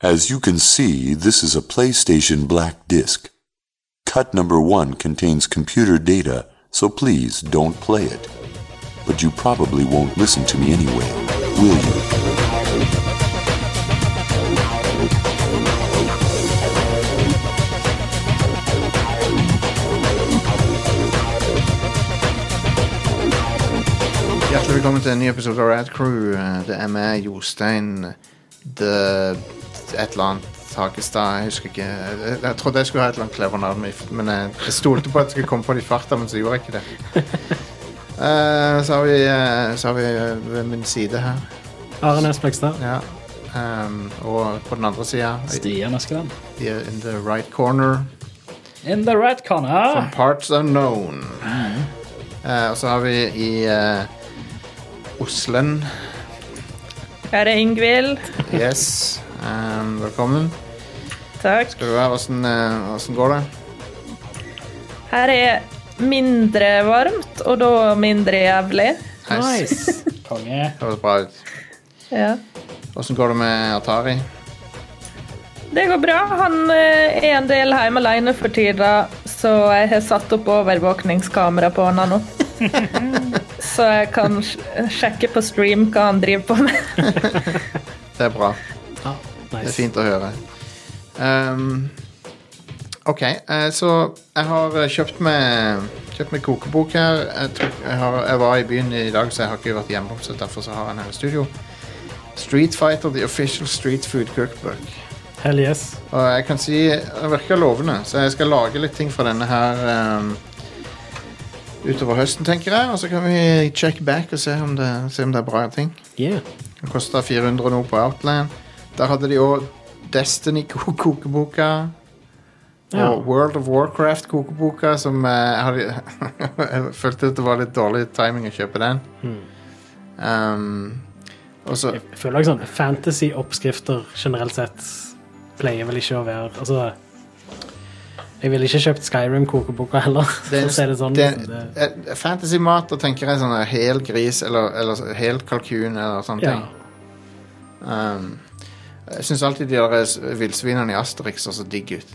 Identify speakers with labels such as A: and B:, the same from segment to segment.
A: As you can see, this is a PlayStation black disc. Cut number one contains computer data, so please don't play it. But you probably won't listen to me anyway, will you?
B: Hjertelig velkommen til en ny episode av Rad Crew. Eh, Det er meg, Jostein, The Et eller annet Hagestad. Jeg husker ikke Jeg, jeg trodde jeg skulle ha et eller annet clever navn, men jeg- men jeg, jeg stolte på at jeg skulle komme på det i farta, men så gjorde jeg ikke det. Eh, så har vi, eh, så har vi eh, ved min side her.
C: Are Næss Flekstad.
B: Ja. Ehm, og på den andre sida,
C: Stian Askeland.
B: in the right corner,
C: In the right
B: From
C: corner.
B: Parts Unknown. Eh, og så har vi i eh, Oslen
D: Her er Ingvild.
B: Yes. Um, velkommen.
D: Takk.
B: Skal du være, hvordan, eh, hvordan går det?
D: Her er mindre varmt, og da mindre jævlig.
C: Nice. Konge.
B: Det høres bra ut.
D: Ja.
B: Hvordan går det med Atari?
D: Det går bra. Han eh, er en del hjemme alene for tida, så jeg har satt opp overvåkningskamera på han nå. Så jeg kan sj- sjekke på stream hva han driver på med.
B: Det er bra.
C: Ja,
B: Det er
C: nice.
B: fint å høre. Um, ok, eh, så jeg har eh, kjøpt meg, kjøpt meg kokebok her. Jeg, tok, jeg, har, jeg var i byen i dag, så jeg har ikke vært hjemme. Så derfor så har jeg den her i studio. Street Fighter, the official street food cookbook.
C: Hell yes.
B: Og jeg kan si det virker lovende, så jeg skal lage litt ting fra denne her ehm, utover høsten, tenker jeg. Og så kan vi check back og se om det, se om det er bra ting.
C: Yeah.
B: Den kosta 400 og noe på Outland. Der hadde de òg Destiny-kokeboka.
C: Ja.
B: Og World of Warcraft-kokeboka, som eh, jeg, hadde, jeg følte at det var litt dårlig timing å kjøpe den. Ehm, og så
C: Hmm. Jeg føler også sånn fantasy-oppskrifter generelt sett pleier vel ikke å være Altså Jeg ville ikke kjøpt Skyrim-kokeboka heller.
B: Det
C: for å si det sånn.
B: det-
C: liksom. Det-
B: eh, Fantasymat, da tenker jeg sånn eh, hel gris eller, eller så- hel kalkun eller sånne
C: ja.
B: ting. Um, jeg syns alltid de der eh, s- villsvinene i Asterix ser så digg ut.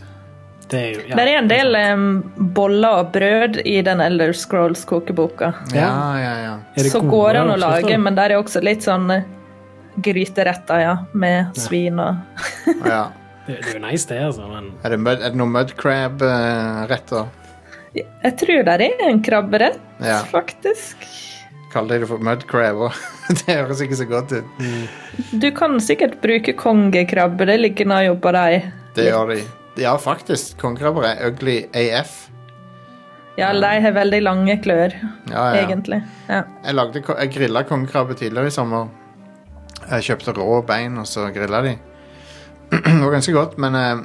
C: Det er jo ja.
D: Det er en del eh, em, boller og brød i den Elder Scrolls kokeboka.
B: Ja, ja, ja.
C: Er det
D: Så
C: gode
D: går an å
C: oppskrifter?
D: lage, men der er også litt sånn eh, gryteretter, ja. Med svin og
B: Å, ja.
C: det, det er jo nice, det, altså, men
B: Er, det eh, mud, er det noen mudcrab-retter?
D: Jeg tror der er en krabberett,
B: Ja.
D: faktisk.
B: Kaller de det for mudcrab òg? det høres ikke så godt ut.
D: Du kan sikkert bruke kongekrabbe, det ligger nå jo på deg.
B: Det gjør de. Ja, faktisk. Kongekrabber er ugly AF.
D: Ja, de har veldig lange klør,
B: Ja, ja.
D: egentlig. Ja.
B: Jeg, lagde, ko- jeg grilla kongekrabbe tidligere i sommer. Jeg kjøpte rå bein, og så grilla de. Det var ganske godt, men eh,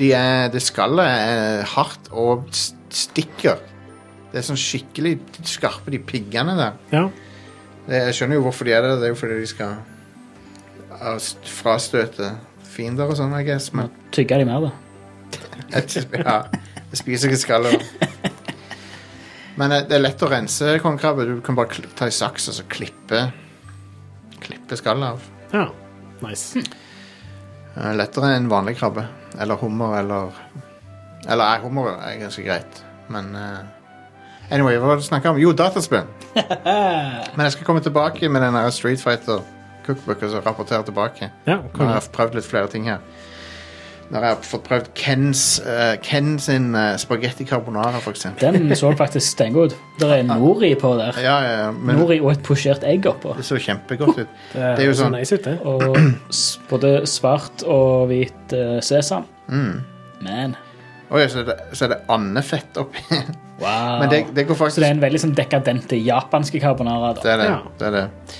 B: de er, det skallet er hardt og s- stikker. Det er sånn skikkelig skarpe, de piggene der.
C: ja.
B: Det, Eh, jeg skjønner jo hvorfor de er der. Det er jo fordi de skal av- frastøte fiender og sånn, I guess. Men
E: tygge de mer, da.
B: jeg, ja, jeg spiser ikke skallet. Men eh, det er lett å rense kongekrabbe. Du kan bare kl- ta i saks og så klippe Klippe skallet av.
C: ja.
D: Mm.
C: Nice.
B: Eh, Lettere enn vanlig krabbe. Eller hummer, eller Eller nei, hummer er ganske greit, men eh, Anyway, hva var det vi snakket om? Jo, dataspill. Men jeg skal komme tilbake med den her Street Fighter cookbook og så rapportere tilbake. Nå
C: Ja,
B: har
C: konge.
B: jeg prøvd litt flere ting her. Nå har jeg fått prøvd Kens, eh, Ken sin eh, spagetti carbonara, for eksempel.
E: Den så faktisk stengod ut. Det er nori på der.
B: Ja, ja, ja, men
E: Nori og et posjert egg oppå.
B: det så kjempegodt ut. Det er jo
C: så
B: sånn
C: nice ut, det.
E: Og s- både svart og hvit eh, sesam.
B: Mm.
E: Men
B: Oi, så, er det, så er det andefett oppi.
E: wow.
B: Men det, det går
E: Så det
B: faktisk
E: er en veldig sånn dekadente japanske carbonara. Da.
B: Det er det.
C: Ja.
B: det, er det.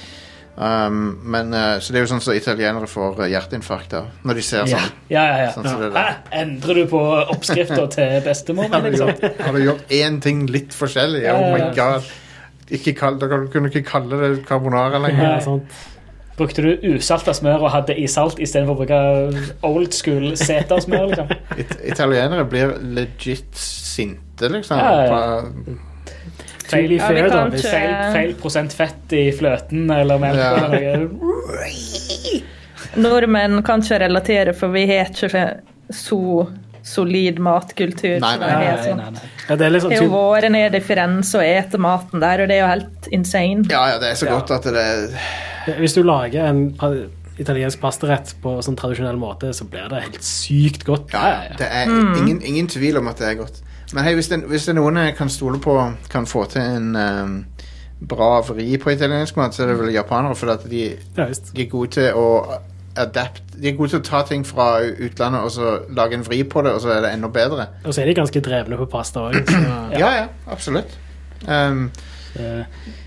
B: Um, men, eh, så det er jo sånn som italienere får eh, hjerteinfarkt av når de ser
E: Ja,
B: sånn.
E: ja, ja. ja.
B: Sånn som det der.
E: Hæ? Endrer du på oppskrifta til bestemor?
B: Har du
E: Liksom?
B: gjort, har du gjort én ting litt forskjellig? Oh my
E: Ja.
B: god. Ikke kall, dere kunne ikke kalle det carbonara lenger.
C: Ja, sånn. sant.
E: Brukte du usalta smør og hadde i salt istedenfor å bruke old school setersmør? Liksom?
B: It, italienere blir legit sinte, liksom.
E: Ja, ja.
B: På-
C: Tidlig
D: Ja, vi
C: fair, da.
D: kan
C: Hvis,
D: ikke-
E: Feil, feil prosent fett i fløten eller melk.
B: Ja.
E: eller noe.
D: Nordmenn kan ikke relatere, for vi har ikke så solid matkultur.
B: Nei,
D: så
B: nei,
D: det er
E: Nei,
D: sånn.
E: nei, nei.
C: Ja, det er litt sånn
D: Jeg har jo
C: typ,
D: vært nede i Firenze og ete maten der, og det er jo helt insane.
B: Ja, ja, det er så godt at det er
C: Hvis du lager en pa- italiensk pastarett på sånn tradisjonell måte, så blir det helt sykt godt.
B: Ja, ja, det er ingen, ingen tvil om at det er godt. Men hei, hvis det, hvis det er noen jeg kan stole på kan få til en ehm, bra vri på italiensk mat, så er det vel japanere, for at de,
C: Ja, visst.
B: de er gode til å adapt De er gode til å ta ting fra utlandet og så lage en vri på det, og så er det enda bedre.
C: Og så er de ganske drevne på pasta òg. Så
B: Ja, ja, absolutt. Ehm,
E: Eh,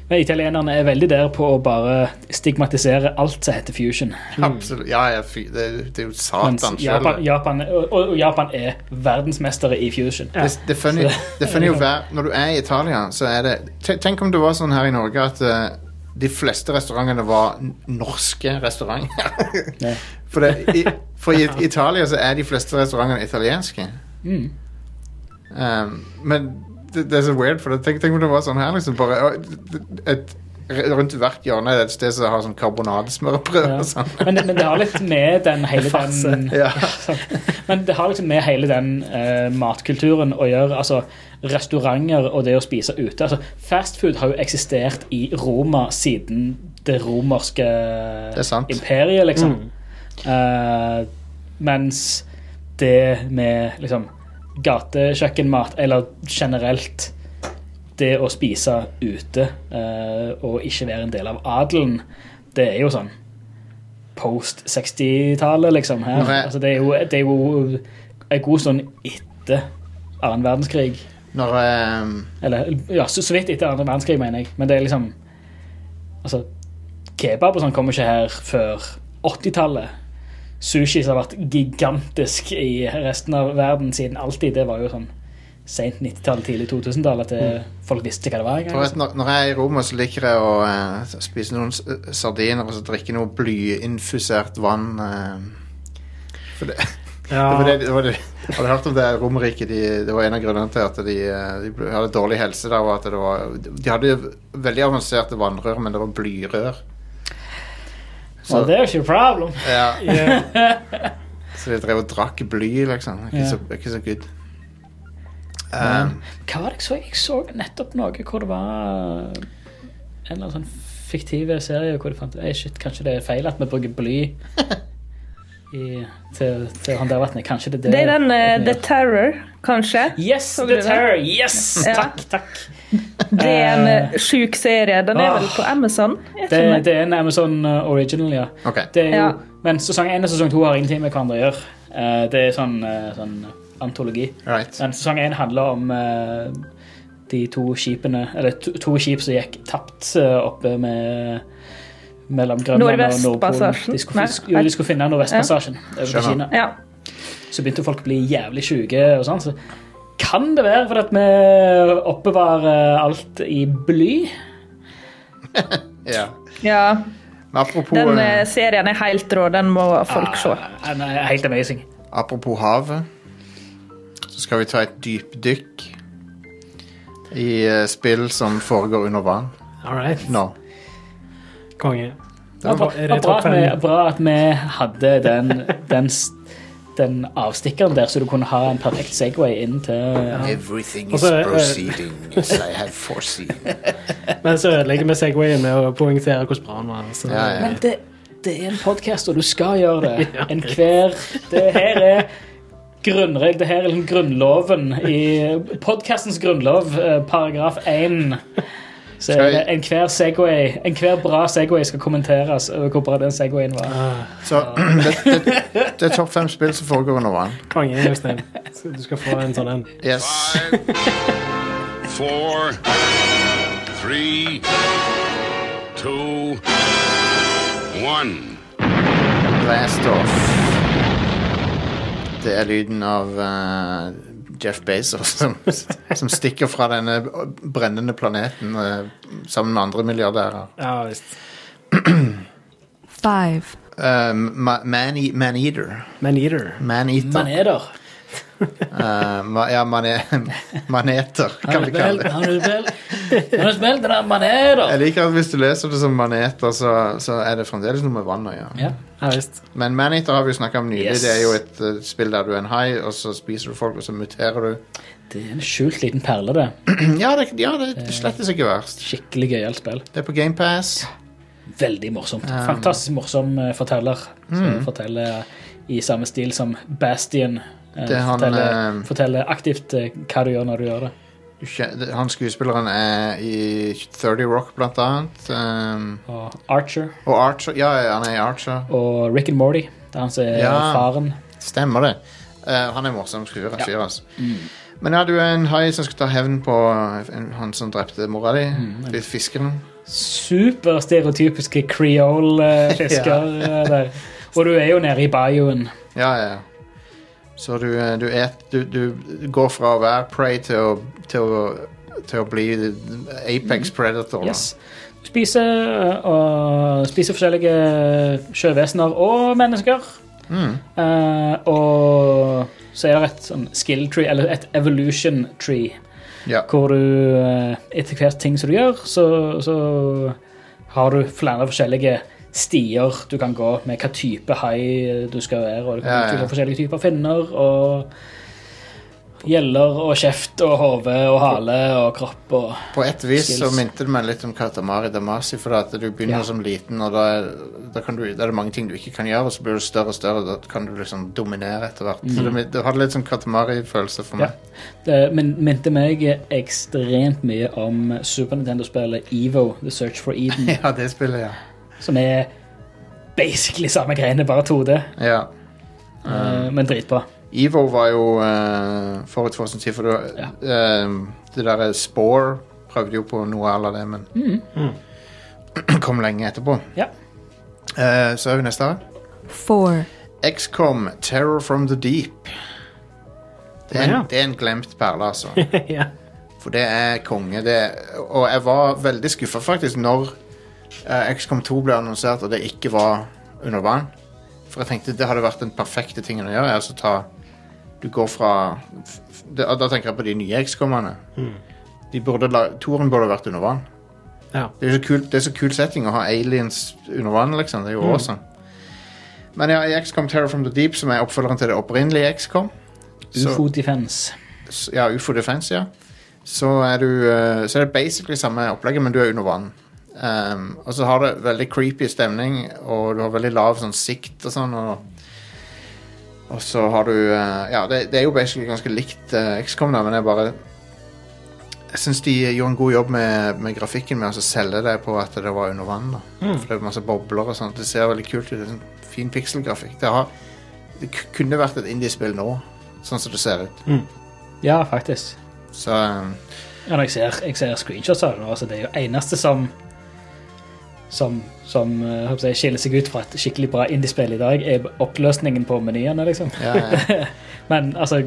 E: Men italienerne er veldig der på å bare stigmatisere alt som heter fusion.
B: absolutt. Ja, ja, fy, det, det er jo
E: Mens
B: satan sjøl.
E: Japan, Japan, og, og Japan er verdensmestere i fusion.
C: Ja.
B: Det, det, funny, det funny å være Når du er i Italia, så er det te- Tenk om det var sånn her i Norge at eh, de fleste restaurantene var n- norske restauranter.
E: Ja.
B: for det, i, for i Italia så er de fleste restaurantene italienske.
E: Mm.
B: Um, men det, det er så weird, for det, tenk, tenk om det var sånn her, liksom. Bare, å, et, et, rundt hvert hjørne er det et sted som har sånn karbonadesmørbrød
E: Ja.
B: og sånn.
E: Men, men det har litt med den hele den
B: Ja.
E: Men det har liksom med hele den eh, matkulturen å gjøre. Altså restauranter og det å spise ute. Altså, Fastfood har jo eksistert i Roma siden det romerske
B: er sant.
E: imperiet, liksom. Eh, mens det med liksom gatekjøkkenmat, eller generelt det å spise ute eh, og ikke være en del av adelen, det er jo sånn post 60-tallet, liksom. her.
B: Når jeg-
E: Altså, det, er jo, det er jo en god stund etter annen verdenskrig.
B: Når um,
E: Eller ja, så, så vidt etter annen verdenskrig, mener jeg. Men det er liksom Altså, kebab og sånn kommer ikke her før 80-tallet. Sushi som har vært gigantisk i resten av verden siden alltid. Det var jo sånn seint 90-tall, tidlig 2000-tall at det, folk visste hva det var.
B: For
E: engang.
B: at når, når jeg er i Roma, så liker jeg å eh, spise noen s- sardiner og så drikke noe blyinfusert vann. eh. for det,
C: ja.
B: det var det, det, var det. Har du hørt om det Romerriket? De, det var en av grunnene til at de, eh, de ble- hadde dårlig helse der. Var at det var, de hadde veldig avanserte vannrør, men det var blyrør. Så,
E: Well, there's your problem.
B: ja,
C: Ja.
B: så de drev og drakk bly, liksom. Ikke,
E: Ja.
B: så, ikke så good. Um,
E: Hva var det jeg så? Jeg så nettopp noe hvor det var en eller annen sånn fiktiv serie hvor de fant Ei, shit, kanskje det er feil at vi bruker bly i, til, til håndtervatnet. Kanskje det er det
D: Det er den eh,
E: vi
D: The
E: gjør.
D: Terror, kanskje.
E: Yes,
D: Så du
E: The
D: det?
E: Terror! Yes!
D: Ja.
E: Takk, takk.
D: Det er en
E: Eh.
D: eh, sjuk serie. Den er vel
E: Åh.
D: på Amazon? er ikke
E: Det,
D: den?
E: det er en Amazon eh, original, ja.
B: ok.
E: Det er jo,
D: Ja.
E: Men sesong én og sesong to har ingenting med hverandre å gjøre. Eh, Det er sånn, eh, sånn antologi.
B: Right.
E: Men sesong én handler om eh, de to skipene Eller to, to skip som gikk tapt eh, oppe med mellom Grønland og Nordpolen.
D: Nordvestpassasjen?
E: De skulle,
D: Nei,
E: fi- jo, de skulle finne Nordvestpassasjen over til
B: Skjønner.
E: Kina.
D: Ja.
E: Så begynte folk å bli jævlig sjuke og sånn. Så kan det være fordi at vi oppbevarer alt i bly?
B: Ja.
D: ja.
B: Men apropos,
D: Den
B: eh,
D: eh, serien er helt rå. Den må folk se.
E: Ah, nei, helt amazing.
B: Apropos havet, så skal vi ta et dypdykk i eh, spill som foregår under vann.
C: All right.
B: Nå.
C: Konge.
E: Det var bra,
C: Er
E: det
C: det
E: var bra,
C: topp
E: at vi,
C: fem?
E: bra at vi hadde den, den, s- den avstikkeren der, så du kunne ha en perfekt Segway inn til
B: Everything
C: Og så er- eh,
B: as I have foreseen.
C: Men så ødelegger vi Segwayen med å poengtere hvordan bra den var. Så.
B: Ja, ja.
E: Men det, det er en podkast, og du skal gjøre det. Enhver Det her er grunnregel, det her er liksom grunnloven i podkastens grunnlov, eh, paragraf 1. Så
B: Skal
E: er
B: vi-
E: det enhver Segway, enhver bra Segway skal kommenteres over hvor bra den Segwayen var.
B: Ah, Så det, det, det er topp fem spill som foregår under vann.
C: Konge, Jostein. Så Du skal få en sånn en.
B: Yes.
F: Five, four, three, two, one.
B: Blast off. Det er lyden av eh, Jeff Bezos som, som stikker fra denne brennende planeten eh, sammen med andre milliardærer.
C: Ja visst.
G: five,
B: Eh, ma- man- Man-eater.
C: Maneater.
B: Man-eater.
E: Man er der.
B: Eh, ma ja, mane maneter, kan vi kalle det.
E: man er vel. Nå smelter det manerer!
B: Jeg liker at hvis du leser det som maneter, så, så er det fremdeles noe med vann å gjøre.
E: Ja.
C: Ja visst.
B: Men Maneater har vi jo snakka om nylig.
E: Yes.
B: Det er jo et eh, spill der du er en hai, og så spiser du folk, og så muterer du.
E: Det er en skjult liten perle, det.
B: Ja, det, ja, det, det slettes ikke verst.
E: Skikkelig gøyalt spill.
B: Det er på GamePass.
E: Veldig morsomt. Fantastisk morsom eh, forteller. Som
B: Mm.
E: forteller i samme stil som Bastion. eh,
B: Det er han,
E: forteller,
B: eh,
E: forteller aktivt eh, hva du gjør når du gjør det.
B: Han skuespilleren er i 30 Rock, blant annet. Um,
E: Og Archer
B: og Archer. Ja, ja, han er i Archer.
E: og Rick and Morty. Det er han som er
B: Ja.
E: faren.
B: Stemmer det. Eh, han er morsom skuer. han fyr, altså.
E: Mm.
B: Men ja, du er en hai som skal ta hevn på eh, en, han som drepte mora di. Mm, Fiskeren.
E: Superstereotypiske creole-fisker eh, der. Og du er jo nede i bioen.
B: Ja, ja. Så du, eh, du, et, du, du går fra å være prey til å, til å, til å bli Apex Predator. da.
E: Mm. Yes. Spise eh, og spise forskjellige sjøvesener og mennesker.
B: Mm.
E: Eh, og så er det et sånn skill tree, eller et evolution tree,
B: Ja.
E: hvor du eh, etter hvert ting som du gjør, så, så har du flere forskjellige stier du kan gå med hva type hai du skal være, og du
B: Ja,
E: kan
B: ja.
E: utvikle forskjellige typer finner og gjeller og kjeft og hode og hale og kropp og
B: På et vis så
E: Skills.
B: minte det meg litt om Katamari Damasi, for at du begynner
E: Ja.
B: som liten, og da, er- da, kan du, da er det mange ting du ikke kan gjøre, og så blir du større og større, og da kan du liksom dominere etter hvert. Så det, det hadde litt sånn Katamari-følelse for
E: Mm. Ja.
B: meg.
E: Det min- minte Eh, meg ekstremt mye om Super Nintendo-spillet EVO, The Search for Eden,
B: Ja, det spiller jeg.
E: som er basically samme greiene, bare 2D,
B: Ja.
E: eh, men dritbra.
B: Evo var jo eh, forut for sin tid, for du,
E: Ja.
B: eh, det derre Spore prøvde jo på noe à la det, men kom lenge etterpå.
E: Ja.
B: Eh, så er vi neste her.
G: four,
B: XCOM, Terror from the Deep. Det er, en,
C: Ja.
B: det er en glemt perle, altså.
C: ja.
B: For det er konge. Det, og jeg var veldig skuffa faktisk når eh, XCOM 2 ble annonsert og det ikke var under vann. For jeg tenkte det hadde vært den perfekte tingen å gjøre. Altså ta Du går fra f- f- det, Da tenker jeg på de nye XCOM-ene. De burde la, Toren burde vært under vann.
C: Ja.
B: Det er, så kul, det er så kul setting å ha aliens under vann, liksom. Det er jo awesome. Men ja, i XCOM Terror from the Deep, som er oppfølgeren til det opprinnelige XCOM så-
E: UFO Defense.
B: s- ja, UFO Defense, ja. Så er, du, eh, så er det basically samme opplegget, men du er under vann. Ehm, og så har det veldig creepy stemning, og du har veldig lav sånn sikt og sånn. Og, og så har du eh, Ja, det, det er jo basically ganske likt eh, XCOM, da, men jeg bare Jeg syns de gjorde en god jobb med, med grafikken med å selge det på at det var under vann. da For det er masse bobler og sånt. Det ser veldig kult ut. Det er sånn Fin pikselgrafikk. Det, har, det k- kunne vært et indiespill nå, sånn som det ser ut.
E: Ja, faktisk.
B: Så eh,
E: Ja, når jeg ser, jeg ser screenshots av det nå, så det er jo eneste som som, som eh, jeg håper jeg, skiller seg ut fra et skikkelig bra indiespill i dag, er oppløsningen på menyene, liksom.
B: ja, ja.
E: Men altså,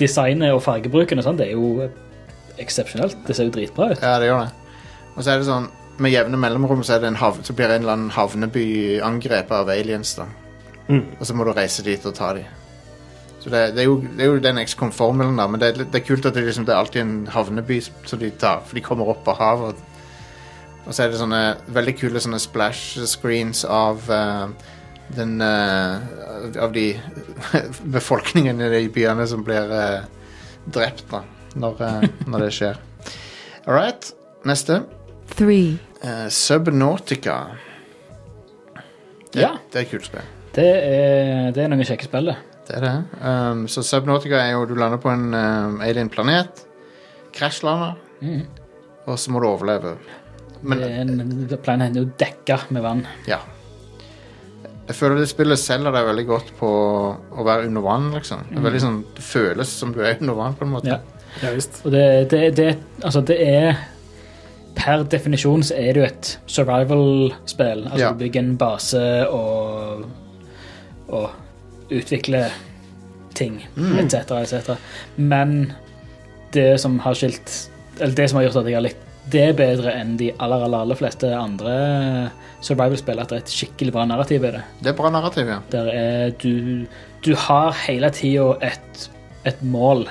E: designet og fargebruken og sånn, det er jo eksepsjonelt. Det ser jo dritbra ut.
B: ja, det gjør det. Og så er det sånn med jevne mellomrom så, er det en hav, så blir en eller annen havneby angrepet av aliens. da Og så må du reise dit og ta dem. Så det, det, er jo, det er jo den XCOM-formelen, da, men det, er litt- det er kult at det, liksom, det er alltid en havneby som de tar, for de kommer opp av havet. Og så er det sånne veldig kule sånne splash screens av eh, den eh, Av de befolkningen i de byene som blir eh, drept, da, når, eh, når det skjer. All right, neste.
G: three,
B: Eh, Subnautica. Det,
E: Ja.
B: det er et kult spill.
E: Det er, det er noen kjekke spill, det.
B: Det er det. Um, så Subnautica er jo du lander på en um, alien planet, krasjlander, og så må du overleve. Men
E: Mm. det er en, planen er jo dekka med vann.
B: ja. Jeg føler det spillet selger deg veldig godt på å være under vann, liksom. Det, er veldig sånn, det føles som du er under vann, på en måte.
E: Mm. Ja.
C: ja visst.
E: Og det, det, det, altså det er Per definisjon så er det jo et survival-spill. Altså
B: Ja.
E: du bygger en base og, og utvikler ting,
B: Mm.
E: etc., etc. Men det som har skilt Eller det som har gjort at jeg har likt det bedre enn de aller, aller, aller fleste andre survival-spill, at det er et skikkelig bra narrativ i det.
B: Det er bra narrativ, ja.
E: Der er du Du har hele
B: Mm.
E: tida et, et mål.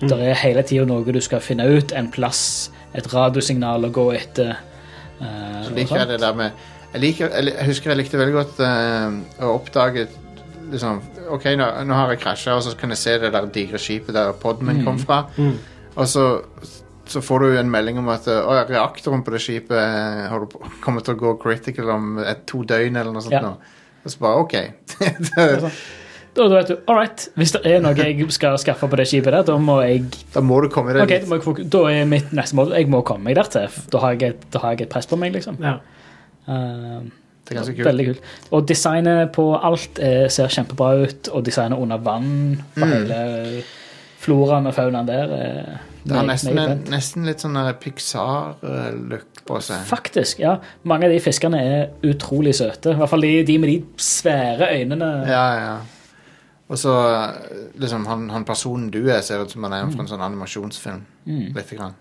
E: Der er hele tida noe du skal finne ut, en plass, et radiosignal å gå etter. eh,
B: Så liker
E: og
B: jeg
E: sånt.
B: det der med jeg, liker, jeg li- jeg husker jeg likte veldig godt eh, å oppdage liksom, OK, nå, nå har jeg krasja, og så kan jeg se det der digre skipet der podden min
E: Mm.
B: kom fra. Og så, så får du en melding om at eh, «Å, ja, reaktoren på det skipet eh, har du på- kommer til å gå critical om et, to døgn eller noe sånt.
E: Ja.
B: Nå. Og så bare OK. da,
E: Da, da vet du, all right, Hvis det er noe jeg skal skaffe på det skipet, der, da må jeg
B: da må du komme deg
E: Ok, da, må jeg, fok- da er mitt neste mål Jeg må komme meg der til. Da har jeg, et- da har jeg et press på meg, liksom.
C: Ja.
E: Eh,
B: Det er ganske kult.
E: Veldig kult. Og designet på alt eh, ser kjempebra ut, og designet under vann på
B: Mm.
E: hele floraen og faunaen der eh,
B: Det har
E: meget,
B: nesten,
E: meget
B: en,
E: pent.
B: nesten litt sånn der Pixar-look på seg.
E: Faktisk, ja. Mange av de fiskene er utrolig søte. I hvert fall de, de med de svære øynene.
B: Ja, ja. Og så eh, liksom han, han personen du er, ser ut som han er fra en sånn animasjonsfilm. Lite grann.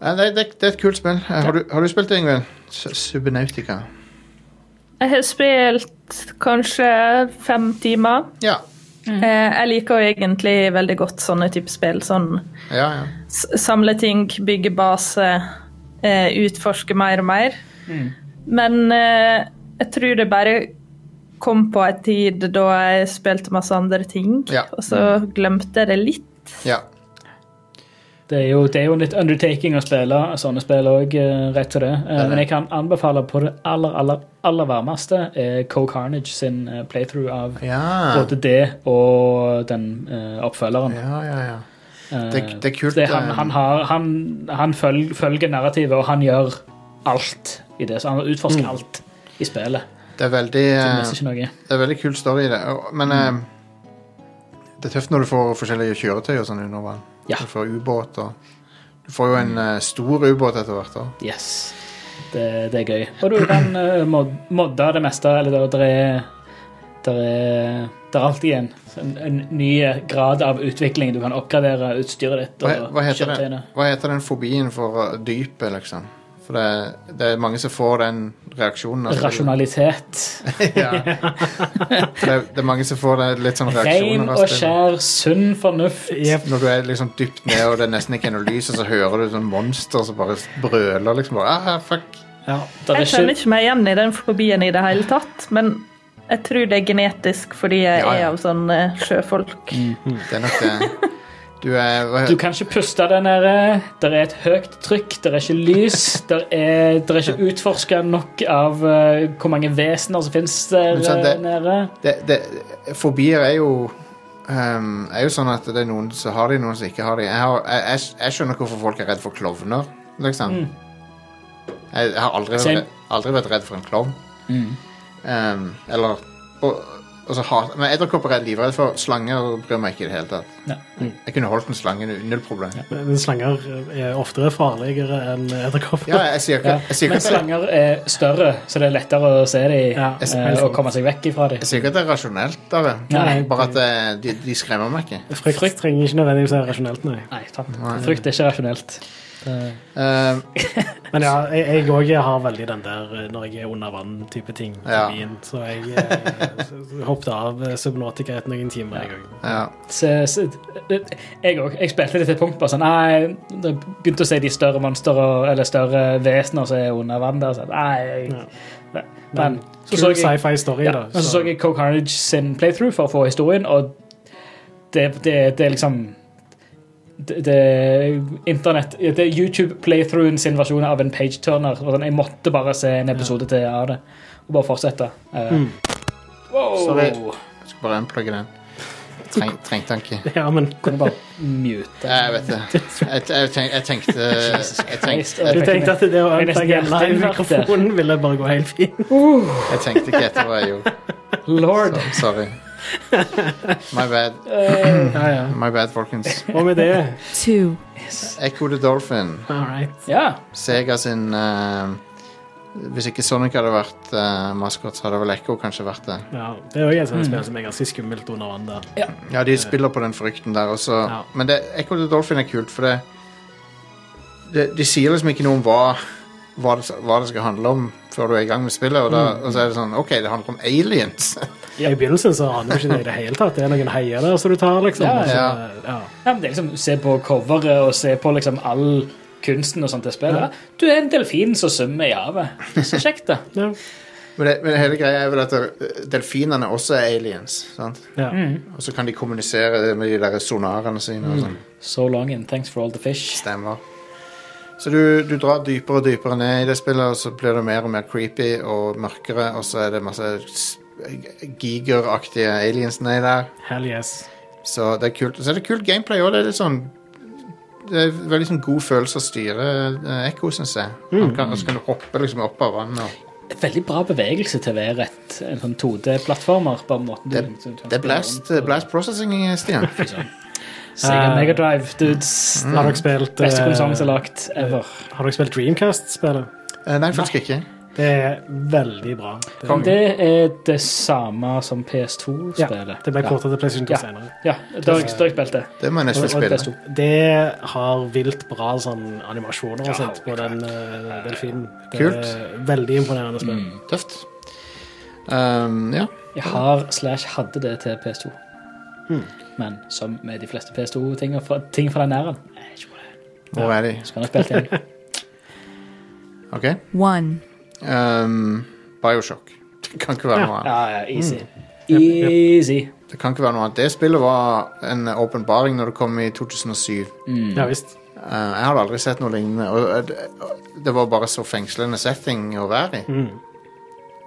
B: Ja, det, det, det er et kult spill. Eh, Har du, har du spilt det, Ingvild? S- Subnautica.
D: Jeg har spilt kanskje fem timer.
B: Ja. Mm.
D: Eh, Jeg liker jo egentlig veldig godt sånne type spill. Sånn
B: Ja, ja.
D: s- samle ting, bygge base, eh, utforske mer og mer.
B: Mm.
D: Men eh, jeg tror det bare kom på en tid da jeg spilte masse andre ting,
B: Ja.
D: og så glemte jeg det litt.
B: ja.
E: Det er, jo, det er jo litt undertaking å spille sånne spill òg, rett til det. Eh,
B: Det er det.
E: Men jeg kan anbefale på det aller, aller, aller varmeste eh, Co Carnage sin eh, playthrough av
B: Ja.
E: både det og den eh, oppfølgeren.
B: Ja, ja, ja.
E: Eh,
B: Det, det er kult.
E: det, han,
B: eh,
E: han, har, han, han følg, følger narrativet, og han gjør alt i det. Så han utforsker
B: Mm.
E: alt i spillet.
B: det er veldig
E: Så
B: eh,
E: han mister ikke noe.
B: Det er veldig kul story i det. og- Men eh, det er tøft når du får forskjellige kjøretøy og sånn under vann.
E: Ja.
B: Du får ubåt og Du får jo en eh, stor ubåt etter hvert. da.
E: Yes. Det, det er gøy. Og du kan eh, mod, modde det meste, eller der, der er der er, der er alltid en, en, en ny eh, grad av utvikling. Du kan oppgradere utstyret ditt.
B: Hva,
E: og
B: hva, heter den,
E: kjøretøyene.
B: hva heter den fobien for eh, dypet, liksom? For det, det er mange som får den reaksjonen. av spillet.
E: Rasjonalitet.
B: ja. For det, det er mange som får det litt sånn
E: Rein
B: reaksjoner. av
E: og
B: spillet.
E: skjær sunn fornuft.
C: Jep.
B: Når du er liksom dypt ned og det er nesten ikke er noe lys, og så hører du sånn monster som bare brøler liksom bare, ah, fuck.
E: Ja, der er
D: Jeg kjenner
E: ikke
D: ikke meg igjen i den fobien i det hele tatt, men jeg tror det er genetisk fordi jeg
B: Ja, ja.
D: er av sånn eh, sjøfolk.
B: Det er nok det. Du er hva,
E: Du kan ikke puste der nede. Der er et høyt trykk, der er ikke lys. Der er, der er ikke utforska nok av eh, hvor mange vesener som finnes der
B: Men sant, det-
E: eh, nede.
B: det, det, Fobier er jo ehm, Er jo sånn at det er noen som har de, noen som ikke har de. Jeg, har, jeg, jeg, jeg skjønner ikke hvorfor folk er redd for klovner, liksom. Jeg, jeg har aldri,
E: Mm. Same. Mm.
B: vært- aldri vært redd for en klovn. Ehm, eller og, og så hat, Men edderkopper er jeg livredd for. Slanger bryr meg ikke i det hele tatt. Mm.
E: Nei.
B: Jeg kunne holdt en slange, nu- null problem. Ja,
C: Men slanger er oftere farligere enn edderkopper.
B: jeg, sier ikke,
E: Ja.
B: jeg, sier
E: Men
B: ikke at det,
E: slanger er større, så det er lettere å se dem
C: Ja,
E: eh, og komme seg vekk ifra dem.
B: jeg sier ikke at det er rasjonelt, Are.
E: Nei.
B: bare at eh, de, de skremmer meg ikke.
C: Frykt trenger ikke nødvendigvis være rasjonelt, nei.
E: Nei, sant. Frykt er ikke rasjonelt. Det-
B: Ehm,
C: Men ja, jeg òg har veldig den der eh, når jeg er under vann-type ting.
B: Ja.
C: fobien. Så jeg eh, s- hoppet av eh, Subnautica etter noen timer, jeg òg.
B: ja.
E: Se, se, jeg òg. Jeg spilte det til et punkt bare sånn Nei, jeg begynte å se de større monster og- eller større vesener som er under vann der. Så, nei, jeg, nei. Men så så
C: Kul
E: jeg
C: sci-fi story,
E: Ja,
C: da.
E: men så så jeg Coke Carnage sin playthrough for å få historien, og det, det, det er liksom det, det er internett Det er YouTube-playthroughen sin versjon av en page-turner. og sånn, Jeg måtte bare se en episode til av det og bare fortsette. Eh, Wow!
B: Sorry. Jeg skal bare unplugge den. Treng, trengte han ikke.
C: Ja, men
E: Kunne bare mute.
B: Jeg vet det. Jeg, jeg, tenk, jeg tenkte Jeg tenkte, jeg,
C: jeg tenkte at det å
E: Jeg nesten
C: ødelegge en
E: hjertet
C: live
E: mitt der.
C: mikrofon ville bare gå helt fint.
B: jeg tenkte ikke etter hva jeg gjorde.
E: Lord!
B: Så, sorry. My bad,
C: Ja, ja.
E: eh,
B: my bad folkens.
C: Og med det
G: two,
B: Echo the Dolphin,
C: All right.
E: Ja.
B: Sega sin eh, Hvis ikke Sonic hadde vært eh, maskot, så hadde vel Echo kanskje vært det.
C: Ja, det er òg et
E: Mm.
C: sånt spill som er ganske skummelt under vann. der.
B: Ja, de spiller på den frykten der også.
C: Ja.
B: Men det, Echo the Dolphin er kult, for det, det De sier liksom ikke noe om hva, hva, det, hva det skal handle om før du er i gang med spillet, og, da, og så er det sånn OK, det handler om aliens.
C: I begynnelsen så aner du ikke det i det hele tatt. Det er noen heier der som du tar, liksom.
E: Ja,
C: og så-
B: ja.
C: ja.
E: ja men det er liksom, se på coveret og se på liksom all kunsten og sånt til spillet. Du er en delfin som svømmer i havet. Så kjekt, da.
C: Ja.
B: Men, det, men hele greia er vel at eh, delfinene også er aliens. sant?
C: Ja.
E: Mm.
B: Og så kan de kommunisere med de der sonarene sine. og sånn.
E: So long and thanks for all the fish.
B: Stemmer. Så du, du drar dypere og dypere ned i det spillet, og så blir det mer og mer creepy og mørkere, og så er det masse s- gigeraktige aliens nedi der.
C: Hell yes.
B: Så det er kult. Så er det kult gameplay òg. Det er litt sånn det er veldig sånn god følelse å styre eh, Ekko, syns jeg.
E: Mm.
B: Han kan, og så kan du hoppe liksom opp av vannet. og-
E: Veldig bra bevegelse til å være et, en sånn 2D-plattformer. på en måte.
B: Det, det er blast, eh, blast processing, Stian.
E: Liksom. Sega Mega Drive, dudes.
B: Mm.
C: Har dere spilt
E: Beste
C: eh,
E: konsollen som er lagt ever.
C: Har dere spilt Dreamcast-spillet?
B: Eh, Nei, faktisk ikke.
C: Det er veldig bra. Det,
B: Kom.
E: Det er det samme som PS2-spillet.
C: ja, det ble kortet til PlayStation 2
E: Ja.
C: senere.
E: Ja, da har jeg da har jeg spilt det.
B: Det må jeg
E: Og-
B: nesten
E: og
B: spille.
E: PS2.
C: Det har vilt bra sånn animasjoner og
E: Ja,
C: sånt på den eh, delfinen. Det
B: Kult.
C: er Veldig imponerende spill.
B: Tøft. Um, ja.
E: Jeg har slash hadde det til PS2.
B: Hmm.
E: Men som med de fleste PS2-ting fra, ting fra den æren eh, ikke bra.
B: Hvor er de?
E: Så kan jeg spille det igjen.
B: OK.
G: 1.
B: Um, Bioshock. Det kan ikke være noe annet.
E: Ja, ja, easy. Easy.
B: Det kan ikke være noe annet. Det spillet var en åpenbaring når det kom i 2007.
C: Ja visst.
B: Eh, jeg hadde aldri sett noe lignende. Og eh, det, og det var bare så fengslende setting å være i.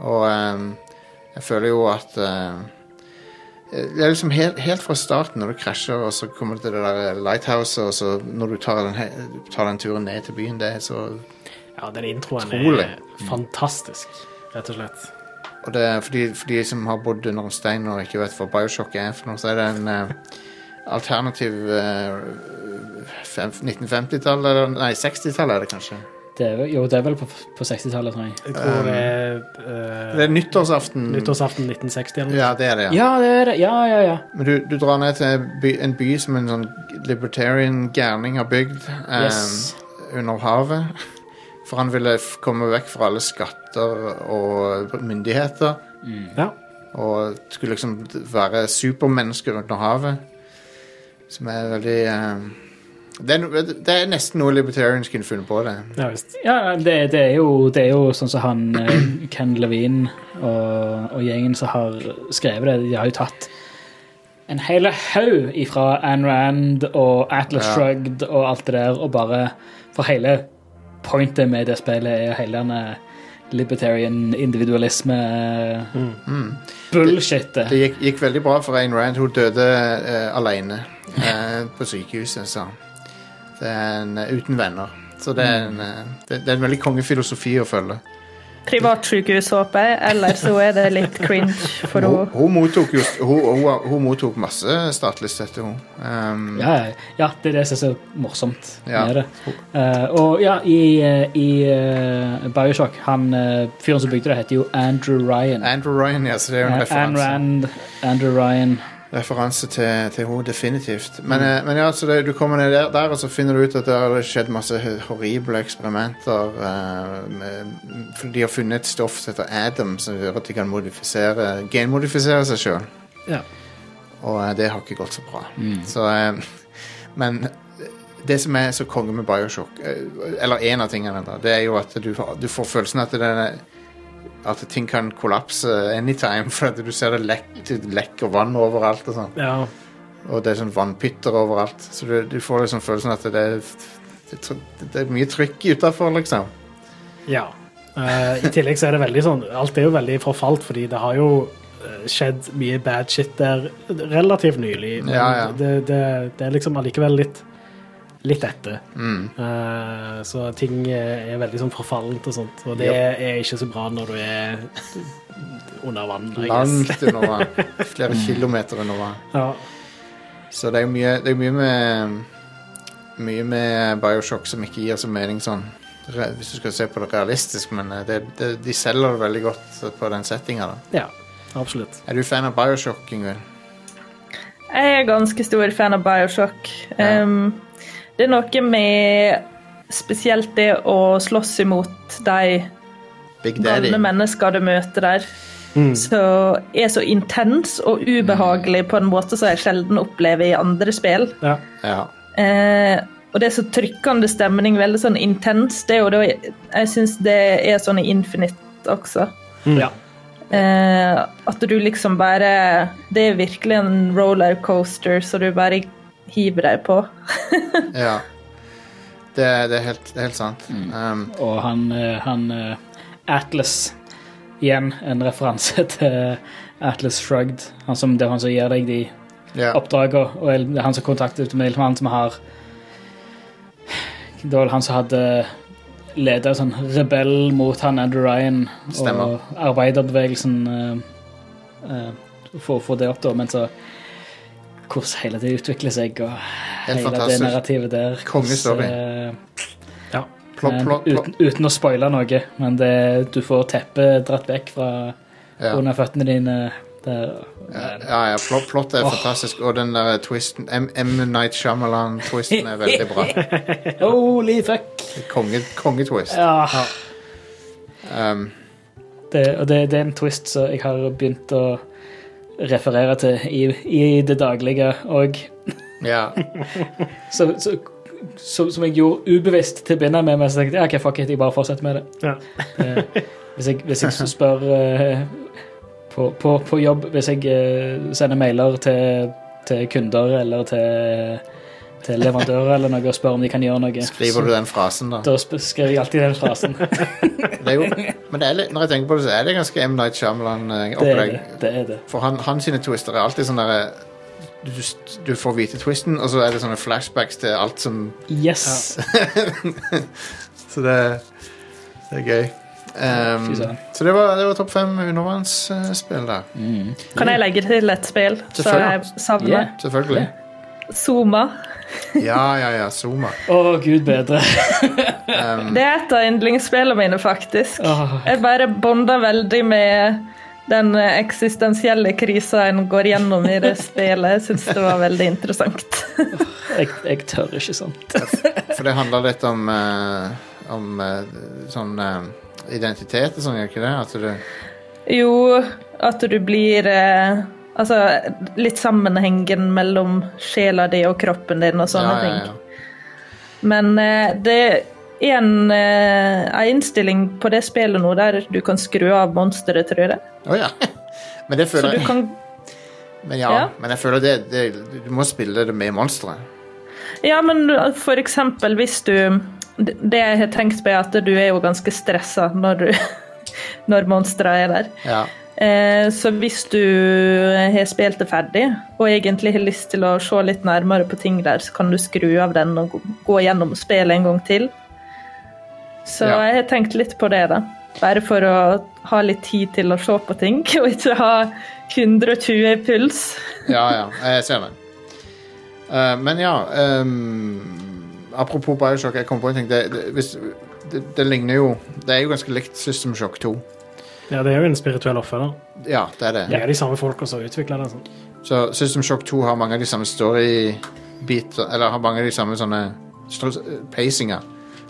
B: Og eh, jeg føler jo at eh, Det er liksom helt, helt fra starten, når du krasjer, og så kommer du til det der lighthouse, og så når du tar den, he- tar den turen ned til byen, det er så
C: Ja, den introen
B: Utrolig.
C: er fantastisk, rett og slett.
B: Og det er for de, for de som har bodd under en stein og ikke vet hva Bioshock er for noe, så er det en eh, alternativ eh, fem- 1950-tallet, eller nei, 60-tallet er det kanskje.
E: Det er, jo- jo, det er vel på, på 60-tallet, tror jeg.
C: Jeg tror det er eh,
B: Um, Det er nyttårsaften.
C: nyttårsaften 1960 eller noe.
B: Ja, det er det, ja.
E: Ja, det er det. Ja, ja, ja.
B: Men du, du drar ned til by, en by som en sånn libertarian gærning har bygd eh,
E: Yes.
B: under havet. For han ville f komme vekk fra alle skatter og myndigheter.
C: Ja.
B: Og skulle liksom være supermennesker under havet. Som er veldig eh, det, er, no- det er nesten noe libertarians kunne funnet på, det.
C: ja visst.
E: ja det, det, er jo, det er jo sånn som han eh, Ken Levine og, og gjengen som har skrevet det, de har jo tatt en hel haug ifra Anne Rand og Atlas
B: Ja.
E: Shrugged og alt det der, og bare for hele pointet med det spillet er hele denne libertarian individualisme Mm. bullshitet.
B: Det gikk, gikk veldig bra for Ayn Rand. Hun døde eh, alene eh, på sykehuset, sa han. Det er en, eh, uten venner. Så det er en,
E: Mm.
B: eh, det, det er en veldig kongefilosofi å følge.
D: Privatsykehus, håper jeg, eller så er det litt cringe for
B: Hun,
D: henne.
B: hun, mottok, just, hun, hun, hun mottok masse statlig støtte, hun. Um,
E: Ja, ja, ja, det er det som er så morsomt
B: Ja.
E: med det. Eh, og ja, i, eh, i eh, Bioshock han, eh, Fyren som bygde det, heter jo Andrew Ryan.
B: Andrew Ryan, ja, så det er jo en
E: Eh, Ayn
B: referanse,
E: Rand, Andrew Ryan.
B: referanse til, til henne, definitivt. Men, eh, men ja, så det, du kommer ned der, der, og så finner du ut at det har skjedd masse horrible eksperimenter. eh, med, for de har funnet et stoff som heter Adam, som gjør at de kan modifisere, genmodifisere seg sjøl.
E: Ja.
B: Og eh, det har ikke gått så bra. Så, eh, men det som er så konge med Bioshock, eh, eller en av tingene, da, det er jo at du, har- du får følelsen at, det er, at ting kan kollapse anytime, for at du ser det lekk- det lekker vann overalt og sånn.
C: Ja.
B: Og det er sånn vannpytter overalt. Så du, du får liksom følelsen at det er, det, er tr- det er mye trykk utafor, liksom.
C: ja. Eh, I tillegg så er det veldig sånn Alt er jo veldig forfalt, fordi det har jo eh, skjedd mye bad shit der relativt nylig. Men
B: Ja, ja.
C: Det, det, det er liksom allikevel litt Litt etter.
B: Mm.
C: Eh, så ting eh, er veldig sånn forfallent og sånt, og det
B: Yep.
C: er ikke så bra når du er under vann. I guess.
B: Langt under vann. Flere kilometer under vann.
C: Ja.
B: Så det er jo mye, det er mye med Mye med Bioshock som ikke gir så mening sånn re- Hvis du skal se på det realistisk, men eh, det, det, de selger det veldig godt på den settinga, da.
C: ja, absolutt.
B: Er du fan av Bioshock, Yngvild?
D: Jeg er ganske stor fan av Bioshock.
B: Ja.
D: Um, det er noe med spesielt det å slåss imot de
B: Big Daddy?
D: galne mennesker du møter der. Så er så intens og ubehagelig på en måte som jeg sjelden opplever i andre spill.
C: Ja.
B: Ja.
D: Eh, Og det er så trykkende stemning, veldig sånn intens. Det er jo da Jeg syns det er sånn i Infinite også.
B: Mm.
E: Ja.
D: Eh, at du liksom bare Det er virkelig en rollercoaster, så du bare hiver deg på.
B: Ja. Det, er- det er helt, det er helt sant.
C: Mm.
B: Um,
E: Og han, eh, han eh, Atlas Igjen en referanse til Atlas Shrugged. Han som, det er han som gir deg de
B: ja.
E: oppdragene, og el- det er han som kontaktet med det er han som har Det var vel han som hadde ledet en sånn rebell mot han Andrew Ryan
B: Stemmer.
E: og arbeiderbevegelsen eh, eh, for å få det opp, da, men så hvordan hele det utvikler seg, og hele det
B: fantastisk.
E: narrativet der
B: Kongestory.
E: hvordan, eh,
B: Plopp,
E: men
B: plopp, plopp.
E: Uten, uten å spoile noe, men det, du får teppet dratt vekk fra
B: Ja.
E: under føttene dine. Der.
B: Ja, ja, plott, plott er fantastisk, og den der twisten M. M. Night Shyamalan-twisten er veldig bra.
E: Holy fuck!
B: Konge, kongetwist.
E: Ja.
B: Um,
E: Det, og det, det er en twist som jeg har begynt å referere til i, i det daglige òg.
B: ja.
E: Som jeg gjorde ubevisst til å begynne med, men så tenkte jeg OK, fuck it, jeg bare fortsetter med det.
C: Ja.
E: Eh, hvis, jeg, hvis jeg spør eh, på, på, på jobb Hvis jeg eh, sender mailer til, til kunder eller til, til leverandører eller noe og spør om de kan gjøre noe,
B: Skriver du den frasen, da?
E: da sp- skriver jeg alltid den frasen.
B: Det er jo, men det er litt, når jeg tenker på det, så er det ganske M. Night
E: Det er det.
B: Shyamalan-opplegg.
E: det, er det.
B: For han, han sine twister er alltid sånn derre du, du får vite twisten, og så er det sånne flashbacks til alt som
E: Yes!
B: Så det, det er gøy. Um,
E: Fy søren.
B: så det var, det var topp fem undervannsspill, da.
E: Mm.
D: Kan jeg legge til et spill som jeg
B: Selvfølgelig.
D: savner?
E: Yeah.
B: Selvfølgelig.
D: Zoma.
B: Ja, ja, ja. Zuma.
E: Å, gud bedre.
D: Det er et av yndlingsspillene mine, faktisk.
E: Åh.
D: Jeg bare bonder veldig med den eh, eksistensielle krisa en går gjennom i det spillet. Jeg syns det var veldig interessant.
E: Jeg, jeg tør ikke sånn. sånt.
B: For det handler litt om, eh, om eh, sånn eh, identitet og sånn, gjør ikke det? At du,
D: Jo, at du blir eh, Altså, litt sammenhengen mellom sjela di og kroppen din og sånne ting. Men eh, det er en eh, en innstilling på det spillet nå der du kan skru av monsteret, tror jeg.
B: Å ja. Men det
D: Så
B: føler
D: du
B: jeg
D: kan
B: Men ja,
D: ja.
B: men jeg føler det, det Du må spille det med monsteret.
D: Ja, men for eksempel hvis du Det jeg har tenkt på, er at du er jo ganske stressa når, du- når monstra er der.
B: Ja.
D: Eh, Så hvis du har spilt det ferdig, og egentlig har lyst til å se litt nærmere på ting der, så kan du skru av den og gå- gå gjennom spillet en gang til. Så
B: Ja.
D: jeg har tenkt litt på det, da. Bare for å ha litt tid til å se på ting, og ikke ha 120 i puls.
B: ja, ja. Jeg ser det. Eh, men ja ehm, Apropos Bioshock, jeg kom på en ting. Det, det, hvis, det, det ligner jo Det er jo ganske likt System Shock 2.
C: ja, det er jo en spirituell oppfølger.
B: Ja, det er det.
C: Det er de samme folka som utvikla det. Sånn.
B: Så System Shock 2 har mange av de samme story-biter Eller har mange av de samme sånne stru- pacinger.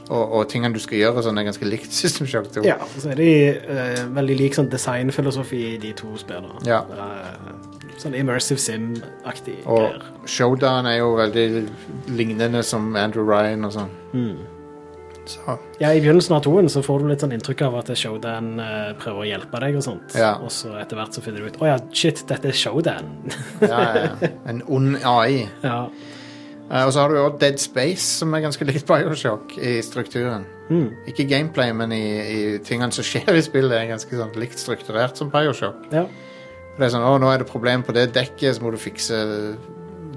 B: Og, og tingene du skal gjøre, og sånn er ganske likt System Shock 2.
H: Ja, så er de eh, veldig lik sånn designfilosofi i de to spillene.
B: Ja.
H: Eh, sånn immersive sim-aktig.
B: Og
H: greier.
B: Showdown er jo veldig lignende som Andrew Ryan og sånn. Så
C: Ja, I begynnelsen av toen så får du litt sånn inntrykk av at det er Showdan eh, prøver å hjelpe deg, og sånt.
B: Ja.
C: Og så etter hvert så finner du ut Å ja, shit, dette er Showdan.
B: ja, ja, ja. En ond AI.
C: ja.
B: Eh, og så har du jo også Dead Space, som er ganske likt Bioshock i strukturen. Ikke gameplay, men i, i tingene som skjer i spillet, er ganske sånn likt strukturert som Bioshock.
C: ja.
B: Det er sånn, å, nå er det problem på det dekket, så må du fikse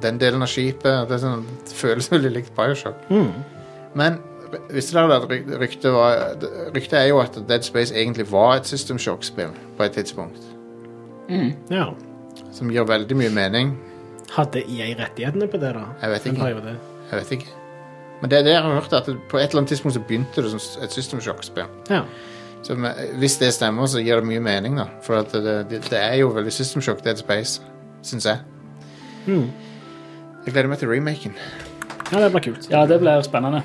B: den delen av skipet. Det, er sånn, det føles veldig likt Bioshock. Men visste dere at ryk- ryktet var Ryktet er jo at Dead Space egentlig var et System Shock-spill på et tidspunkt.
C: ja.
B: Som gir veldig mye mening.
C: Hadde EA rettighetene på det, da?
B: Jeg vet
C: En
B: ikke.
C: periode.
B: Jeg vet ikke. Men det er det jeg har hørt, at det- på et eller annet tidspunkt så begynte det som et System Shock-spill.
C: Ja.
B: Så med- Hvis det stemmer, så gir det mye mening, da. For at det, det, det er jo veldig System Shock Dead Space, syns jeg. Jeg gleder meg til remaken.
C: ja, det blir kult.
E: Ja, det blir spennende.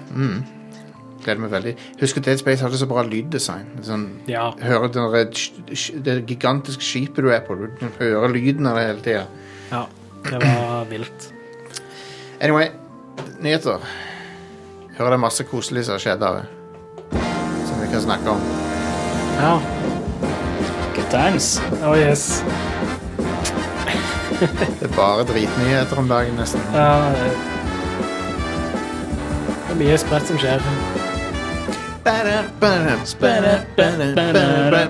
B: gleder meg veldig. Husk at Dead Space hadde så bra lyddesign. Sånn,
C: Ja.
B: Hører den der sk- sk- det gigantiske skipet du er på. Du hører lyden av det hele tida.
C: ja. Det var vilt.
B: Anyway, nyheter. Hører det er masse koselig som har skjedd der. Som vi kan snakke om.
C: Ja.
E: Good times.
C: Oh yes.
B: Det er bare dritnyheter om dagen, nesten.
C: Ja, det det er mye spredt som skjer.
B: Ba-da, ba-da, ba-da, ba-da, ba-da.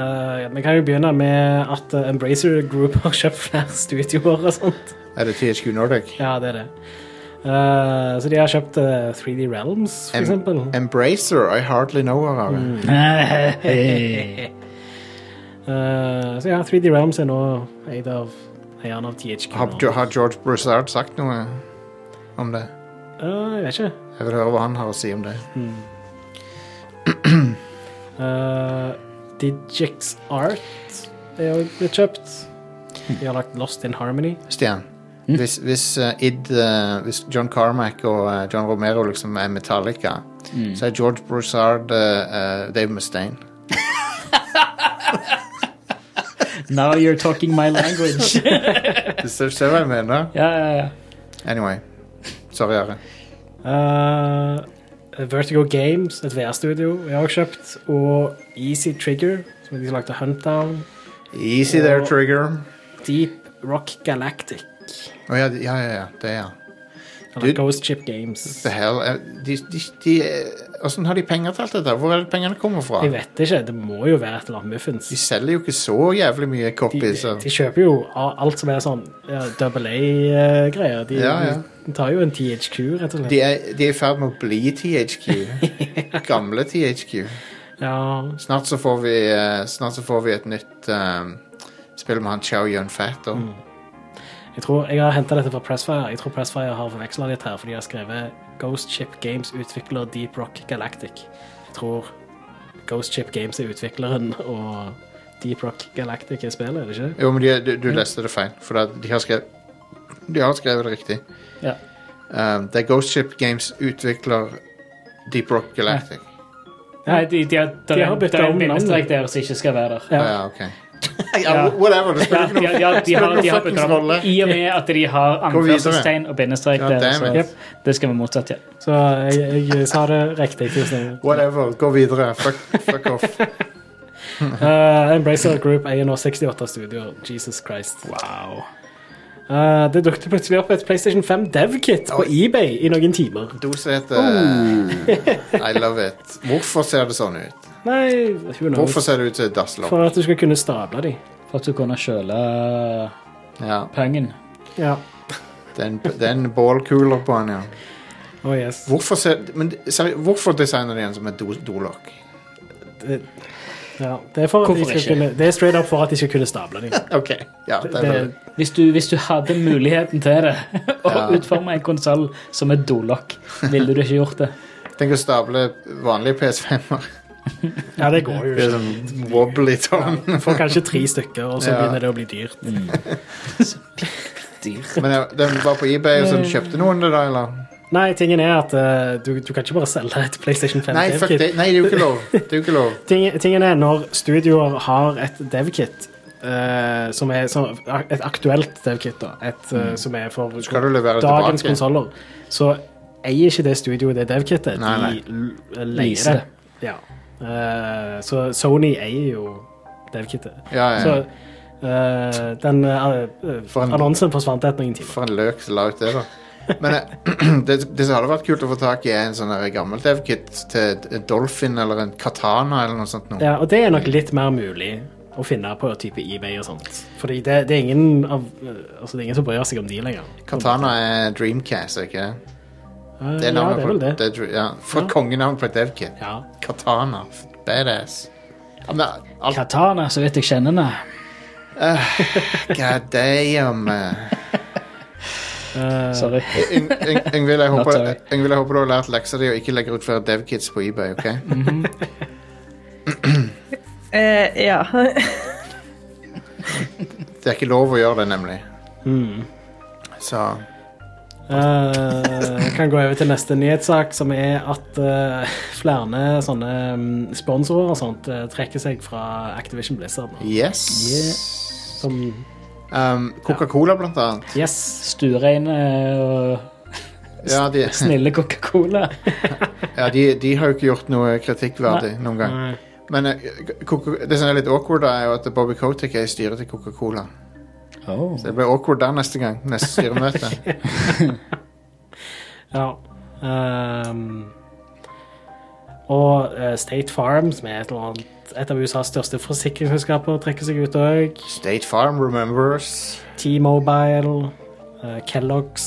C: Eh, ja, vi kan jo begynne med at eh, Embracer Group har kjøpt flere studioer og sånt.
B: Er det THQ Nordic?
C: Ja, det er det. Eh, så de har kjøpt eh, 3D Realms, for
B: Em-
C: eksempel. Mm.
B: Embracer, I hardly know her. Are.
C: Eh, så ja, 3D Realms er nå eid av eieren av THQ.
B: Har,
C: nå.
B: har George Broussard sagt noe om det?
C: Eh, jeg vet ikke.
B: Jeg vil høre hva han har å si om det.
C: Eh, Digix Art er jo blitt kjøpt. De har lagt Lost in Harmony.
B: Stian, hvis, hvis, eh, id, eh, hvis John Carmack og eh, John Romero liksom er Metallica, så er George Broussard eh, eh, Dave Mustaine.
E: Now you're talking my language.
B: Du ser, ser hva jeg mener?
E: ja, ja, ja.
B: Anyway. Sorry, Are.
C: Eh, Vertigo Games, et VR-studio, er også kjøpt. Og Easy Trigger, som er de som lagde Huntdown.
B: Easy there, Trigger.
C: Deep Rock Galactic.
B: Å ja, ja, ja, ja. Det, ja.
C: Eller
B: Du-
C: Ghost Ship Games.
B: The hell eh, de, de, de, eh, Åssen har de penger til alt dette? Hvor er det pengene kommer fra?
C: Jeg vet ikke. Det må jo være et eller annet muffens.
B: De selger jo ikke så jævlig mye
C: De,
B: copies. av-
C: de kjøper jo a- alt som er sånn double A-greier. De,
B: Ja, ja.
C: de tar jo en THQ, rett og slett.
B: De er de er i ferd med å bli THQ. Gamle THQ.
C: Ja,
B: Snart så får vi, eh, snart så får vi et nytt eh, spill med han Chow Yun-Fat. da.
C: jeg tror jeg har henta dette fra Pressfire. Jeg tror Pressfire har forveksla litt her, for de har skrevet Ghost Ship Games utvikler Deep Rock Galactic. Jeg tror Ghost Ship Games er utvikleren, og Deep Rock Galactic er spillet, er det ikke?
B: Jo, men de, du, du leste det feil, for da- de har skrevet De har skrevet det riktig.
E: Ja.
B: Um, det er Ghost Ship Games utvikler Deep Rock Galactic.
E: Nei, de, de, har-
C: De har
E: det
C: byttet
E: er
C: om
E: en bindestrek
C: navnet.
E: der som ikke skal være der.
B: Ja,
C: Ja.
B: ja ok. ja, whatever. Det spiller
E: Ja,
B: ikke
E: de,
B: noe
E: ja,
B: spiller
E: de har,
B: ikke
E: de
B: noe
E: har
B: fuckings
E: byttet om.
B: rolle.
E: I og med at de har anførselstegn og bindestrek
B: Ja,
E: der.
B: damn it.
E: Så, det skal vi motsatt, ja.
C: Så jeg, jeg sa det riktig. Tusen takk.
B: Whatever. Gå videre. Fuck, fuck off.
C: Eh, Embracer Group eier nå 68 studioer. Jesus Christ.
E: Wow.
C: Eh, det dukket plutselig opp et PlayStation 5 Dev-kit på eBay i noen timer.
B: Dose heter I love it. Hvorfor ser det sånn ut?
C: Nei, who knows?
B: Hvorfor ser det ut som et dasslom?
C: For at du skal kunne stable de.
E: For at du kunne kjøle eh,
B: Ja,
E: pungen.
C: Ja.
B: det er en- det er en ballcooler på den, ja.
C: Oh, yes.
B: Hvorfor, ser, men, seri, hvorfor designer de en som et do- dolokk?
C: Ja, det er, for at de
E: Hvorfor
C: skal
E: ikke?
C: kunne, det er straight up for at de skal kunne stable dem.
B: Ok, ja, det er vel
C: Det-
E: Hvis du, hvis du hadde muligheten til det, å
B: Ja.
E: utforme en konsoll som et dolokk, ville du ikke gjort det?
B: Tenk å stable vanlige PS5-er.
C: Ja, det går jo
B: Det er
C: ikke.
B: sånn wobbly tone.
C: Får kanskje tre stykker, og så
B: Ja.
C: begynner det å bli dyrt.
B: Men jeg- den var på eBay, og så kjøpte noen det da, eller?
C: Nei, tingen er at eh, du, du kan ikke bare selge et PlayStation 5
B: Nei, fuck
C: dev-kit.
B: det. Nei, det er jo ikke lov. Det er jo ikke lov.
C: Ting, tingen er, når studioer har et dev-kit, eh, som er sånn- et aktuelt dev-kit, da, et, eh, som er for
B: Mm. Skal du levere det
C: dagens
B: tilbake?
C: konsoller, så eier ikke det studioet det dev-kittet.
B: Nei, nei.
C: De l- eh, leier
E: Leaser
C: det. Ja. Eh, så Sony eier jo dev-kittet.
B: Ja, ja.
C: Så eh, den eh, eh,
B: For en-
C: annonsen forsvant etter noen timer.
B: For en løk som la ut det, da. Men eh, det, det som hadde vært kult å få tak i, er en sånn der gammel dev-kit til et Dolphin eller en Katana eller noe sånt. Noe.
C: Ja, og det er nok litt mer mulig å finne på type eBay og sånt. Fordi det, det, er ingen av, eh, altså det er ingen som bryr seg om de lenger.
B: Katana er Dreamcast, er ikke det?
C: Eh,
B: Det er
C: ja,
B: navnet
C: det er vel
B: på,
C: det.
B: det er dr- ja, for kongenavn på et dev-kit.
C: Ja.
B: Katana. Badass. Ja, men alt
E: Katana, så vidt jeg kjenner henne.
B: God damn. eh.
E: Sorry.
B: Yng- Yng- Yngvild, jeg håper
E: sorry.
B: Yngvild, jeg håper du har lært leksa di og ikke legger ut flere dev-kits på eBay, OK?
D: Eh, ja.
B: Det er ikke lov å gjøre det, nemlig. Så
C: Eh, Jeg kan gå over til neste nyhetssak, som er at eh, flere sånne mm, sponsorer og sånt eh, trekker seg fra Activision Blizzard nå.
B: yes.
C: Som
B: Um, Coca-Cola, blant annet.
C: Yes.
E: Stureine og
B: Ja, de,
E: Snille Coca-Cola.
B: ja de, de har jo ikke gjort noe kritikkverdig noen gang.
C: Nei.
B: Men eh, Coca- det som er litt awkward, da, er jo at Bobby Kotick er i styret til Coca-Cola.
E: Oh.
B: Så det blir awkward der neste gang. Neste styremøte.
C: Ja. ehm, og eh, State Farm, som er et, eller annet, et av USAs største forsikringsselskaper, trekker seg ut òg.
B: State Farm remembers.
C: T-Mobile, eh, Kellogg's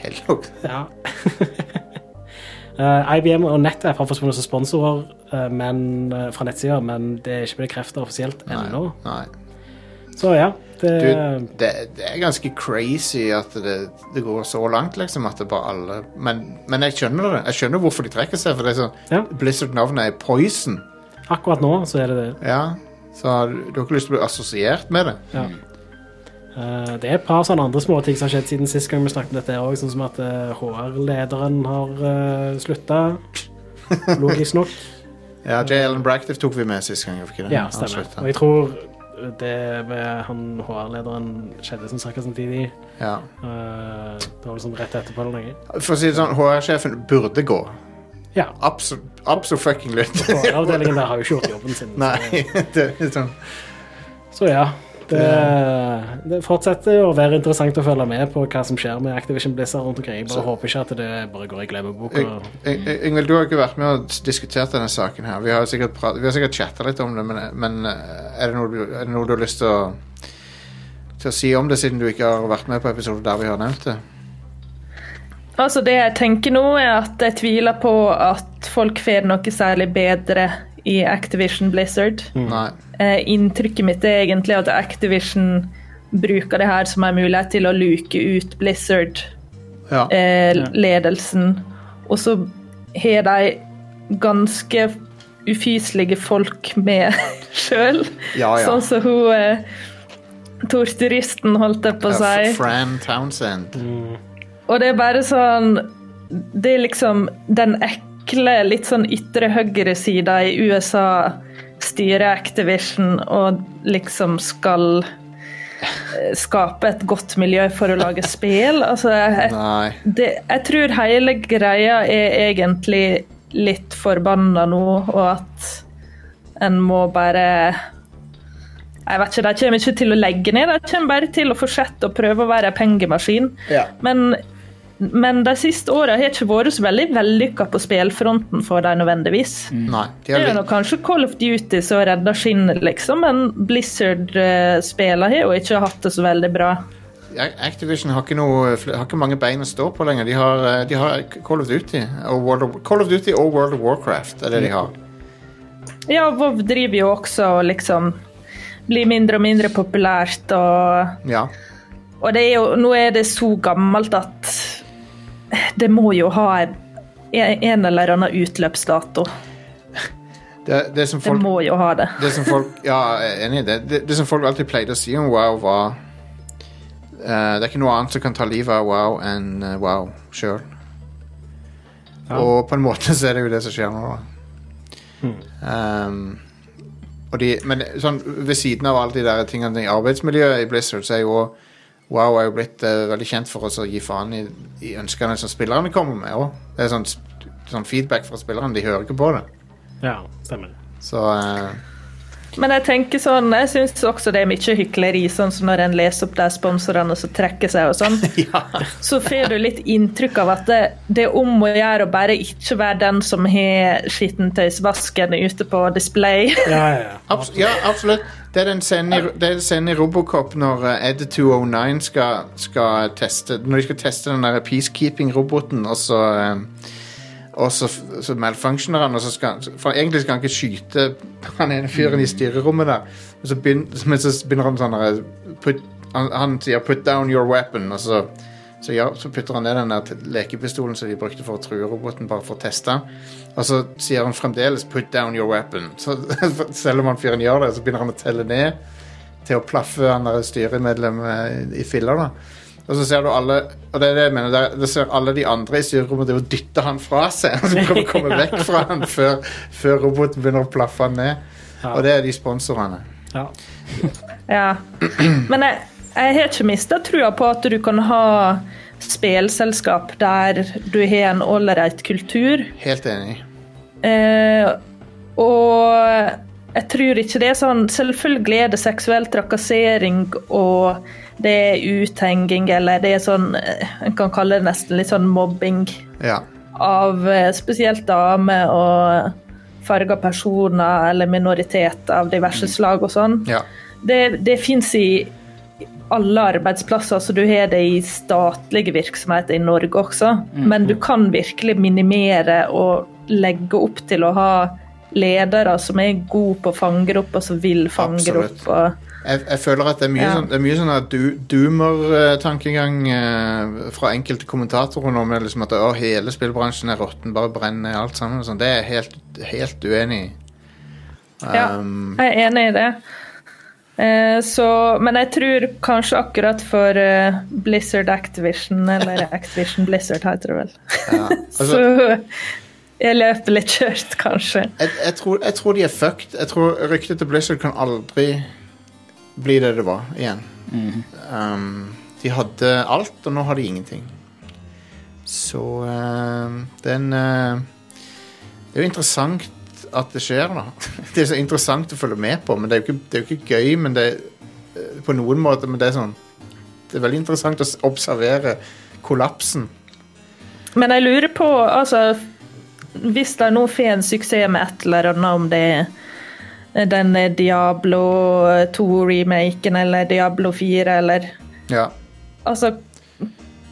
B: Kellogg.
C: Ja. Eh, IBM og NetApp har forsvunnet som sponsorer eh, men, eh, fra nettsida, men det er ikke bekreftet offisielt ennå.
B: Nei.
C: Så ja, det
B: Du, det, det er ganske crazy at det, det går så langt, liksom, at det bare alle men, men jeg skjønner det. Jeg skjønner hvorfor de trekker seg, for det er sånn
C: Ja.
B: Blizzard-navnet er Poison.
C: Akkurat nå så er det det.
B: Ja. Så du, du har ikke lyst til å bli assosiert med det.
C: Eh, det er et par sånne andre småting som har skjedd siden sist gang vi snakket om dette òg, sånn som at eh, HR-lederen har uh, slutta. Logisk nok.
B: Ja, J. Ellen Bractive tok vi med sist gang. gjorde vi ikke det?
C: Ja,
B: Han
C: stemmer.
B: sluttet.
C: Og jeg tror det med han HR-lederen skjedde som cirka samtidig.
B: Ja.
C: Eh, det var liksom rett etterpå eller noe.
B: For å si det sånn, HR-sjefen burde gå.
C: Ja.
B: Absolutt.
C: HR-avdelingen der har jo ikke gjort jobben sin.
B: Nei, det er sånn
C: Så ja. Det, det fortsetter å være interessant å følge med på hva som skjer med Activision Blizzard rundt omkring. Jeg bare håper ikke at det bare går i glemmeboka.
B: Yng- Yng- Yngvild, du har ikke vært med og s- diskutert denne saken her. Vi har sikkert, prat- vi har sikkert chatta litt om det, men, men eh, er, det noe du, er det noe du har lyst til å, til å si om det, siden du ikke har vært med på episoden der vi har nevnt det?
D: Altså Det jeg tenker nå, er at jeg tviler på at folk får noe særlig bedre i Activision Blizzard.
B: Nei.
D: Eh, inntrykket mitt er egentlig at Activision bruker det her som en mulighet til å luke ut Blizzard-ledelsen.
B: Ja.
D: Eh, ledelsen. Og så har de ganske ufyselige folk med sjøl.
B: Ja, ja.
D: Sånn som hun eh, torturisten, holdt jeg på å si.
B: F- Fran Townsend.
D: Og det er bare sånn Det er liksom den ekle, litt sånn ytre høyre-sida i USA styrer Activision og liksom skal eh, skape et godt miljø for å lage spill. Altså, jeg,
B: Nei.
D: det, jeg tror hele greia er egentlig litt forbanna nå, og at en må bare Jeg vet ikke, de kommer ikke til å legge ned, de kommer bare til å fortsette å prøve å være en pengemaskin. Men, men de siste åra har ikke vært så veldig vellykka på spillfronten for dem nødvendigvis.
B: Nei. De
D: Det
B: har
D: er
B: litt,
D: nok kanskje Call of Duty som redder skinnet, liksom, men Blizzard-spillene har jo ikke hatt det så veldig bra.
B: Ac- Activision har ikke, noe, fl- har ikke mange bein å stå på lenger. De har, eh, de har Call of Duty og World of, Call of Duty og World of Warcraft. er det de har.
D: Ja, WoW driver jo også og liksom blir mindre og mindre populært, og,
B: Ja.
D: og det er jo, nå er det så gammelt at det må jo ha en, en eller annen utløpsdato.
B: Det, det som
D: Det
B: folk
D: må jo ha det.
B: det som folk Ja, jeg er enig i det. det. Det som folk alltid pleide å si om wow, var eh, Det er ikke noe annet som kan ta livet av wow enn eh, wow sjøl. Og på en måte så er det jo det som skjer nå, da. Ehm, og de, men sånn, ved siden av alle de der tingene i arbeidsmiljøet i Blizzard, så er jo også- Wow er jo blitt eh, veldig kjent for oss å gi faen i, i ønskene som spillerne kommer med òg. Det er sånn, sp- sånn feedback fra spillerne. De hører ikke på det.
C: Ja, stemmer.
B: Så eh,
D: Men jeg tenker sånn, jeg syns også det er mye hykleri, sånn som når en leser opp de sponsorene som trekker seg og sånn. Så får du litt inntrykk av at det, det er om å gjøre å bare ikke være den som har skittentøysvasken ute på display.
C: Ja, ja, ja.
B: Abs ja, absolutt. Det er den scenen i, det er den scenen i Robocop når eh, Ed 209 skal, skal teste Når de skal teste den der peacekeeping-roboten, og så eh, og så, f- så malfunctioner han, og så skal han For egentlig skal han ikke skyte han ene fyren i styrerommet der, men så begynner, men så begynner han sånn der, put, han, han sier 'put down your weapon', og så så, ja, så putter han ned den der t- lekepistolen som de brukte for å true roboten, bare for å teste den. Og så sier han fremdeles 'put down your weapon'. Så selv om han fyren gjør det, så begynner han å telle ned til å plaffe han der styremedlemmet i filler. da. Og så ser du alle og det er det jeg mener, der, der ser alle de andre i styrerommet drive og dytte han fra seg. Så prøver å komme vekk fra han før, før roboten begynner å plaffe han ned. Og det er de sponsorene.
C: ja.
D: Ja. Men jeg, jeg har ikke mista trua på at du kan ha spelselskap der du har en ålreit kultur.
B: Helt enig.
D: Eh, og jeg tror ikke det er sånn Selvfølgelig er det seksuell trakassering og det er uthenging, eller det er sånn eh, En kan kalle det nesten litt sånn mobbing
B: Ja.
D: av eh, spesielt damer og farga personer eller minoriteter av diverse slag og sånn.
B: ja.
D: Det, det fins i alle arbeidsplasser, så du har det i statlige virksomheter i Norge også. Men du kan virkelig minimere og legge opp til å ha ledere som er gode på å fange det opp, og som vil fange det
B: Absolutt.
D: opp. Og,
B: Jeg, jeg føler at det er mye
D: Ja.
B: sånn, det er mye sånn at du, doomer-tankegang eh, fra enkelte kommentatorer nå med liksom at å, hele spillbransjen er råtten, bare brenn ned alt sammen. og Sånn. Det er jeg helt, helt uenig i. Um,
D: ja, jeg er enig i det. Eh, Så, men jeg tror kanskje akkurat for eh, Blizzard Activision, eller Activision Blizzard heter det vel, så jeg løper litt kjørt, kanskje.
B: Jeg, jeg, tror, jeg tror de er fucked. Jeg tror ryktet til Blizzard kan aldri bli det det var igjen. um, de hadde alt, og nå har de ingenting. Så um, den uh, Det er jo interessant at det skjer, da. Det er så interessant å følge med på, men det er jo ikke, det er jo ikke gøy men det, eh, på noen måte. Men det er sånn Det er veldig interessant å s- observere kollapsen.
D: Men jeg lurer på, altså Hvis de nå får en suksess med et eller annet, om det er den Diablo 2-remaken eller Diablo 4 eller
B: Ja.
D: Altså,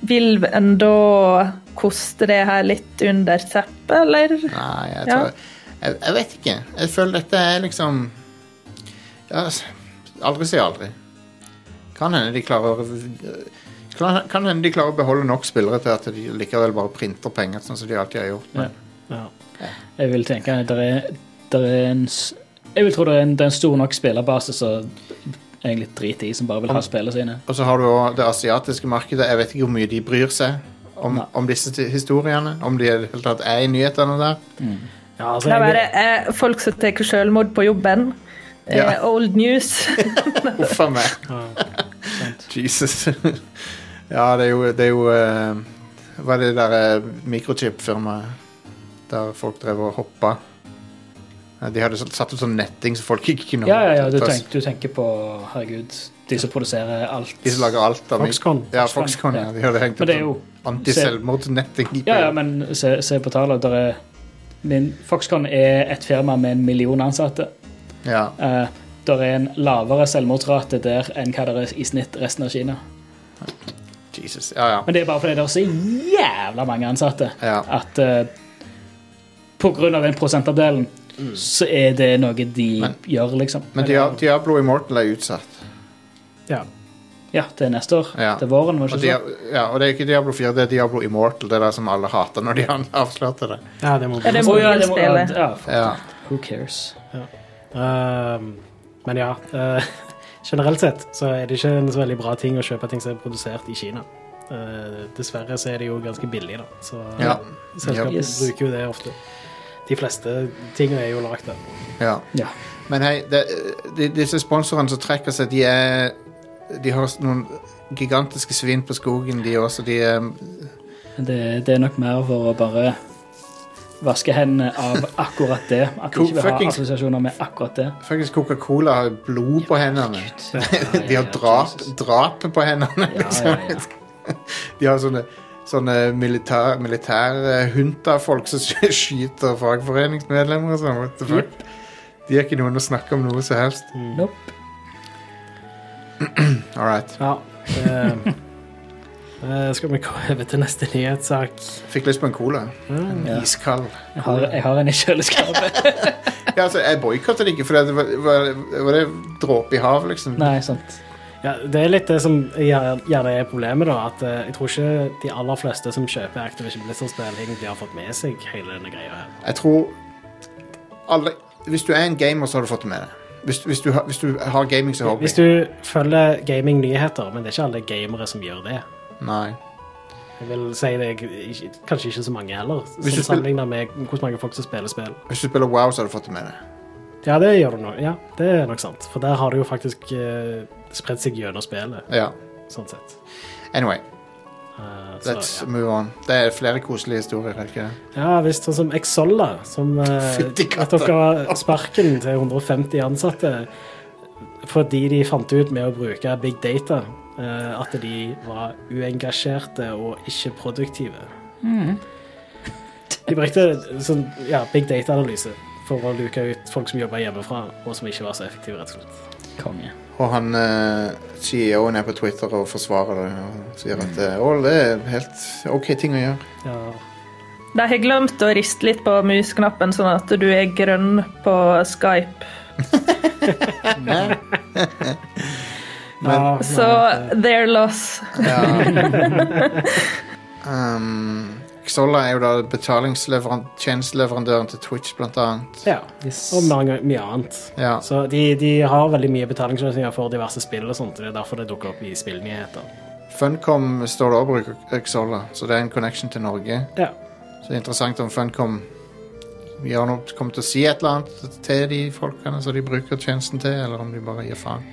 D: vil en da koste det her litt under teppet, eller?
B: Nei, altså, jeg,
D: Ja.
B: tror, jeg, jeg vet ikke. Jeg føler dette er liksom ja, s- Aldri si aldri. Kan hende de klarer kan, kan hende de klarer å beholde nok spillere til at de likevel bare printer penger, sånn som de alltid har gjort. Men,
E: Ja. Jeg vil tenke at det er, det er en s- Jeg vil tro det er en, det er en stor nok spillerbase som egentlig driter i, som bare vil ha spillene sine.
B: Og så har du også det asiatiske markedet. Jeg vet ikke hvor mye de bryr seg om,
E: Nei.
B: om disse ti- historiene. Om de i det hele tatt er i nyhetene der.
C: Ja, altså,
D: Det er bare
C: jeg,
D: eh, folk som tar selvmord på jobben.
B: Ja.
D: Eh, old news.
B: Huff a meg. Jesus. ja, det er jo, det er jo eh, Hva er det der eh, mikrochip-firmaet der folk drev og hoppa? Eh, De hadde så- satt opp sånn netting så folk ikke kunne
E: Ja, ja, ja, du
B: ta-
E: tenker, du tenker på Herregud, de som produserer alt.
B: De som lager alt av mik-
C: Foxconn.
B: Ja, Foxconn, ja. De hadde hengt
E: Men
B: opp
E: det er jo
B: sånn antiselvmordsnetting. i-
E: Ja, ja, men se, se på tallene. Der er min, Foxconn er et firma med en million ansatte.
B: ja.
E: Uh, der er en lavere selvmordsrate der enn hva det er i snitt resten av Kina.
B: Jesus. Ja, ja.
E: Men det er bare fordi det er så jævla mange ansatte
B: Ja.
E: at eh, på grunn av den prosentandelen så er det noe de
B: Mm. Men-
E: gjør, liksom.
B: Men Dia- Diablo Immortal er utsatt.
C: ja.
E: Ja, det er neste år.
B: Ja.
E: Til våren, var
B: Og,
E: det
B: Dia
E: ikke sånn?
B: ja, og det er ikke Diablo 4, det er Diablo Immortal. Det er det som alle hater når de an- avslørte det.
C: ja, det må
D: Ja, det
C: bli
D: må-
E: Å, ja, det må- ja,
D: Mobilspillet.
E: ja, fuck.
B: Ja.
E: Who cares?
C: Ehm, Men ja. eh, generelt sett så er det ikke en så veldig bra ting å kjøpe ting som er produsert i Kina. Eh, dessverre så er det jo ganske billig, da. Så
B: Ja.
C: selskapet
E: Yes.
C: bruker jo det ofte. De fleste tingene er jo lagd der.
B: Ja.
E: Ja.
B: Men hei, det, de, disse sponsorene som trekker seg, de er De har noen gigantiske svin på skogen, de også. De eh, er
E: Det, det er nok mer for å bare vaske hendene av akkurat det. At de
B: Cool
E: ikke vil ha
B: fucking-
E: assosiasjoner med akkurat det.
B: Faktisk Coca-Cola har blod på hendene.
E: Ja,
B: De har
E: ja,
B: drap,
E: Jesus.
B: drapet på hendene.
E: Ja, ja, ja.
B: De har sånne, sånne militær, militærhunta-folk som sky- skyter fagforeningsmedlemmer og sånn. What the fuck? De er ikke noen å snakke om noe som helst.
E: Nope.
B: All right.
C: Ja. eh, eh, skal vi gå over til neste nyhetssak?
B: Fikk lyst på en cola.
E: Ja.
B: Iskald.
E: Jeg, har, jeg har en i kjøleskapet.
B: Ja, altså, jeg boikotter det ikke, for det var, var, var det dråpe i havet, liksom.
E: Nei, sant.
C: Ja, det er litt det som gjer- gjerne er problemet, da. At eh, jeg tror ikke de aller fleste som kjøper Activision Blizzard-spill, egentlig har fått med seg hele denne greia her.
B: Jeg tror alle, Hvis du er en gamer, så har du fått det med deg. Hvis, hvis, du, har- hvis du har gaming som hobby.
C: Hvis du følger gaming-nyheter, men det er ikke alle gamere som gjør det.
B: Nei.
C: Jeg vil si det er ikke- kanskje ikke så mange heller,
B: Hvis du
C: som
B: spiller-
C: sammenligner med hvor mange folk som spiller spill.
B: Hvis du spiller Wow, så har du fått det med deg.
C: Ja, det gjør du nå. Ja, det er nok sant. For der har det jo faktisk eh, spredt seg gjennom spillet,
B: Ja.
C: sånn sett.
B: Anyway.
C: Eh, så,
B: Let's
C: ja.
B: move on. Det er flere koselige historier. er det Ikke? det?
C: ja visst. Sånn som Exolla, som eh,
B: Fytti
C: at
B: katta.
C: dere har sparken til 150 ansatte fordi de fant ut med å bruke big data eh, at de var uengasjerte og ikke produktive. De brukte sånn, ja, big data-analyse for å luke ut folk som jobba hjemmefra, og som ikke var så effektive, rett og slett.
E: Konge.
B: Og han eh, CEO-en er på Twitter og forsvarer det og sier at eh, å, det er helt OK ting å gjøre.
C: Ja.
D: De har glemt å riste litt på musknappen, sånn at du er grønn på Skype.
C: Ja,
D: Så
B: altså-
D: their loss.
B: Ja. um, Xolla er jo da betalingstjenesteleverandøren til Twitch, blant annet.
C: ja. Og mange, mye annet.
B: Ja.
C: Så de, de har veldig mye betalingsløsninger for diverse spill og sånt. og Det er derfor det dukker opp i spillnyheter.
B: Funcom står det og bruker Xolla, så det er en connection til Norge.
C: Ja.
B: Så det er interessant om Funcom gjør noe, kommer til å si et eller annet til de folkene som de bruker tjenesten til, eller om de bare gir faen.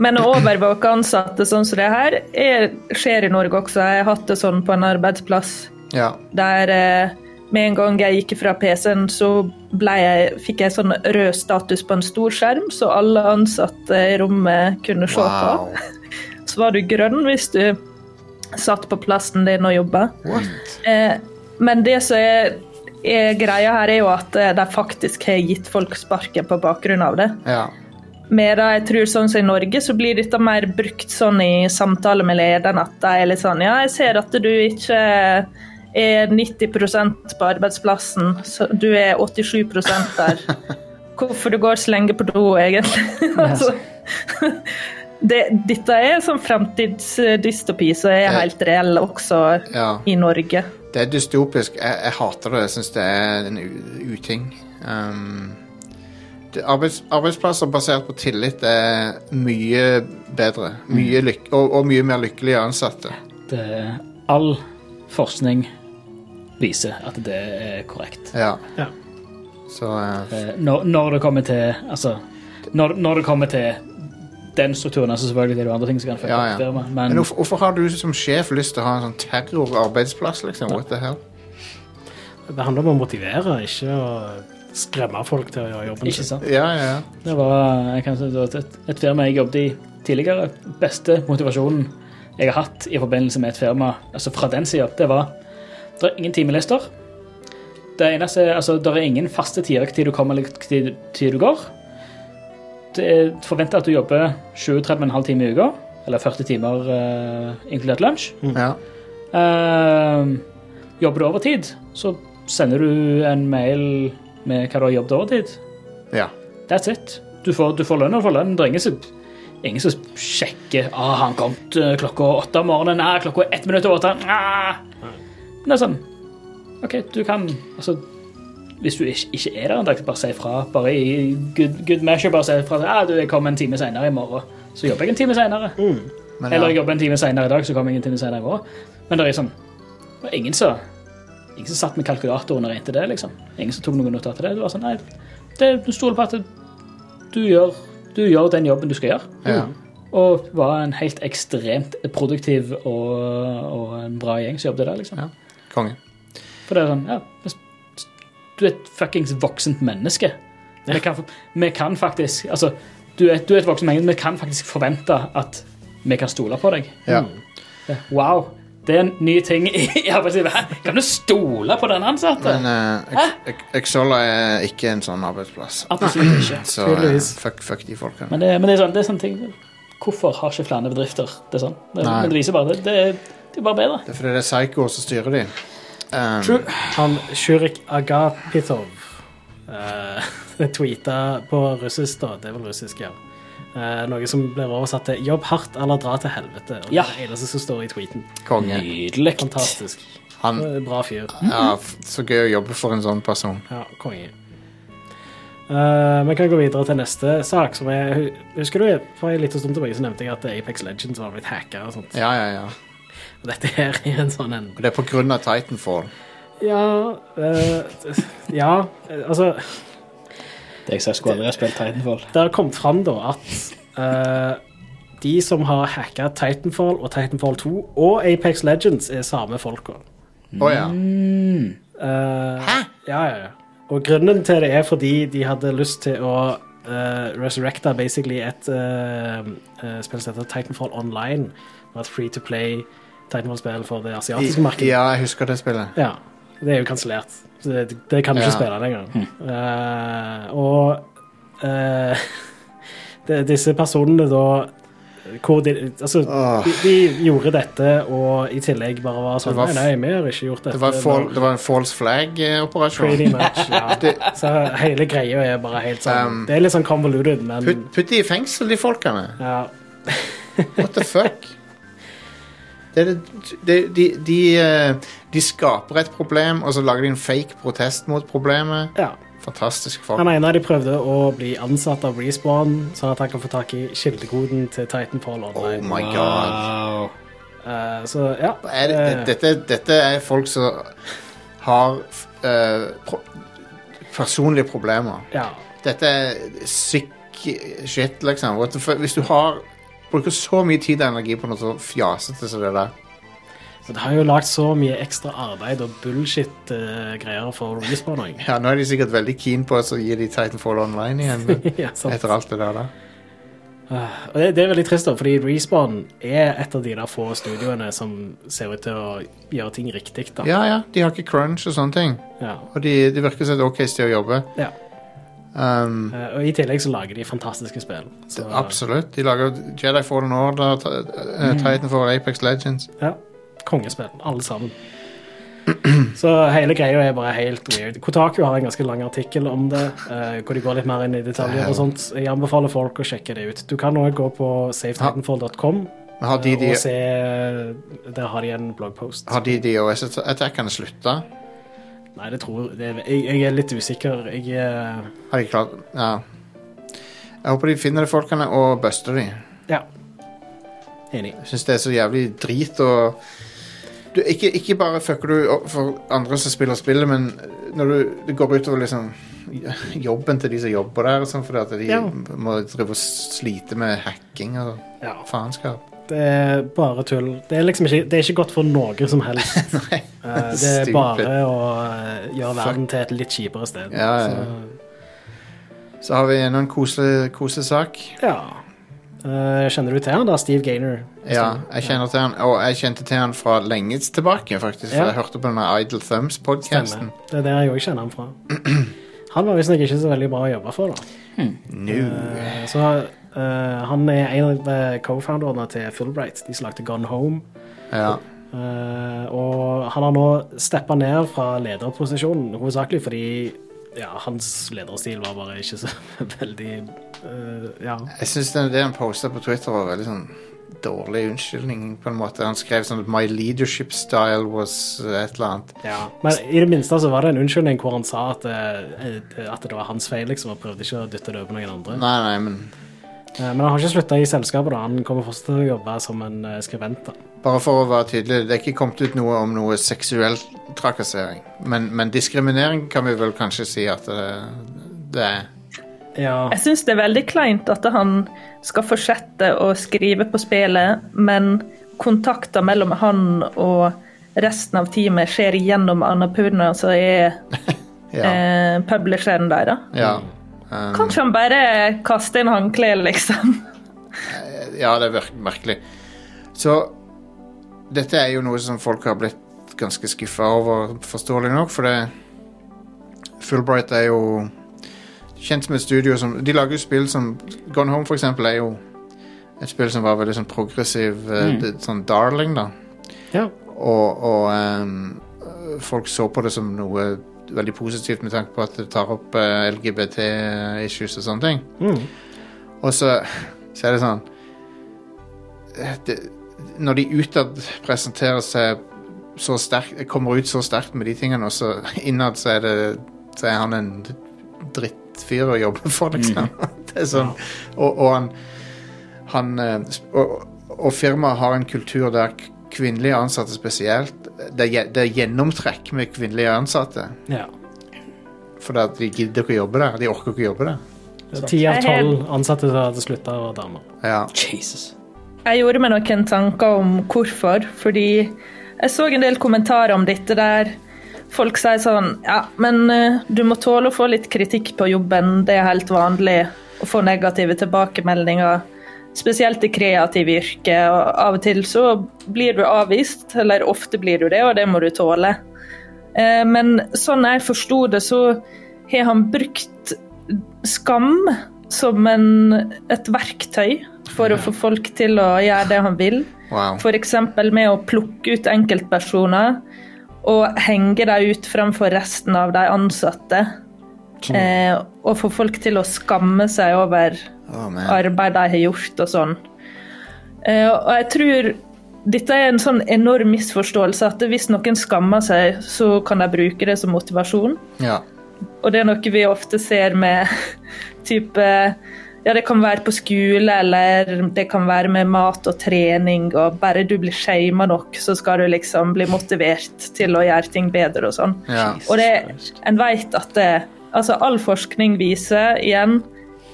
D: Men å overvåke ansatte sånn som det her er, skjer i Norge også. Jeg har hatt det sånn på en arbeidsplass
B: Ja.
D: der eh, med en gang jeg gikk fra PC-en, så ble jeg, fikk jeg sånn rød status på en stor skjerm, så alle ansatte i rommet kunne se
B: Wow.
D: på. Så var du grønn hvis du satt på plassen din og jobba.
B: What?
D: Eh, men det som er, er greia her, er jo at eh, de faktisk har gitt folk sparken på bakgrunn av det.
B: Ja.
D: Medan jeg tror sånn som i Norge, så blir dette mer brukt sånn i samtale med lederen at de er litt sånn Ja, jeg ser at du ikke er 90 på arbeidsplassen, så du er 87 der. Hvorfor du går så lenge på do, egentlig? altså, det, dette er sånn fremtidsdystopi som er helt reell også
B: ja.
D: i Norge.
B: Det er dystopisk. Jeg, jeg hater det. Jeg syns det er en u- uting. Um, det, arbeids, arbeidsplasser basert på tillit er mye bedre. Mye lyk og, og mye mer lykkelige ansatte.
E: Det, eh, all forskning viser at det er korrekt.
B: Ja.
C: Ja.
B: Så uh,
E: Eh, Når, når det kommer til Altså, når, når det kommer til den strukturen, altså selvfølgelig det er det andre ting som kan fucke
B: Ja,
E: opp
B: ja.
E: firmaet,
B: Men
E: men
B: hvorfor, hvorfor har du som sjef lyst til å ha en sånn terrorarbeidsplass, liksom? What the hell?
C: Det handler om å motivere, ikke å skremme folk til å gjøre jobben
E: ikke sant.
B: Ja, ja, ja.
E: Det var jeg kan si, det var et, et firma jeg jobbet i tidligere. Beste motivasjonen jeg har hatt i forbindelse med et firma altså fra den sida, det var Det er ingen timelister. Det eneste, altså, det er ingen faste tider til du kommer eller til, til du går. Det er forventet at du jobber 37,5 timer i uka, eller 40 timer eh, inkludert lunsj.
B: ja.
E: Ehm, jobber du overtid, så sender du en mail med hva du har jobbet overtid.
B: ja.
E: That's it. Du får, du får lønn og du får lønn. Det er ingen som, ingen som sjekker ah, han kom til klokka åtte om morgenen. Nei, klokka ett minutt over åtte. Ah. Men det er sånn OK, du kan altså Hvis du ikke, ikke er der en dag, bare si ifra. Bare i good, good measure, bare si ifra. Ah, du, jeg kommer en time senere i morgen. Så jobber jeg en time senere.
B: Men,
E: Eller jeg
B: ja.
E: jobber en time senere i dag, så kommer jeg en time senere i morgen. Men det er sånn det var ingen som ingen som satt med kalkulatoren og regnet det, liksom. Ingen som tok noen notat til det. Det var sånn, nei, det, du stoler på at du gjør, du gjør den jobben du skal gjøre.
B: Ja.
E: Og var en helt ekstremt produktiv og, og en bra gjeng som jobbet der, liksom.
B: Ja. Konge.
E: For det er sånn, ja, hvis- du er et fuckings voksent menneske. Vi, kan, vi kan faktisk, altså, du er, du er et voksent menneske, vi kan faktisk forvente at vi kan stole på deg.
B: Ja.
E: Wow, det er en ny ting i arbeidslivet. Hæ? Kan du stole på den ansatte?
B: Men eh, Ex- Ex- Exola er ikke en sånn arbeidsplass.
E: Absolutt ikke.
B: Så eh,
C: tydeligvis.
B: fuck, fuck de folkene.
E: Men det, men det er sånn, det er sånne ting Hvorfor har ikke flere bedrifter det er sånn? Det,
B: Nei.
E: men det viser bare det. Det, er- det er bare bedre.
B: Det er fordi det er psykoer som styrer de. Um,
C: True. Han Shurik Agapitov uh, tweeta på russisk, da. Det er vel russisk, ja. Eh, noe som blir oversatt til 'jobb hardt eller dra til helvete'. Og
E: Ja.
C: Det er det eneste som står i tweeten.
B: Konge.
E: Nydelig.
C: Fantastisk.
B: Han,
C: Eh, Bra fyr.
B: ja, f- så gøy å jobbe for en sånn person.
C: Ja, konge. Eh, Vi kan gå videre til neste sak. Som er, hu- husker du for en liten stund tilbake så nevnte jeg at Apex Legends var blitt hacka og sånt.
B: Ja, ja, ja.
C: Og Dette her er en sånn en.
B: Og det er på grunn av Titanfall.
C: Ja, eh, ja eh, altså
E: Det jeg sa, skulle aldri ha spilt Titanfall.
C: Det har kommet fram da at eh, de som har hacka Titanfall og Titanfall 2 og Apex Legends, er samme folka.
B: Å ja.
C: Hæ? Ja, ja, ja. Og grunnen til det er fordi de hadde lyst til å eh, resurrecte basically et eh, eh, spill som heter Titanfall Online. Det var et free to play Titanfall-spill for det asiatiske markedet.
B: Ja, jeg husker det spillet.
C: Ja, det er jo kansellert. Så Det, det kan du ikke
B: Ja. Hm.
C: spille lenger. Eh, og eh, de, disse personene da hvor de, altså,
B: Åh.
C: de, de gjorde dette, og i tillegg bare var sånn
B: Det var
C: Nei,
B: f-
C: nei, vi har ikke gjort dette.
B: Det var, fall,
C: nå."
B: det var en false eh, flag-operasjon.
C: Pretty much, ja. Så hele greia er bare helt sånn
B: Um,
C: Det er litt sånn convoluted, men
B: Putt, putt de i fengsel, de folkene.
C: ja,
B: What the fuck? Det, er det- det, de, de, eh, de skaper et problem, og så lager de en fake protest mot problemet.
C: ja.
B: Fantastisk folk.
C: Han ene av de prøvde å bli ansatt av Respawn, sånn at han kan få tak i kildekoden til Titanfall
B: Oh
C: Online.
B: my god.
E: Wow.
C: Eh, så ja.
B: Er det,
C: eh,
B: dette, dette er folk som har eh, pro personlige problemer.
C: ja.
B: Dette er sick shit, liksom. What the fuck? Hvis du har bruker så mye tid og energi på noe så fjasete som det der.
C: Men det har jo lagd så mye ekstra arbeid og bullshit-greier for Respawn òg.
B: Ja, Nå er de sikkert veldig keen på å gi de Titanfall online igjen. Men
C: ja, sant. Ah,
B: etter alt det der, da.
C: Og det, det er veldig trist, da, fordi Respawn er et av de der få studioene som ser ut til å gjøre ting riktig. da.
B: Ja, ja, de har ikke crunch og sånne ting.
C: Ja.
B: Og de, de virker som et ok sted å jobbe.
C: Ja.
B: Um,
C: Eh, Og i tillegg så lager de fantastiske spill. Så,
B: absolutt. De lager Jedi Fallen Order, eh, Titan
C: Mm.
B: Titanfall, Apex Legends.
C: ja, kongespill, alle sammen. Så hele greia er bare helt weird. Kotaku har en ganske lang artikkel om det, eh, hvor de går litt mer inn i detaljer og sånt. Jeg anbefaler folk å sjekke det ut. Du kan òg gå på safetitanfall.com
B: Men har de de,
C: Eh, og se Der har de en bloggpost.
B: har de DOS-attackene slutta?
C: Nei, det tror det, jeg Jeg er litt usikker. Jeg eh,
B: Har de klart Ja. Jeg håper de finner de folkene og buster de.
C: Ja. Enig.
B: Jeg syns det er så jævlig drit og du, ikke, ikke bare fucker du opp for andre som spiller spillet, men når du, det går utover liksom jobben til de som jobber der, og sånn, fordi at de
C: Ja.
B: må drive og slite med hacking og
C: Ja.
B: faenskap.
C: Det er bare tull. Det er liksom ikke, det er ikke godt for noe som helst.
B: Nei.
C: Eh, Det er
B: Stupid.
C: bare å eh, gjøre verden til et litt kjipere sted.
B: Ja, ja, ja. Så har vi enda en koselig kosesak.
C: Så, ja. Eh, kjenner du til han da, Steve Gaynor?
B: Ja, jeg kjenner til han, og jeg kjente til han fra lenge tilbake, faktisk. For
C: Ja.
B: jeg hørte på denne Idle Thumbs-podkasten.
C: Stemmer. Det er der jeg òg kjenner han fra. Han var visstnok ikke så veldig bra å jobbe for, da. Eh, Så eh, han er en av eh, co-founderne til Fulbright. De som lagde Gone Home.
B: Ja.
C: Eh, og han har nå steppa ned fra lederposisjonen, hovedsakelig fordi ja, hans lederstil var bare ikke så veldig eh, Ja.
B: Jeg syns det han posta på Twitter, var veldig sånn dårlig unnskyldning, på en måte. Han skrev sånn at 'My leadership style was et eller annet'.
C: Ja, men i det minste så var det en unnskyldning hvor han sa at, eh, at det var hans feil, liksom, og prøvde ikke å dytte det over på noen andre.
B: Nei, nei, men
C: Eh, Men han har ikke slutta i selskapet, da. Han kommer fortsatt til å jobbe som en eh, skribent. da.
B: Bare for å være tydelig, det er ikke kommet ut noe om noe seksuell trakassering. Men, men diskriminering kan vi vel kanskje si at det, det er.
C: Ja,
D: Jeg syns det er veldig kleint at han skal fortsette å skrive på spillet, men kontakter mellom han og resten av teamet skjer gjennom Annapurna, som er
B: Ja.
D: eh, publisheren der. Da.
B: ja.
D: Kanskje han bare kaster inn håndkleet, liksom.
B: Ja, det er virk- merkelig. Så dette er jo noe som folk har blitt ganske skuffa over, forståelig nok, for det Fulbright er jo kjent som et studio som De lager jo spill som Gone Home, for eksempel, er jo et spill som var veldig sånn progressiv, eh, det- sånn darling, da.
C: ja.
B: Og, og ehm, folk så på det som noe veldig positivt med tanke på at det tar opp eh, LGBT-issues og sånne ting.
C: Mm.
B: Og så, så er det sånn eh, det, Når de utad presenterer seg så sterkt, kommer ut så sterkt med de tingene, og så innad så er det så er han en drittfyr å jobbe for, liksom. Det er sånn. Og, og han, han eh, sp- Og, og firmaet har en kultur der k- kvinnelige ansatte spesielt Det er, gje- det er gjennomtrekk med kvinnelige ansatte.
C: ja.
B: Fordi at de gidder ikke å jobbe der. De orker ikke å jobbe der.
C: Ti av tolv ansatte som hadde slutta, var damer.
B: Ja.
E: Jesus.
D: Jeg gjorde meg noen tanker om hvorfor, fordi jeg så en del kommentarer om dette der folk sier sånn Ja, men eh, du må tåle å få litt kritikk på jobben, det er helt vanlig å få negative tilbakemeldinger. Spesielt i kreative yrker. Og av og til så blir du avvist, eller ofte blir du det, og det må du tåle. Eh, Men sånn jeg forsto det, så har han brukt skam som en, et verktøy for å få folk til å gjøre det han vil.
B: Wow.
D: F.eks. med å plukke ut enkeltpersoner og henge dem ut fremfor resten av de ansatte. Eh, og få folk til å skamme seg over
B: Å, man.
D: arbeid de har gjort og sånn. Eh, og jeg tror dette er en sånn enorm misforståelse at hvis noen skammer seg, så kan de bruke det som motivasjon.
B: Ja.
D: Og det er noe vi ofte ser med type Ja, det kan være på skole, eller det kan være med mat og trening, og bare du blir shama nok, så skal du liksom bli motivert til å gjøre ting bedre og sånn.
B: Ja.
D: Og det, en vet at det Altså, all forskning viser igjen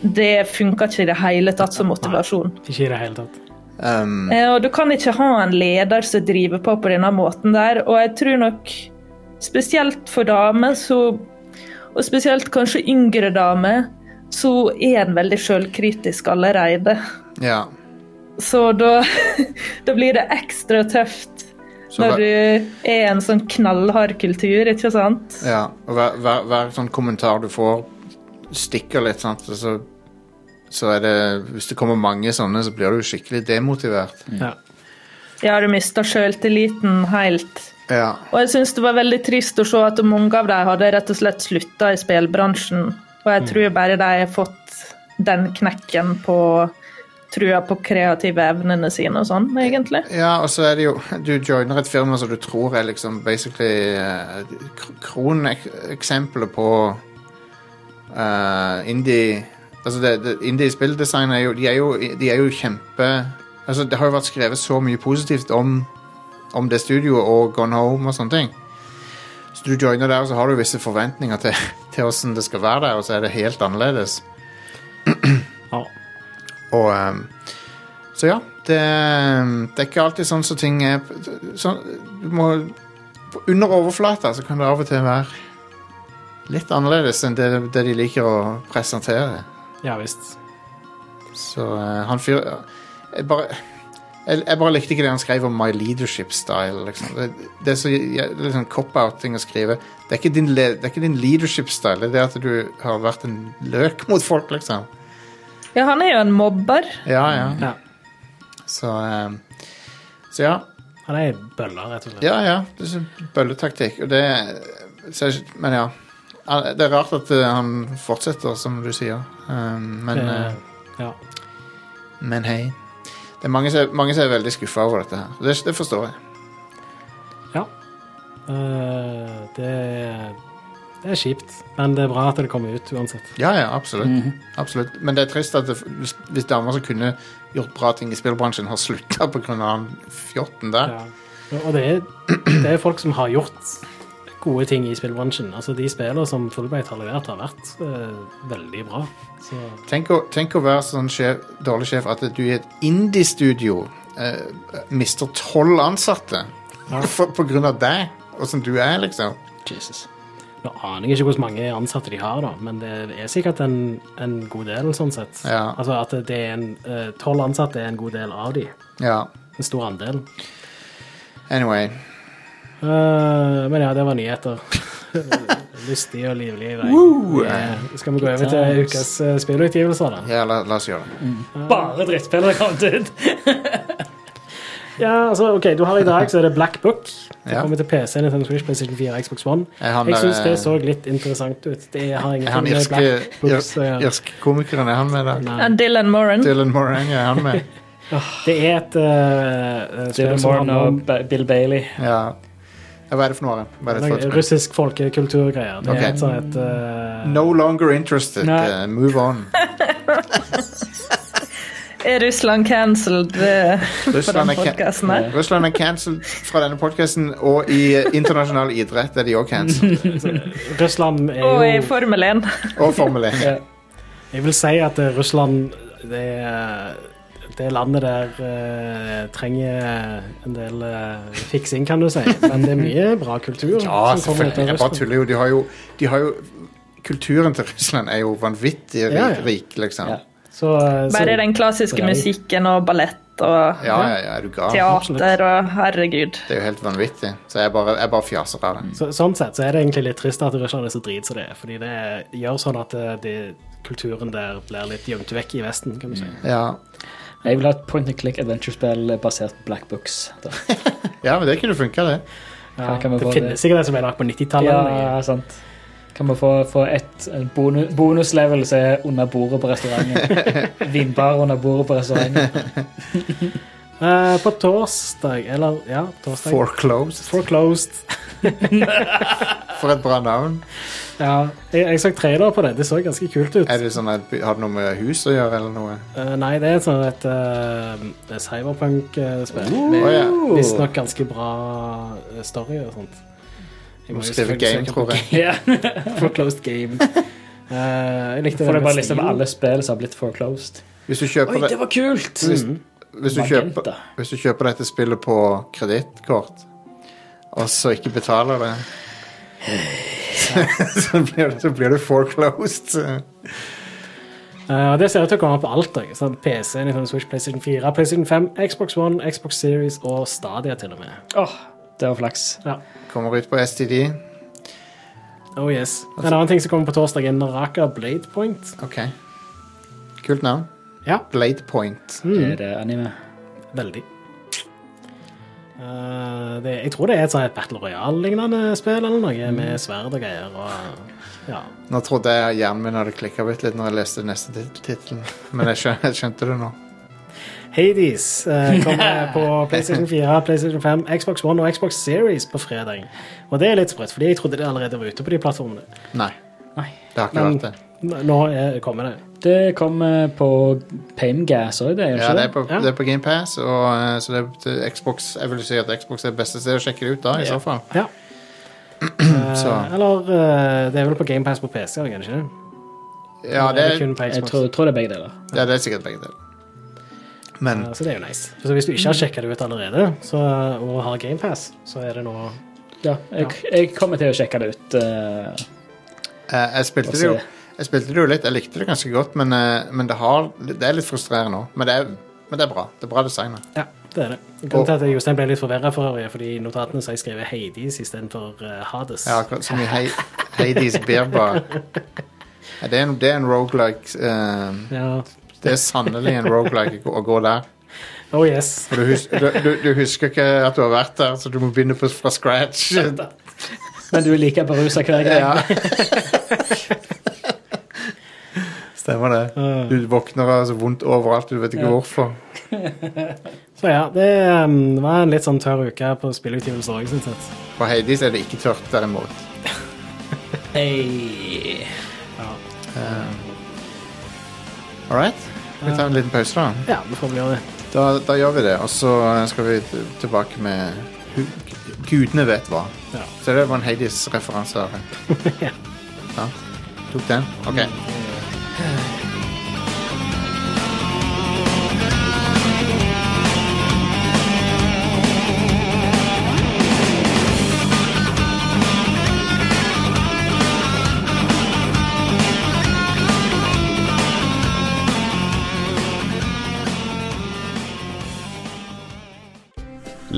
D: det funker ikke i det hele tatt som motivasjon.
C: Ikke i det hele tatt.
B: Um,
D: Eh, Og du kan ikke ha en leder som driver på på denne måten der, og jeg tror nok spesielt for damer, så, og spesielt kanskje yngre damer, så er en veldig sjølkritisk allerede.
B: ja.
D: Så da, da blir det ekstra tøft
B: Så
D: når
B: vær-
D: du er i en sånn knallhard kultur, ikke sant?
B: ja. Og hver, hver, hver sånn kommentar du får, stikker litt, sant? og Så, så er det Hvis det kommer mange sånne, så blir du skikkelig demotivert.
C: Ja.
D: Ja, du mister sjøltilliten helt.
B: Ja.
D: Og jeg syns det var veldig trist å se at mange av dem hadde rett og slett slutta i spillbransjen. Og
B: Mm.
D: jeg tror bare de har fått den knekken på trua på kreative evnene sine og sånn, egentlig.
B: Ja, og så er det jo Du joiner et firma som du tror er liksom basically eh, kr- kroneksempelet på eh, indie Altså, det, det, indie spilldesign er jo de, er jo de er jo kjempe Altså, det har jo vært skrevet så mye positivt om, om det studioet og Gone Home og sånne ting. Så du joiner der, så har du visse forventninger til, til hvordan det skal være der, og så er det helt annerledes.
C: Ja.
B: Og ehm, Så ja, det, det er ikke alltid sånn som ting er sånn, Du må Under overflata så kan det av og til være litt annerledes enn det, det de liker å presentere.
C: Ja visst.
B: Så eh, han fyr jeg bare, jeg, jeg bare likte ikke det han skrev om my leadership style. Liksom. Det, det er så ja, det er litt sånn cop-out-ting å skrive. Det er, ikke din, le- det er ikke din leadership style, det er det at du har vært en løk mot folk, liksom.
D: Ja, han er jo en mobber.
B: Ja, ja.
C: Ja.
B: Så, eh, så ja.
C: Han er ei bølle, rett og slett.
B: Ja, ja. Det er sånn bølletaktikk. Og det så, jeg- Men ja. Det er rart at eh, han fortsetter, som du sier. Um, men,
C: Eh,
B: eh,
C: ja.
B: men hei. Det er mange som er, mange som er veldig skuffa over dette her. Det, det forstår jeg.
C: Eh, det, det er kjipt, men det er bra at det kommer ut uansett.
B: Ja, ja, absolutt. absolutt. Men det er trist at det, hvis, hvis damer som kunne gjort bra ting i spillbransjen, har slutta pga. han fjotten der.
C: Ja. Og det er, det er folk som har gjort gode ting i spillbransjen. Altså De spillene som Fullbright har levert, har vært eh, veldig bra. Så
B: Tenk, å, tenk å være sånn sjef, dårlig sjef at du i et indie-studio eh, mister tolv ansatte for, på grunn av deg og som du er, liksom.
C: Jesus. Nå aner jeg ikke hvor mange ansatte de har, da, men det er sikkert en, en god del, sånn sett.
B: Ja.
C: Altså at det er en eh, Tolv ansatte er en god del av de.
B: Ja.
C: En stor andel.
B: Anyway.
C: Eh, men ja, det var nyheter. Lystig og livlig vei. Eh, skal vi gå over til ukas uh, spillutgivelser, da?
B: Ja, la, la oss gjøre det.
E: Bare drittspill har kommet ut.
C: Ja, altså, ok, du har I dag så er det Black Book. Det
B: Ja.
C: kommer til PC, Nintendo Switch, PlayStation 4, Xbox One.
B: Jeg har den der-
C: Jeg
B: eh,
C: syns det så litt interessant ut. Det
B: Er
C: har
B: han
C: ingenting med
B: irske
C: Black Book å
B: ir-
C: gjøre.
B: irske komikeren? Er han med der?
C: Nei.
D: En Dylan Moran.
B: Dylan Morang, er han med?
C: Det er et eh, eh, spill
E: Dylan
C: som
E: Moran
C: handler om
E: og Ba- Bill Bailey.
B: Ja. ja. Hva er det for noe? Hva er det
C: noe
B: for et
C: russisk folkekulturgreier. Det er
B: Ok.
C: et sånn et eh,
B: No longer interested.
E: Nei.
B: eh, move on.
D: Er Russland cancelled eh, på
B: Russland
D: den
B: er, can
D: podkasten her?
B: Russland er cancelled fra denne podkasten, og i eh, internasjonal idrett er de òg cancelled.
C: Russland er
D: Og i
C: jo
D: Formel 1.
B: Altså, Og Formel E. 1.
C: Jeg vil si at eh, Russland det er det landet der eh, trenger en del eh, fiksing, kan du si. Men det er mye bra kultur.
B: Ja,
C: som
B: selvfølgelig.
C: kommer ut av
B: Jeg bare
C: Russland.
B: tuller jo. De har jo, de har jo Kulturen til Russland er jo vanvittig rik,
C: Ja, ja.
B: rik liksom.
E: Ja.
C: Så, eh, så,
D: Bare den klassiske musikken og ballett og
B: Ja, ja, ja, er du gal?
D: teater og herregud.
B: Det er jo helt vanvittig. Så jeg bare, jeg bare fjaser av det.
C: så, sånn sett så er det egentlig litt trist at Russland er så drit som det er. Fordi det gjør sånn at eh, det, kulturen der blir litt gjemt vekk i Vesten, kan du si.
B: Ja.
E: Jeg vil ha et point and click adventure-spill basert på Black Books. Da.
B: ja, men det kunne funka, det.
C: Ja,
E: kan vi
C: det
E: få
C: finnes
E: det?
C: sikkert en som er lagd på 90-tallet. eller noe.
E: Ja, sant. Kan vi få, få et en bonus, bonuslevel som er under bordet på restauranten? Vinbar under bordet på restauranten.
C: Eh, på torsdag, eller ja, torsdag
B: Foreclosed.
C: Foreclosed.
B: For et bra navn.
C: Ja, jeg, jeg så trailer på det. Det så ganske kult ut.
B: Er det sånn at, Har det noe med hus å gjøre, eller noe?
C: Eh, nei, det er sånn et eh, cyberpunk-spill.
B: Å
C: Med
B: ja.
C: visstnok ganske bra eh, story og sånt. Jeg
B: Må
C: jo
B: skrive
C: selvfølgelig
B: game,
C: søke på
B: tror jeg.
E: Ja.
C: game. Foreclosed game. Eh, jeg likte
E: Får du
C: med
E: bare liste over
C: stilen.
E: alle spill som har blitt foreclosed. Mm.
B: Hvis du kjøper, det,
E: var kult!
B: hvis, hvis, du kjøper,
E: Magenta.
B: hvis du kjøper dette spillet på kredittkort, og så ikke betaler det så, blir, så blir du foreclosed.
C: Eh, og det ser ut til å komme på alt. da. Sånn PC, Nintendo Switch, PlayStation 4, PlayStation 5, Xbox One, Xbox Series og Stadia til og med.
E: Åh, det var flaks.
B: Kommer ut på STD.
C: Oh yes.
E: Altså-
C: En annen ting som kommer på torsdag, er Naraka Blade Point.
B: OK. Kult navn.
C: Ja.
B: Blade Point.
E: Det er det anime.
C: Veldig. Eh, det, jeg tror det er et sånt et Battle Royale-lignende spill eller noe,
B: Mm.
C: med sverd og greier. Og, ja.
B: Nå trodde jeg hjernen min hadde klikka litt når jeg leste neste tit- tittel, men jeg skjønte, jeg skjønte det nå.
C: Hades eh, kommer på PlayStation 4, PlayStation 5, Xbox One og Xbox Series på fredag. Og det er litt sprøtt, fordi jeg trodde det allerede var ute på de plattformene.
B: Nei.
E: Nei.
B: Det har ikke
C: Men-
B: vært det.
C: N- Nå er, kommer det.
E: Det kom eh, på Pamegas òg, det, er jo
B: Ja,
E: ikke
B: det
E: det?
B: er på,
C: Ja.
B: det er på GamePass, og eh, så det er til Xbox Jeg vil si at Xbox er det beste stedet å sjekke det ut da, i så fall.
C: Ja. Eh,
B: Så.
C: eller eh, det er vel på GamePass på PC, eller kanskje?
B: Ja, det
C: Eller
B: er,
C: kun på
E: Jeg
C: Xbox.
E: tror, tror det er begge deler.
B: ja, det er sikkert begge deler. Men
C: Eh, Så det er jo nice. Så hvis du ikke har sjekka det ut allerede, så, og har GamePass, så er det nå
E: Ja, jeg, jeg kommer til å sjekke det ut. eh,
B: eh, jeg
E: og
B: spilte det
E: se.
B: jo Jeg spilte det jo litt, jeg likte det ganske godt, men, eh, men det, har, det er litt frustrerende òg. Men, det er- men det er bra. Det er bra designet.
C: Ja, det er det. Grunnen til at Jostein ble litt forvirra for øvrig, er fordi i notatene så har jeg skrevet Hades istedenfor uh, Hades.
B: Ja, akkurat som i Hei- Hades Beer Bar. Ja, det er en, det er en roguelike, eh,
C: Ja.
B: Det er sannelig en roguelike å gå- å gå der.
C: Oh yes.
B: For du, hus du, du, du husker ikke at du har vært der, så du må begynne på, fra scratch.
E: Men du er like berusa hver gang.
B: Ja. Stemmer det. Du våkner av så vondt overalt, du vet ikke hvorfor.
C: Så ja, det ehm, var en litt sånn tørr uke på spillutgivelse òg, syns jeg.
B: På Hades er det ikke tørt, derimot.
E: Hey.
B: Eh, All right? Vi tar en liten pause, da.
C: Eh. Ja, vi får vel gjøre det.
B: Da, da gjør vi det, og så eh, skal vi t- tilbake med hu- Gudene vet hva.
C: Ja.
B: Så det var en Hades-referanse. her.
C: Ja.
B: ja. Tok den? OK.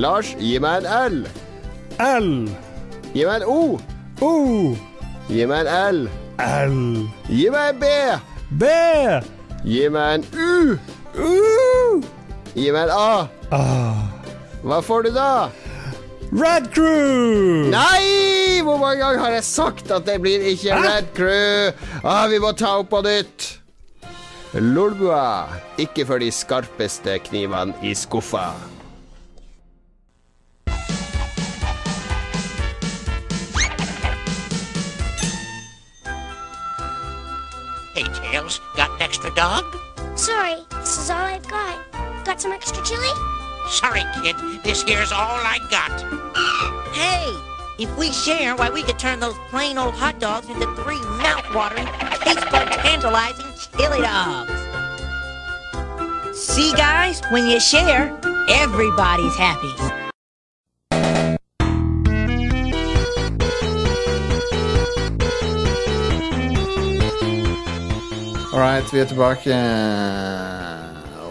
I: Lars, gi meg en L.
J: L.
I: Gi meg en O.
J: O.
I: Gi meg en L.
J: L.
I: Gi meg en B.
J: B.
I: Gi meg en U.
J: U.
I: Gi meg en A. Hva får du da?
J: Red Crew.
I: Nei! Hvor mange ganger har jeg sagt at det blir ikke
J: Hæ?
I: Red Crew? Ah, vi må ta opp på nytt. Lolbua. Ikke for de skarpeste knivene i skuffa.
K: Hey, Tails, got an extra dog?
L: Sorry, this is all I've got. Got some extra chili?
K: Sorry, kid, this here's all I got. hey, if we share, why, we could turn those plain old hot dogs into three mouth-watering, taste-bud-tantalizing chili dogs. See, guys, when you share, everybody's happy.
B: All right, vi er tilbake.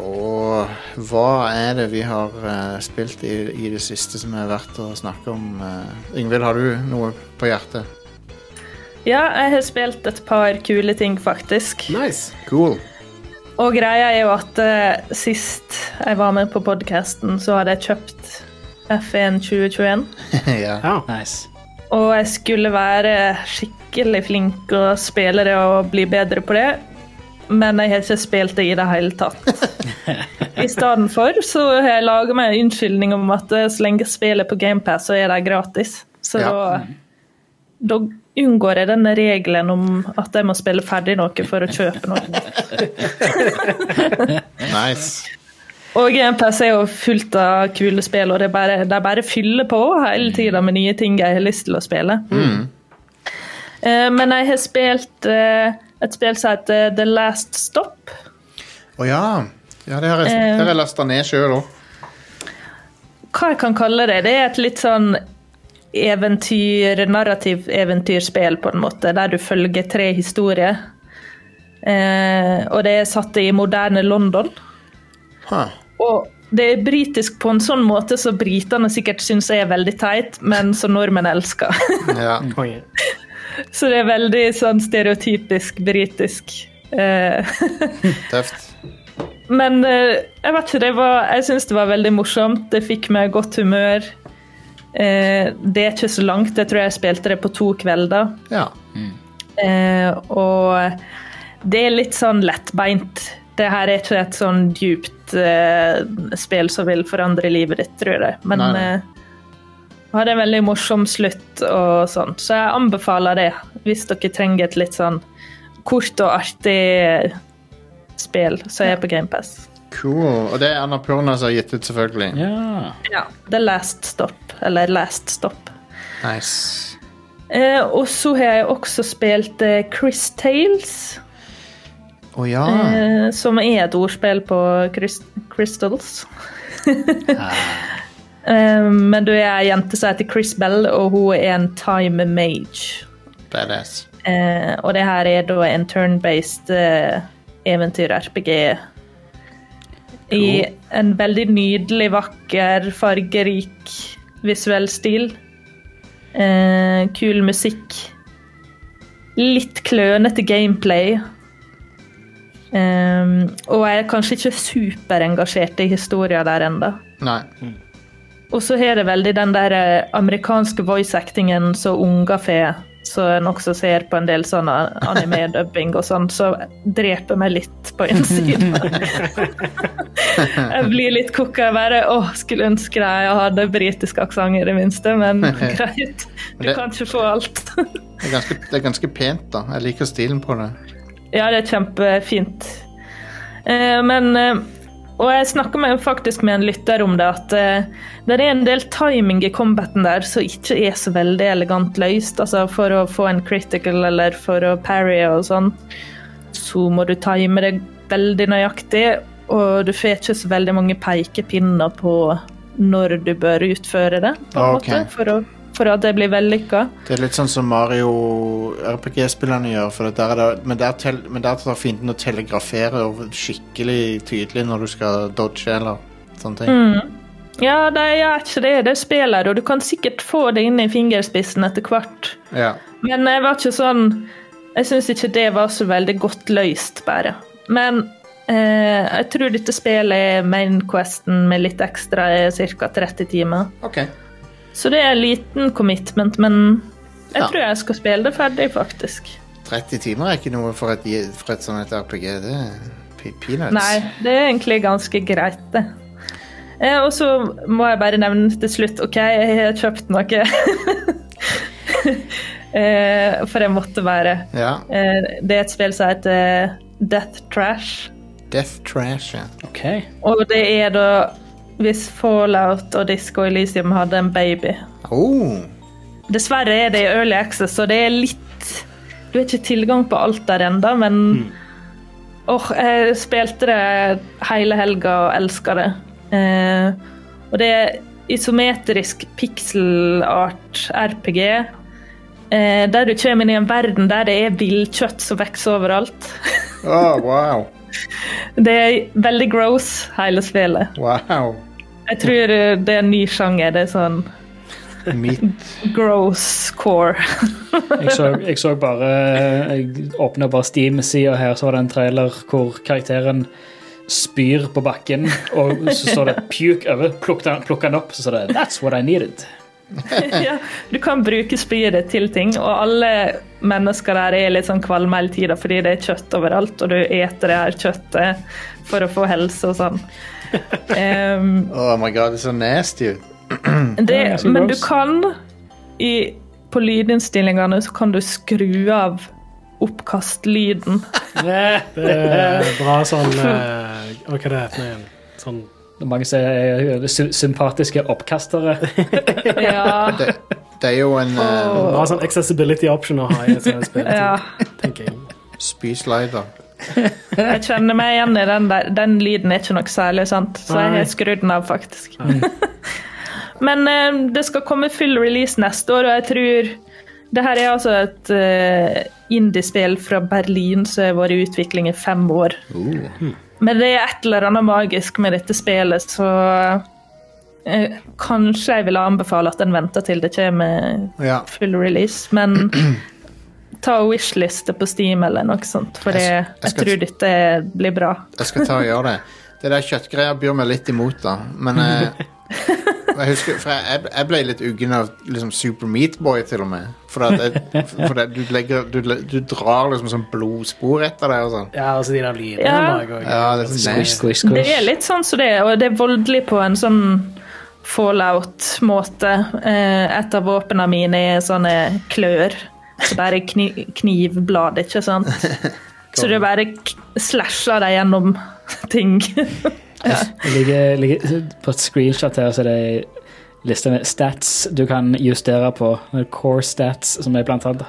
B: Og hva er det vi har eh, spilt i, i det siste som er verdt å snakke om? eh? Ingvild, har du noe på hjertet?
D: Ja, jeg har spilt et par kule ting, faktisk.
B: Nice. Cool.
D: Og greia er jo at eh, sist jeg var med på podkasten, så hadde jeg kjøpt F1 2021.
B: ja.
E: Nice.
D: Og jeg skulle være skikkelig flink og spille det og bli bedre på det. Men jeg har ikke spilt det i det hele tatt. I stedet for så har jeg laga meg en unnskyldning om at eh, så lenge spillet er på GamePass, så er det gratis. Så
B: Ja.
D: da, da unngår jeg denne regelen om at jeg må spille ferdig noe for å kjøpe noe.
B: Nice.
D: Og GamePass er jo fullt av kule spill, og det er bare, det er bare fyller på hele tida med nye ting jeg har lyst til å spille.
B: Mm.
D: Eh, Men jeg har spilt eh, et spill som heter eh, The Last Stop.
B: Å ja. ja. Det har jeg,
D: Eh.
B: det har jeg lasta ned sjøl òg.
D: Hva jeg kan kalle det? Det er et litt sånn eventyr, narrativ-eventyrspill, på en måte, der du følger tre historier. Eh, og det er satt i moderne London.
B: Huh.
D: Og det er britisk på en sånn måte som britene sikkert syns er veldig teit, men som nordmenn elsker.
B: Ja.
D: Så det er veldig sånn stereotypisk britisk. Eh,
B: Tøft.
D: men eh, jeg vet ikke, det var, jeg syns det var veldig morsomt. Det fikk meg i godt humør. Eh, det er ikke så langt, jeg tror jeg spilte det på to kvelder.
B: Ja.
D: Eh, og det er litt sånn lettbeint. Det her er ikke et sånn djupt eh, spill som vil forandre livet ditt, tror jeg. Men
B: Nei, nei.
D: eh, hadde en veldig morsom slutt og sånn, så jeg anbefaler det hvis dere trenger et litt sånn kort og artig eh, spill, så er jeg på GamePass.
B: Cool. Og det er Annapurna som har gitt ut, selvfølgelig.
D: Ja. The Last Stop, eller Last Stop.
B: Nice.
D: Eh, og så har jeg også spilt eh, Chris Tales.
B: Å ja.
D: Eh, som er et ordspill på crys- crystals. Eh, Men du er ei jente som heter Chris Bell, og hun er en time mage.
B: Badass.
D: Eh, og det her er da en turn-based eh, eventyr-RPG. I en veldig nydelig, vakker, fargerik visuell stil. Eh, kul musikk. Litt klønete gameplay. Ehm, og jeg er kanskje ikke superengasjert i historien der ennå.
B: Nei.
D: Og så har det veldig den der eh, amerikanske voice actingen som unger får, som en også ser på en del sånn a- anime-dubbing og sånn, så dreper meg litt på innsiden. jeg blir litt kokka. Jeg bare åh, skulle ønske jeg hadde britisk aksent i det minste, men greit. Du
B: Det-
D: kan ikke få alt.
B: Det er, ganske, det er ganske pent, da. Jeg liker stilen på det.
D: Ja, det er kjempefint. Eh, men eh, Og jeg snakka med, faktisk med en lytter om det, at eh, det er en del timing i combaten der som ikke er så veldig elegant løst. Altså for å få en critical eller for å parry og sånn, så må du time det veldig nøyaktig. Og du får ikke så veldig mange pekepinner på når du bør utføre det, på en
B: Ok.
D: måte, for, å, for at det blir vellykka.
B: Det er litt sånn som Mario RPG-spillerne gjør, for der er det, men, der tel, men der tar fienden og telegraferer over- skikkelig tydelig når du skal dodge eller sånne ting.
D: Mm. Ja, de gjør ikke det. De spiller, og du kan sikkert få det inn i fingerspissen etter hvert.
B: Ja.
D: Men jeg var ikke sånn Jeg syns ikke det var så veldig godt løst, bare. Men eh, jeg tror dette spillet, mainquesten med litt ekstra, er ca. 30 timer.
B: Ok.
D: Så det er en liten commitment, men jeg
B: Ja.
D: tror jeg skal spille det ferdig, faktisk.
B: 30 timer er ikke noe for et, for et sånt et RPG. Det er pe- peanuts.
D: Nei, det er egentlig ganske greit, det. Eh, og så må jeg bare nevne til slutt OK, jeg har kjøpt noe. eh, for jeg måtte være.
B: Ja.
D: Eh, det er et spill som heter eh, Death Trash.
B: Death Trash, ja.
D: Og det er da hvis Fallout og Disco Elysium hadde en baby.
B: Oh.
D: Dessverre er det i Early Access, så det er litt Du har ikke tilgang på alt der ennå, men Åh, jeg spilte det hele helga og elska det. Eh, og det er isometrisk pixelart RPG, eh, der du kommer inn i en verden der det er villkjøtt som vokser overalt.
B: Å, Ah, wow.
D: Det er veldig gross, hele spillet.
B: Wow.
D: Jeg tror eh, det er en ny sjanger. Det er sånn
B: Meat.
D: gross core.
E: Jeg så, jeg så bare Jeg åpna bare Steam-sida her, så var det en trailer hvor karakteren spyr på bakken, og så står det 'puke' over. Plukk den, plukk den opp, så står det 'that's what I needed'.
D: ja, du kan bruke spyet ditt til ting, og alle mennesker der er litt sånn kvalme hele tida fordi det er kjøtt overalt, og du eter det her kjøttet for å få helse og sånn. Ehm,
B: Oh my god, det er så nasty ut.
D: det, men du kan i, På lydinnstillingene så kan du skru av oppkastlyden. Eh.
C: Det er bra sånn eh, Og hva det heter igjen? Sånn
E: Det er mange som er sy- sympatiske oppkastere.
D: Eh. ja.
B: Det, det er jo en eh,
C: Åh. Bra sånn accessibility option å ha i et sånt spill.
D: ja.
B: uh, spyslider.
D: Jeg kjenner meg igjen i den der. Den lyden er ikke noe særlig, sant? så jeg
B: Nei.
D: har skrudd den av, faktisk. Men eh, det skal komme full release neste år, og jeg tror det her er altså et eh, indiespill fra Berlin som har vært i utvikling i fem år. Men det er et eller annet magisk med dette spillet, så eh, kanskje jeg ville anbefale at en venter til det kommer
B: Ja.
D: full release, men ta og wishliste på Steam eller noe sånt, for det, jeg,
B: jeg skal-
D: tror dette blir bra.
B: Jeg skal ta og gjøre det. Det der kjøttgreia byr meg litt imot, da. Men eh, jeg husker For jeg, jeg ble litt uggen av liksom Super Meatboy, til og med. For, at jeg, for det, du, legger, du, le- du drar liksom sånn blodspor etter deg og sånn.
C: Ja, altså de der lydene
D: Ja.
C: bak og-
B: Ja, det er sånn
C: Squish,
B: nasty.
E: squish,
D: Det er litt sånn som det er, og det er voldelig på en sånn fallout-måte. Eh, Et av våpnene mine er sånne klør, så det er kni knivblad, ikke sant? Så du bare k- slasher deg gjennom ting.
E: Jeg ligger, ligger på et screenshot her, så er det ei liste med stats du kan justere på. Core stats, som er blant annet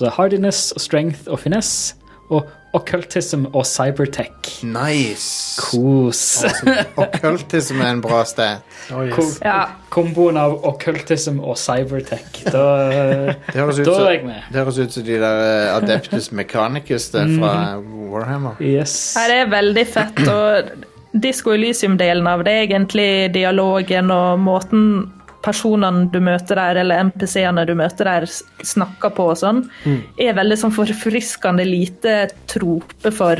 E: så hardiness, og strength og finesse. Og occultism og cybertech.
B: Nice.
E: Kos.
B: Okkultisme er en bra sted.
E: Kom- Komboen av occultism og cybertech. Da,
B: Det høres ut
E: da
B: som-
E: er jeg med. Mhm.
B: det høres ut som de der eh, Adeptus Mechanicus der fra Warhammer.
E: Yes.
D: Her er veldig fett, og Disco Elysium-delen av det er egentlig dialogen og måten personene du møter der, eller NPC-ene du møter der, s- snakker på og sånn,
M: Mm.
D: er veldig sånn forfriskende lite trope for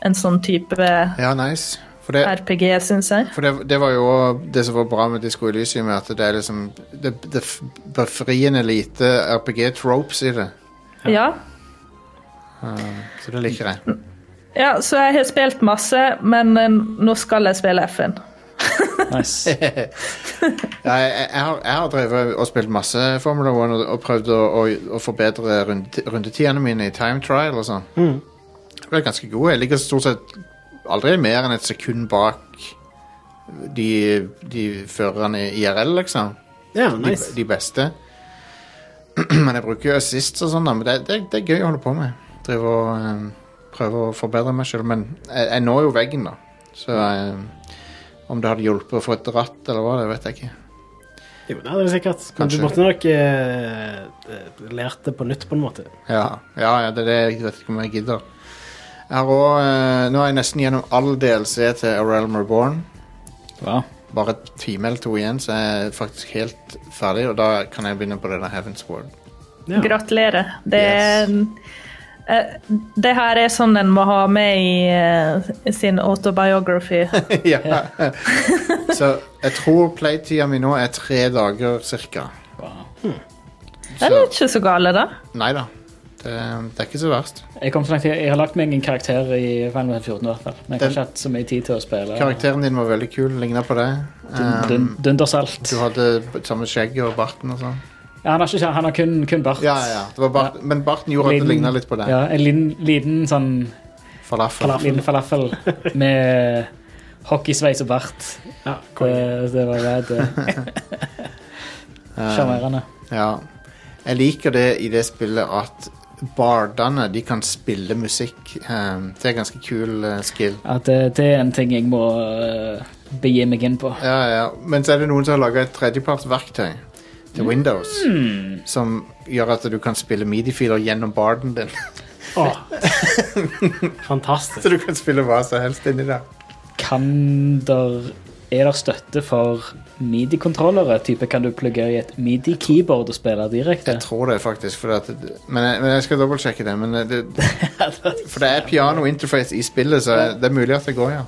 D: en sånn type
B: Ja, nice. For det,
D: RPG, syns jeg.
B: For det, det var jo også det som var bra med Disco Elysium, at det er liksom det, det f- befriende lite RPG-tropes i det.
D: Ja.
B: Um, så det liker jeg.
D: ja, så jeg har spilt masse, men eh, nå skal jeg spille FN.
E: Nice.
B: Ja, jeg, jeg, har, jeg har drevet og spilt masse Formula One og, og prøvd å, å, å forbedre runde, rundetidene mine i time trial og sånn.
C: Mm.
B: Jeg ble ganske god. Jeg ligger stort sett aldri mer enn et sekund bak de, de førerne i IRL, liksom.
C: Ja,
B: de,
C: nice.
B: de beste. Men jeg bruker jo assist og sånn, da, men det, det, det er gøy å holde på med. Drive og eh, prøve å forbedre meg sjøl, men jeg, jeg når jo veggen, da. Så eh, om det hadde hjulpet å få et ratt, eller hva, det vet jeg ikke.
C: Jo, det er det sikkert. Men du
B: Kanskje.
C: måtte nok eh, lært det på nytt, på en måte.
B: Ja, ja, ja det er det jeg vet ikke om jeg gidder. Jeg har også, eh, nå er jeg nesten gjennom all DLC til A Realm Reborn. Bare et time eller to igjen, så jeg er faktisk helt ferdig, og da kan jeg begynne på det der Heaven's Word.
D: Gratulerer. Det, er- eh, det her er sånn en må ha med i eh, sin autobiography.
B: ja. Så jeg tror playtida mi nå er tre dager cirka.
D: Det er ikke så gale, da.
B: Nei da. Det, det er ikke så verst.
E: Jeg, kom så langt, jeg har lagt meg en karakter i Final Fantasy 14, i hvert fall. Men jeg har
B: Den-
E: ikke hatt så mye tid til å spille.
B: Karakteren din var veldig kul. Ligna på deg.
E: Dun- dun- Dundersalt.
B: Du hadde samme skjegg og barten og sånn.
E: Ja, han har, ikke, han har kun, kun bart.
B: Ja, ja. Det var bart, Men barten gjorde at det ligna litt på deg.
E: Ja, en liten, liten sånn
B: Falafel.
E: liten falafel med hockeysveis og bart. det, det var rad.
B: Eh,
E: Sjarmerende.
B: Ja. Jeg liker det i det spillet at bardene de kan spille musikk. Um, det er ganske kul eh, skill.
E: At eh, det er en ting jeg må eh, begi meg inn på.
B: Ja, ja. Men så er det noen som har laga et tredjepartsverktøy til Windows.
E: Mm.
B: Som gjør at du kan spille midi-filer gjennom barden din.
C: Åh. Fantastisk.
B: Så du kan spille hva som helst inni der.
E: Kan der Er der støtte for midi-kontrollere? Type kan du plugge i et midi-keyboard og spille direkte?
B: Jeg tror det, faktisk. For at, men, jeg, men jeg skal dobbeltsjekke det. Men det for det er piano-interface i spillet, så det er mulig at det går, ja.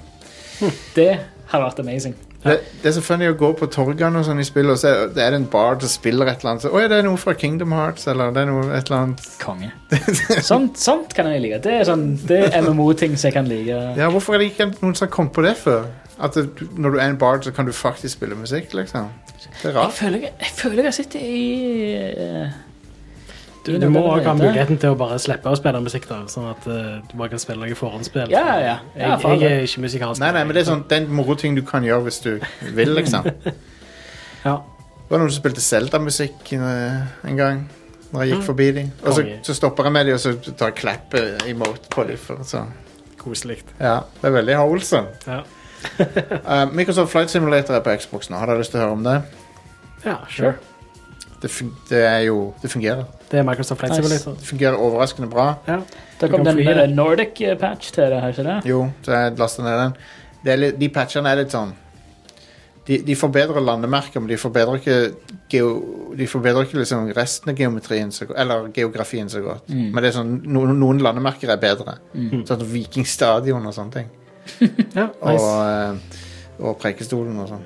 E: Det hadde vært amazing.
B: Det, det er så funny å gå på torgene og sånn i spill, og så er det er det en bard som spiller et eller annet. Så, Oi, det er noe fra Kingdom Hearts, eller det er noe et eller annet
E: Konge. Sånt, sånt kan jeg like. Det er, sånn, det er MMO-ting som jeg kan like.
B: Ja, Hvorfor er det ikke noen som har kommet på det før? At det, du- når du er en bard, så kan du faktisk spille musikk, liksom. Det er
E: Jeg
B: rart.
E: føler jeg, jeg, føler jeg sitter i eh,
C: Du,
E: i
C: du
E: noe
C: må òg ha
E: allerede.
C: muligheten til å bare slippe å spille musikk, da, sånn at eh, du bare kan spille noe forhåndsspill.
E: Ja, ja, ja. Ja,
C: Jeg,
E: faen,
C: jeg er
E: det.
C: ikke musikalsk.
B: Nei, nei, men det er sånn, det er en moroting du kan gjøre hvis du vil, liksom.
C: Ja.
B: Det var noen som spilte Zelda-musikk eh, en gang, når jeg gikk
C: Mm.
B: forbi dem. Og så,
C: Konge.
B: så stopper jeg med dem, og så tar jeg klappe-emote på dem. for- Så.
C: Koselig.
B: Ja, det er veldig wholesome.
C: Ja.
B: Eh, Microsoft Flight Simulator er på Xbox nå. Har dere lyst til å høre om det?
C: ja, sure.
B: Det, fun det er jo Det fungerer.
C: Det er Microsoft Flight
E: Nice.
C: Simulator.
B: Det fungerer overraskende bra.
C: Ja.
E: Da
C: Du
E: kom
C: kan
E: den
C: fly
E: eh,
C: det.
E: Nordic-patch til det, har ikke det?
B: Jo, så jeg lastet ned den. Det er litt, de patchene er litt sånn De, de forbedrer landemerker, men de forbedrer ikke, geo, de forbedrer ikke liksom resten av geometrien så, go- eller geografien så godt.
E: Mm.
B: Men det er sånn, noen, noen landemerker er bedre.
E: Mm.
B: Sånn som Vikingstadion og sånne ting.
C: Ja,
B: Og,
C: nice.
B: eh, og Preikestolen og sånn.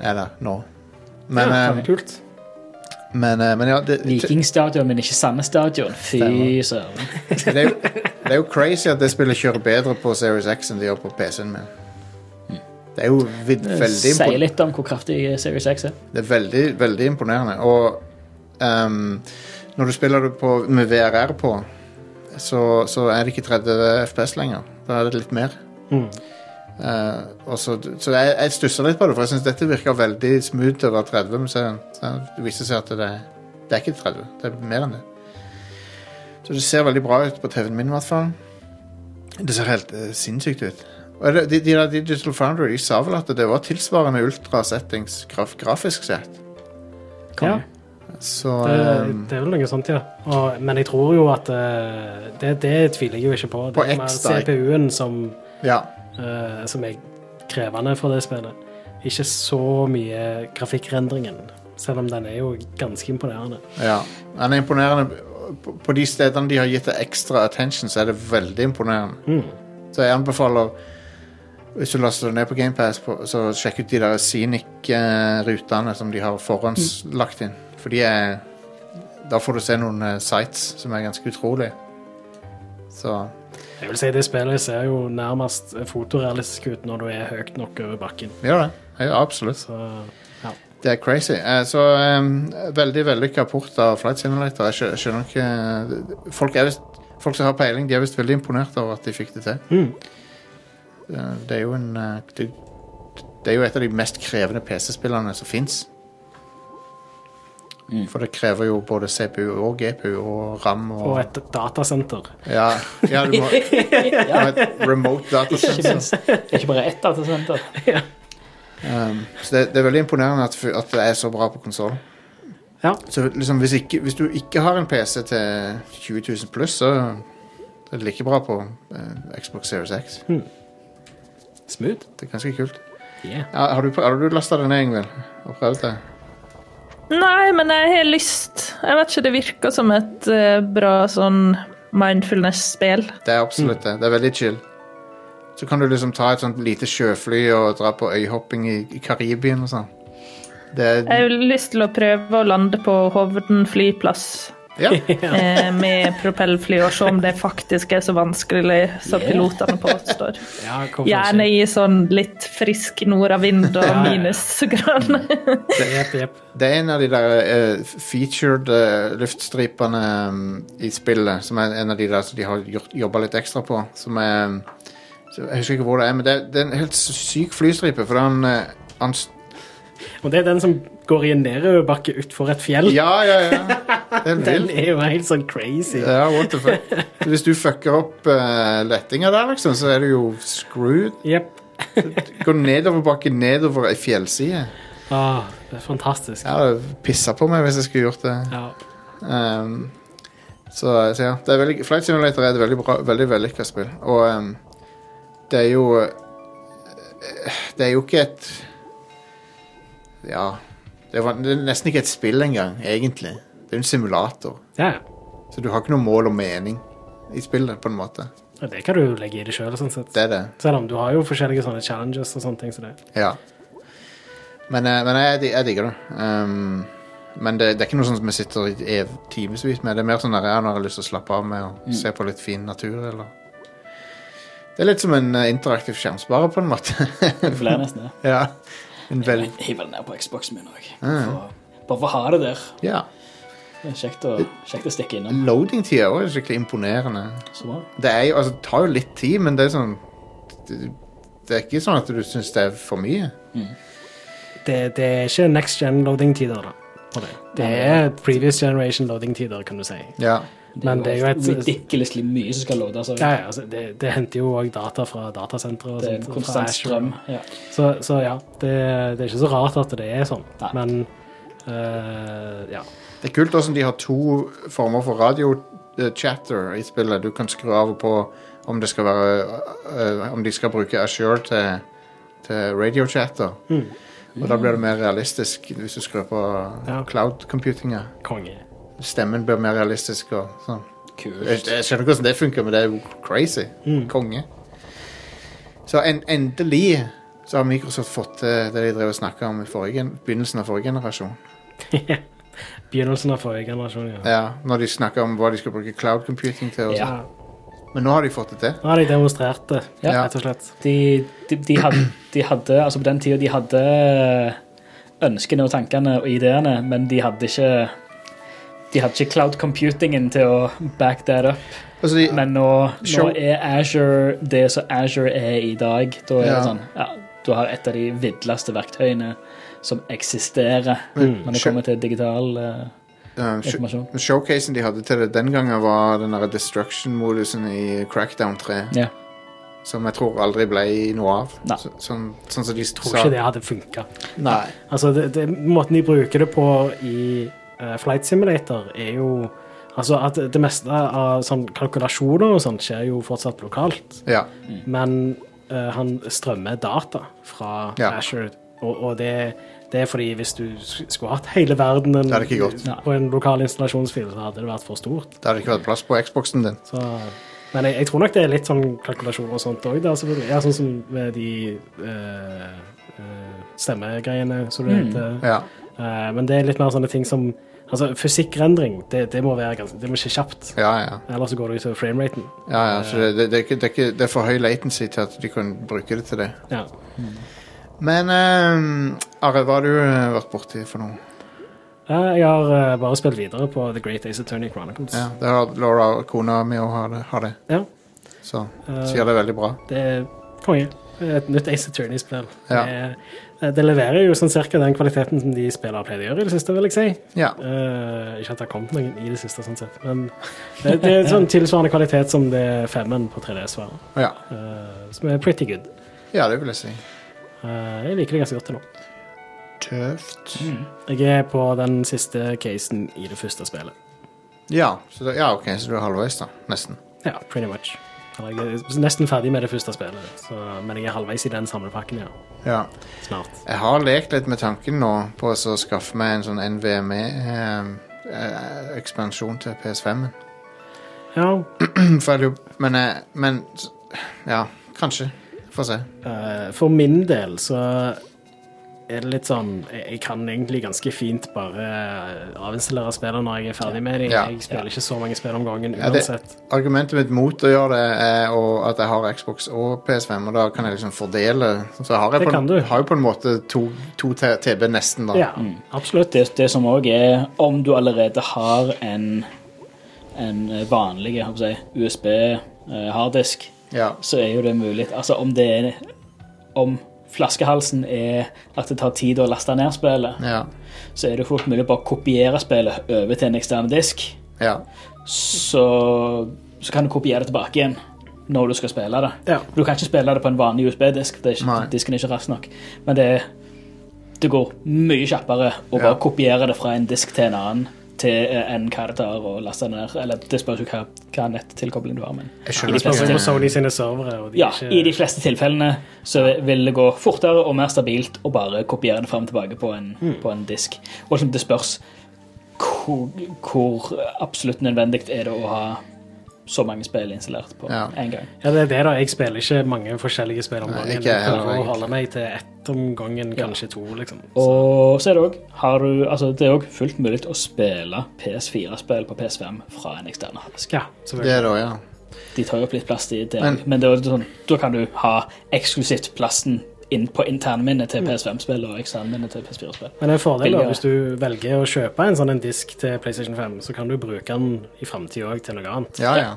B: Er der nå. Men,
C: ja,
B: eh,
C: kult.
B: men, eh, men ja det,
E: Vikingstadion, men ikke samme stadion. Fy
B: Stemmer.
E: søren.
B: det, er jo, det er jo crazy at det spillet kjører bedre på Series X enn det gjør på PC-en min. Det er jo vid,
E: Det
B: veldig impon-
E: Sier litt om hvor kraftig Series X er.
B: Det er veldig, veldig imponerende. Og ehm, når du spiller det på, med VRR på, så, så er det ikke 30 FPS lenger. Da er det litt mer.
C: Mm.
B: Eh, og så så jeg, jeg stusser litt på det, for jeg syns dette virker veldig smooth til å være 30. Men så, så det viser seg at det, det er ikke 30, det er mer enn det. Så det ser veldig bra ut på TV-en min, i hvert fall. Det ser helt eh, sinnssykt ut. Og det, de, de der Digital Foundry de sa vel at det var tilsvarende ultrasettings graf, grafisk sett.
E: Konge.
C: Ja.
B: Så
C: Det,
B: ehm,
C: det er vel noe sånt, ja. Og, men jeg tror jo at eh, det, det tviler jeg jo ikke på. Det
B: På
C: er
B: X, da.
C: CPU-en som,
B: ja.
C: eh, som er krevende for det spillet. Ikke så mye grafikkrendringen, selv om den er jo ganske imponerende.
B: Ja, han er imponerende. På- På de stedene de har gitt det ekstra attention, så er det veldig imponerende.
C: Mm.
B: Så jeg anbefaler, hvis du laster det ned på GamePass, så sjekk ut de der Scenic-rutene som de har
C: Mm.
B: forhåndslagt inn. For de er Da får du se noen eh, sites som er ganske utrolige. Så
C: Jeg vil si Det spillet ser jo nærmest fotorealistisk ut når du er høyt nok over bakken.
B: gjør det. Ja, absolutt.
C: Så, ja.
B: Det er crazy. Eh, Så um, veldig vellykka port av Flight Simulator. Jeg skjø- jeg skjønner ikke eh, Folk, er vist, folk som har peiling, de er visst veldig imponert over at de fikk det til.
C: Mm.
B: Eh, Det er jo en eh, det, det er jo et av de mest krevende PC-spillene som fins. For det krever jo både CPU og GPU og RAM og,
C: Og et datasenter.
B: ja, ja, du må
E: Ja,
B: ha et remote
E: ikke
B: datasenter.
E: minst. Ikke bare ett datasenter.
B: Um, så det, det er veldig imponerende at, at det er så bra på konsoll.
C: Ja.
B: Så liksom, hvis, ikke, hvis du ikke har en PC til 20 000 pluss, så er det like bra på eh, Xbox Series X.
C: Hmm. Smooth.
B: Det er ganske kult.
E: Yeah.
B: Ja, har du, har du lasta det ned, Ingvild? Og prøvd det?
D: Nei, men jeg har lyst. Jeg vet ikke, det virker som et eh, bra sånn mindfulness-spill.
B: Det er absolutt
C: Hmm.
B: det. Det er veldig chill. Så kan du liksom ta et sånt lite sjøfly og dra på øyhopping i, i Karibien og sånn. Det
D: Jeg
B: er
C: Eh,
D: har lyst til å prøve å lande på Hovden flyplass
B: Ja.
D: eh, med propellfly, og se om det faktisk er så vanskelig som
E: Yeah.
D: pilotene påstår.
C: Ja, hvorfor ikke?
D: Gjerne i sånn litt frisk nordavind og
C: Ja, ja, ja.
D: minusgrader.
C: Jep, jep.
B: Det er en av de der eh, featured eh, luftstripene eh, i spillet, som er en av de der som de har gjort- jobba litt ekstra på. Som er mm, så Jeg husker ikke hvor det er, men det, er- det er en helt syk flystripe, for han, eh, han s-
C: Og det er den som går i en nedoverbakke utfor et fjell.
B: Ja, ja, ja. Den,
C: Den er jo helt sånn crazy.
B: Ja, what the fuck. Hvis du fucker opp eh, lettinga der, liksom, så er du jo screwed.
C: Yep.
B: Går nedoverbakke nedover ei fjellside.
C: Ah, det er fantastisk.
B: Jeg hadde pissa på meg hvis jeg skulle gjort det.
C: Ja.
B: Ehm, så, så ja, det er veldig, Flight Simulator er et veldig bra, veldig vellykka spill. Og ehm, det er jo eh, Det er jo ikke et Ja. Det er, van- det er nesten ikke et spill engang, egentlig. Det er jo en simulator.
C: Ja.
B: Så du har ikke noe mål og mening i spillet, på en måte.
C: Og det kan du jo legge i det sjøl, sånn sett.
B: Det er det.
C: Selv om du har jo forskjellige sånne challenges og sånne ting. Så det.
B: Ja. Men, eh, men jeg, jeg digger det. Ehm, men det, det er ikke noe sånt som jeg sitter i ev- timevis med. Det er mer sånn der jeg når jeg har lyst til å slappe av med å se på litt fin natur, eller Det er litt som en eh, interaktiv skjermsparer, på en måte.
M: Det blir nesten det.
B: ja. En vel...
M: Jeg hiver den ned på Xboxen min òg.
B: Mm.
M: Bare for å ha det der.
B: Ja.
M: Det er kjekt å, kjekt å stikke innom.
B: Loading-tida òg er skikkelig imponerende.
M: Så bra.
B: Det er jo, altså, det tar jo litt tid, men det er sånn Det, det er ikke sånn at du syns det er for mye.
C: Det, det er ikke next gen loading-tider, da. på Det. det er previous generation loading-tider, kan du si.
B: Ja.
C: Men det er jo
M: helt
C: et
M: ridiculously mye som skal loades.
C: ja, ja, altså, det, det henter jo òg data fra datasentre. og
M: Det er en
C: sånt, og fra
M: konstant
C: Azure.
M: strøm. Ja.
C: Så, så ja, det, det er ikke så rart at det er sånn, men eh, ja.
B: Det er kult hvordan de har to former for radiochatter i spillet. Du kan skru av og på om, det skal være, eh, om de skal bruke Azure til, til radiochatter.
C: Mm.
B: Og da blir det mer realistisk hvis du skrur på cloud computinga.
C: Konge.
B: Stemmen blir mer realistisk og sånn. Jeg, jeg skjønner ikke hvordan det funker, men det er jo crazy. Konge. Så en, endelig så har Microsoft fått til det de drev og snakka om i forrige, begynnelsen av forrige generasjon.
C: Begynnelsen av forrige generasjon, ja.
B: Ja, når de snakker om hva de skal bruke cloud computing til. Og
C: Ja.
B: sånn. Men nå har de fått det til.
C: Nå har de demonstrert det,
M: Ja.
C: rett og slett.
M: De, de, de, hadde, de hadde, altså på den tida, de hadde eh, ønskene og tankene og ideene, men de hadde ikke de hadde ikke cloud computingen til å back that up.
B: Altså,
M: men nå, nå
E: Sure.
M: er Azure det som Azure er i dag. Da er
E: Ja.
M: det sånn, ja, du har et av de vidleste verktøyene som eksisterer
B: Men
M: når det
B: sure.
M: kommer til digital eh,
B: Um, sh-
M: informasjon.
B: showcasen de hadde til det den gangen, var den der destruction-modusen i Crackdown 3.
M: Ja.
B: Som jeg tror aldri ble noe av. Så, sånn, sånn som de
C: Tror
B: sa.
C: ikke det hadde funka.
B: Nei.
C: Altså, det, det, måten de bruker det på i eh, Flight Simulator, er jo Altså at det meste av sånn kalkulasjoner og sånt skjer jo fortsatt lokalt.
B: Ja.
C: Men eh, han strømmer data fra
B: Ja.
C: Azure, og, og det, det er fordi hvis du s- skulle hatt hele verdenen
B: Det hadde ikke gått.
C: på en lokal installasjonsfil, så hadde det vært for stort.
B: Det hadde ikke vært plass på Xboxen din.
C: Så, men jeg, jeg tror nok det er litt sånn kalkulasjoner og sånt òg. Ja, sånn som med de eh, eh, stemmegreiene, som det
B: Mm.
C: heter.
B: Ja.
C: Eh, men det er litt mer sånne ting som Altså, fysikkrendring, det, det må være ganske Det må skje kjapt.
B: Ja, ja.
C: Ellers så går det utover frameraten.
B: ja, ja så det, det, det, er ikke, det, er ikke, det er for høy latency til at de kunne bruke det til det.
C: Ja.
B: Men um, Are, hva har du eh, vært borti for noe?
C: Eh, jeg har eh, bare spilt videre på The Great Ace Attorney Chronicles.
B: Ja, det har Laura, kona mi, og har det. Har det.
C: Ja.
B: Så
C: Eh,
B: sier det veldig bra.
C: Det er konge. Et nytt Ace Attorney-spill.
B: Ja.
C: Det, det leverer jo sånn cirka den kvaliteten som de spillere pleide å gjøre i det siste, vil jeg si.
B: Ja.
C: Eh, ikke at det har kommet noen i det siste, sånn sett, men det, det er sånn tilsvarende kvalitet som det femmen på 3DS var,
B: Ja.
C: eh, som er pretty good.
B: ja, det vil jeg si.
C: Eh, jeg liker det ganske godt til nå.
B: Tøft.
C: Jeg er på den siste casen i det første spillet.
B: Ja, så da, ja, ok, så du er halvveis, da. Nesten.
C: Ja, pretty much. Eller, Jeg er nesten ferdig med det første spillet, så, men jeg er halvveis i den samlepakken, ja.
B: Ja.
C: Snart.
B: Jeg har lekt litt med tanken nå på å skaffe meg en sånn NVME-ekspansjon ehm, eh, til PS5-en.
C: Ja.
B: For jeg lurer Men, eh, men s- Ja, kanskje. Få se.
C: Eh, For min del så er det litt sånn Jeg jeg kan egentlig ganske fint bare
H: eh,
C: avinstallere spillene når jeg er ferdig med dem.
B: Ja.
C: Jeg spiller ikke så mange spill om gangen
B: Ja, det,
C: uansett.
B: argumentet mitt mot å gjøre det er å- at jeg har Xbox og PS5, og da kan jeg liksom fordele. Så jeg har jeg
M: Det
B: på,
M: kan du.
B: en- har jo på en måte to, to T- TB nesten, da.
M: Mm. Det, det som òg er om du allerede har en, en vanlig jeg håper å si,
E: eh,
M: USB-harddisk,
B: Ja.
M: så er jo det mulig. Altså om det er om
E: flaskehalsen er at det tar tid å laste ned spillet,
B: Ja.
E: så er det fort mulig å bare kopiere spillet over til en ekstern disk.
B: Ja.
E: Så, så kan du kopiere det tilbake igjen når du skal spille det. Du kan ikke spille det på en vanlig USB-disk, det er ikke, disken er ikke rask nok. Men det, det går mye kjappere å bare kopiere det fra en disk til en annen til eh, enn hva det tar å laste det ned. Eller det spørs jo hva, hva nettilkobling du har, men
H: Jeg skjønner det spørs jo på Sony sine servere. Og de
E: ja,
H: er ikke...
E: i de fleste tilfellene så vil det gå fortere og mer stabilt å bare kopiere det fram og tilbake på en,
H: Mm.
E: på en disk. Og liksom det spørs hvor, hvor absolutt nødvendig er det å ha så mange spill installert på
H: Ja.
E: en gang.
H: Ja, det er det da. Jeg spiller ikke mange forskjellige spill om
E: Nei,
H: gangen. Jeg
E: ikke jeg heller,
H: prøver å
E: egentlig.
H: holde meg til ett om gangen, kanskje to. liksom.
E: Og så er det òg har du, altså det er også fullt mulig å spille PS4-spill på PS5 fra en ekstern harddisk.
H: Ja,
B: Det er det også, ja.
E: De tar jo opp litt plass, de. det er-
B: Men-
E: Men, det er jo sånn, da kan du ha eksklusivt plassen inn på
H: Mm.
E: internminnet til PS5-spill og eksternminnet til PS4-spill.
H: Men det er en fordel da,
E: Billigere.
H: hvis du velger å kjøpe en sånn en disk til PlayStation 5, så kan du bruke den i framtida òg til noe annet.
B: Ja, ja.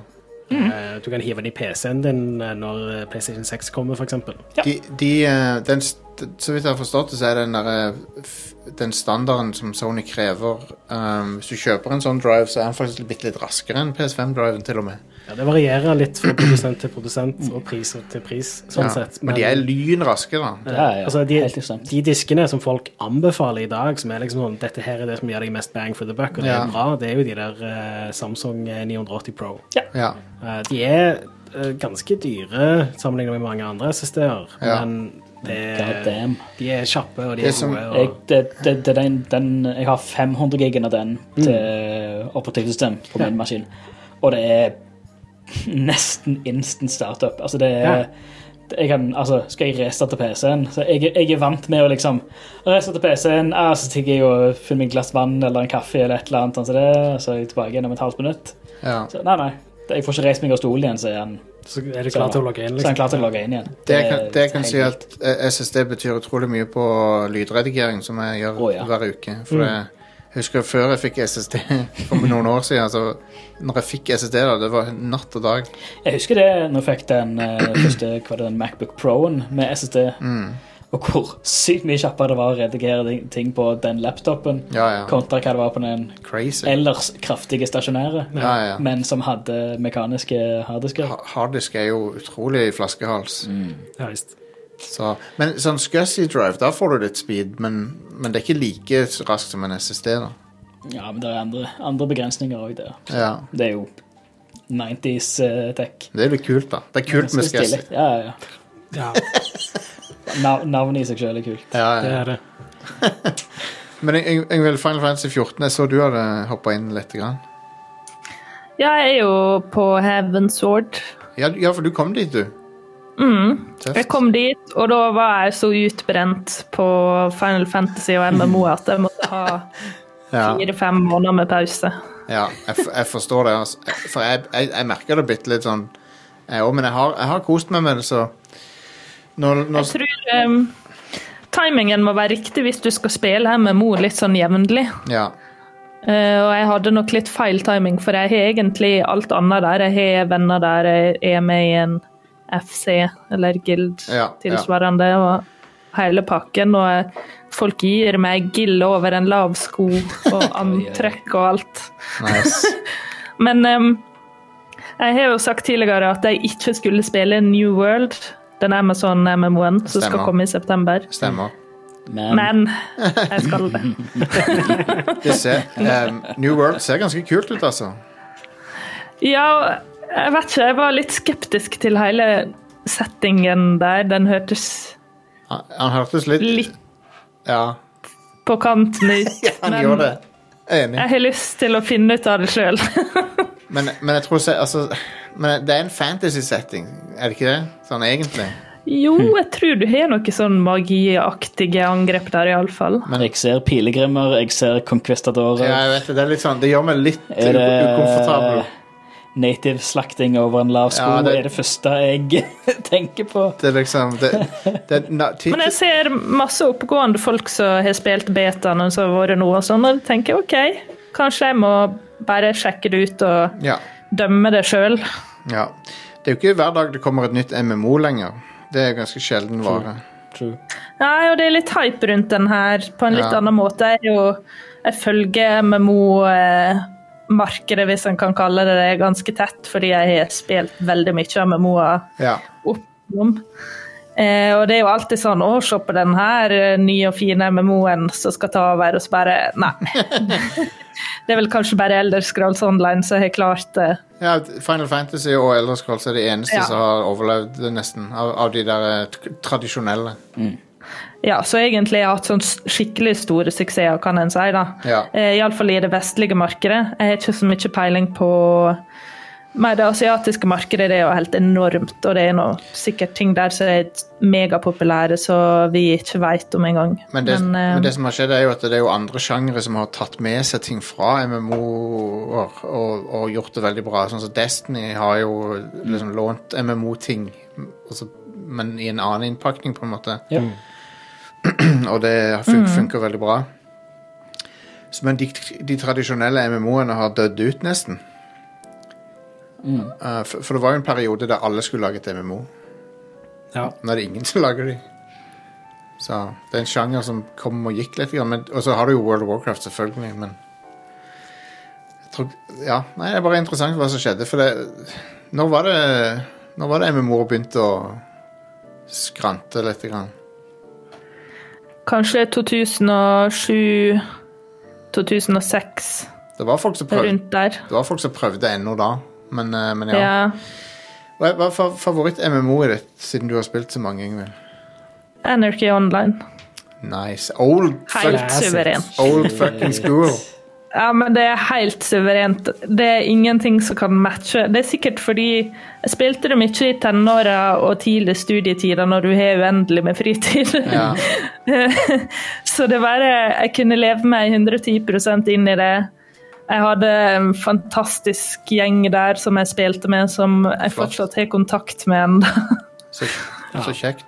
H: Eh, Du kan hive den i PC-en din eh, når eh, PlayStation 6 kommer, f.eks.
B: De, de, eh, den, st- så vidt jeg har forstått det, så er den, der, eh, f- den standarden som Sony krever ehm, Hvis du kjøper en sånn drive, så er den faktisk litt, litt raskere enn PS5-driven, til og med.
H: Ja, det varierer litt fra produsent til produsent og pris til pris, sånn
B: Ja,
H: sett.
B: Men de er lynraske, da.
H: Ja, altså de, de diskene som folk anbefaler i dag, som er liksom sånn Dette her er det som gjør deg mest bang for the buck, og det
B: Ja.
H: er bra, det er jo de der eh, Samsung 980 Pro.
B: Ja.
H: Eh, de er eh, ganske dyre sammenlignet med mange andre SSD-er,
E: Ja.
H: men
E: God
H: det,
E: damn.
H: de er kjappe, og de
E: Det
H: er
E: som-
H: gode.
E: jeg,
H: Og,
E: det, det, det, er den, den, jeg har 500 gigen av den
H: Mm.
E: til operativsystem på min
H: Ja.
E: maskin. Og det er nesten instant startup. Altså, det er
H: Ja.
E: jeg kan, altså, skal jeg restarte PC-en? Så jeg, jeg er vant med å liksom restarte PC-en, ah, så tigger jeg og finner meg et glass vann eller en kaffe eller et eller annet, sånn som det, så er jeg tilbake igjen om et halvt minutt.
B: Ja.
E: Så, nei, nei, jeg får ikke reist meg av stolen igjen, så er han
H: Så er du klar til å logge inn,
E: Så er
H: liksom?
E: han klar til å logge inn igjen.
B: Det jeg kan, det jeg
E: er
B: kan si,
E: helt
B: at eh, SSD betyr utrolig mye på lydredigering, som jeg gjør hver uke. For
E: Mm.
B: jeg husker før jeg fikk SSD, for noen år siden, altså Når jeg fikk SSD, da, det var natt og dag.
E: Jeg husker det når jeg fikk den eh, første hva var det, den Macbook Pro-en med SSD.
B: Mm.
E: Og hvor sykt mye kjappere det var å redigere de- ting på den laptopen
B: Ja, ja.
E: kontra hva det var på den
B: Crazy.
E: ellers kraftige stasjonære,
B: Ja, ja.
E: men som hadde mekaniske harddisker.
B: Harddisk er jo utrolig flaskehals.
H: Ja, visst.
B: Så, men sånn Scuzzy Drive, da får du litt speed, men, men det er ikke like raskt som en SSD, da.
E: Ja, men det er andre, andre begrensninger òg der. Så
B: Ja.
E: Det er jo 90s eh, tech.
B: Det er litt kult, da. Det er kult med
E: Ganske stilig.
B: Scuzzy.
E: Ja, ja,
H: ja.
E: Nav- Navnet i seg selv er kult.
B: Ja, ja. Det er
H: det.
B: Men Yng- Yngvild, Final Fantasy 14, jeg så du hadde hoppa inn litt. Grann.
D: Jeg er jo på Heaven Sword.
B: Ja, du- ja, for du kom dit, du.
D: Mm.
B: Tøft.
D: Jeg kom dit, og da var jeg så utbrent på Final Fantasy og MMO at jeg måtte ha
B: Ja.
D: fire-fem måneder med pause.
B: Ja, jeg, f- jeg forstår det. Altså. Jeg- For jeg, jeg, jeg merker det bitte litt sånn, jeg òg, men jeg har, jeg har kost meg med det, så når,
D: Jeg
B: når,
D: tror em, timingen må være riktig hvis du skal spille MMO litt sånn jevnlig.
B: Ja.
D: Eh, og jeg hadde nok litt feil timing, for jeg har egentlig alt annet der. Jeg har venner der, jeg er med i en FC eller guild
B: Ja,
D: tilsvarende, og hele pakken. Og jeg- folk gir meg gill over en lav sko og antrekk og alt.
B: Nice.
D: Men em, jeg har jo sagt tidligere at jeg ikke skulle spille New World, den Amazon-MMO-en som skal
B: Stemmer.
D: komme i september.
B: Stemmer.
D: Men jeg skal det.
B: Det ser, em, New World ser ganske kult ut, altså.
D: Ja, jeg vet ikke. Jeg var litt skeptisk til hele settingen der. Den hørtes
B: Han, han hørtes litt
D: litt
B: Ja,
D: på kanten ut.
B: han gjorde det. Jeg er enig.
D: jeg har lyst til å finne ut av det sjøl.
B: Men, men jeg tror se- altså, men det er en fantasy-setting, er det ikke det? Sånn egentlig.
D: Jo,
B: Hmm.
D: jeg tror du har noe sånn magiaktige angrep der, iallfall.
E: Men jeg ser pilegrimer, jeg ser conquistadorer.
B: Ja, jeg vet det, det, er litt sånn, det gjør meg litt
E: Er det
B: ukomfortabel.
E: native-slakting over en lav sko?
B: Ja, det-
E: det... Er det første jeg tenker på?
B: Det er liksom det, det, er na- ti-
D: Men jeg ser masse oppegående folk som har spilt betaen og som har vært nå og sånn, og tenker OK, kanskje jeg må bare sjekke det ut og
B: ja,
D: dømme det sjøl.
B: ja. Det er jo ikke hver dag det kommer et nytt MMO lenger. Det er ganske sjelden vare.
E: True.
D: Nei, og det er litt hype rundt den her på en litt
B: Ja.
D: annen måte. Jeg er jo jeg følger MMO-markedet, eh, hvis en kan kalle det det, ganske tett, fordi jeg har spilt veldig mye MMO-er
B: Ja.
D: oppom. Eh, og det er jo alltid sånn å, se på den her eh, nye og fine MMO-en som skal ta over, og så bare Nei. det er vel kanskje bare Elder Scrolls Online som har klart det.
B: Ja, Final Fantasy og Elder Scrolls er de eneste
D: Ja.
B: som har overlevd det nesten, av, av de der eh, t- tradisjonelle.
D: Ja, så egentlig har jeg hatt sånn s- skikkelig store suksesser, kan en si. da.
B: Ja.
D: Eh, Iallfall i det vestlige markedet. Jeg har ikke så mye peiling på Nei, det asiatiske markedet det er jo helt enormt, og det er nå sikkert ting der som er megapopulære, så vi ikke veit om engang.
B: Men det, men,
D: eh,
B: det som har skjedd, er jo at det er jo andre sjangere som har tatt med seg ting fra MMO-er og, og gjort det veldig bra. Sånn som Destiny har jo liksom lånt MMO-ting, og så- altså, men i en annen innpakning, på en måte.
E: Ja.
B: og det fun funker veldig bra. Så, men de, de tradisjonelle MMO-ene har dødd ut, nesten. Eh, for, for det var jo en periode der alle skulle lage et MMO.
H: Ja.
B: Nå er det ingen som lager de. Så det er en sjanger som kom og gikk litt. grann, Men, og så har du jo World of Warcraft, selvfølgelig, men jeg tror, ja, nei, Det er bare interessant hva som skjedde, for det, nå var det Nå var det MMO begynte å skrante litt. Grann.
D: Kanskje 2007-2006,
B: Det var folk som prøvde,
D: rundt der.
B: det var folk som prøvde ennå da, men, eh, men ja.
D: Ja.
B: Hva hva er fa- favoritt-MMO-et ditt, siden du har spilt så mange, Ingvild?
D: Anarchy Online.
B: Nice. Old, fuck,
D: Helt suverent.
B: old fucking school.
D: Ja, men det er helt suverent. Det er ingenting som kan matche. Det er sikkert fordi jeg spilte det mye i tenåra og tidlig studietider når du har uendelig med fritid.
B: Ja.
D: så det bare Jeg kunne leve meg 110 inn i det. Jeg hadde en fantastisk gjeng der som jeg spilte med, som jeg
B: Flott.
D: fortsatt har kontakt med ennå.
B: Så, så kjekt.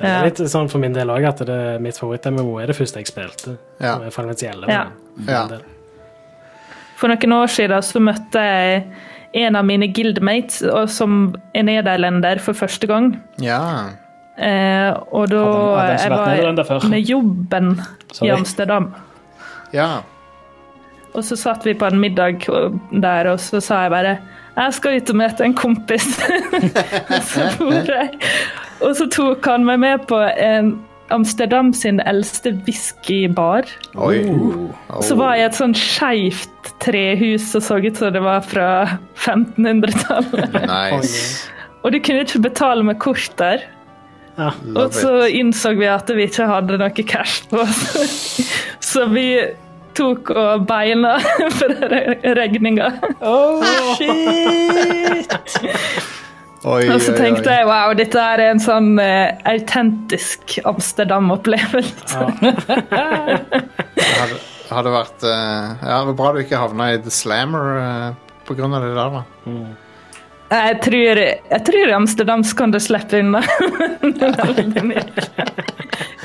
H: Det
D: Ja.
H: er litt sånn for min del òg at det, mitt favoritt-MMO er det første jeg spilte.
B: Ja.
H: som er Final Fantasy 11,
D: Ja.
H: men-
B: Ja.
H: men det-
D: For noen år siden så møtte jeg en av mine guildmates, og som er nederlender for første gang.
B: Ja.
D: Eh, og da
E: Hadde han- hadde han ikke
D: jeg
E: vært nederlender
D: var
E: før?
D: med jobben
E: Sorry.
D: i Amsterdam.
B: Ja.
D: Og så satt vi på en middag og- der, og så sa jeg bare jeg skal ut og møte en kompis. Og så for jeg. og så tok han meg med på en Amsterdam sin eldste whiskybar.
B: Oi.
D: Så var jeg i et sånn skeivt trehus som så ut som det var fra 1500-tallet.
B: Nice.
D: Og de kunne ikke betale med kort der. Og
B: Love
D: så
B: it.
D: innså vi at vi ikke hadde noe cash på oss. Så vi tok og beina for regninga.
B: Oi,
D: Og så
B: oi,
D: tenkte
B: oi.
D: jeg wow, dette her er en sånn eh, autentisk Amsterdam-opplevelse.
B: Det hadde, hadde vært eh, Ja, det var bra du ikke havna i The Slammer eh, på grunn av det der, da.
D: Jeg tror, jeg tror Amsterdam skal du slippe unna.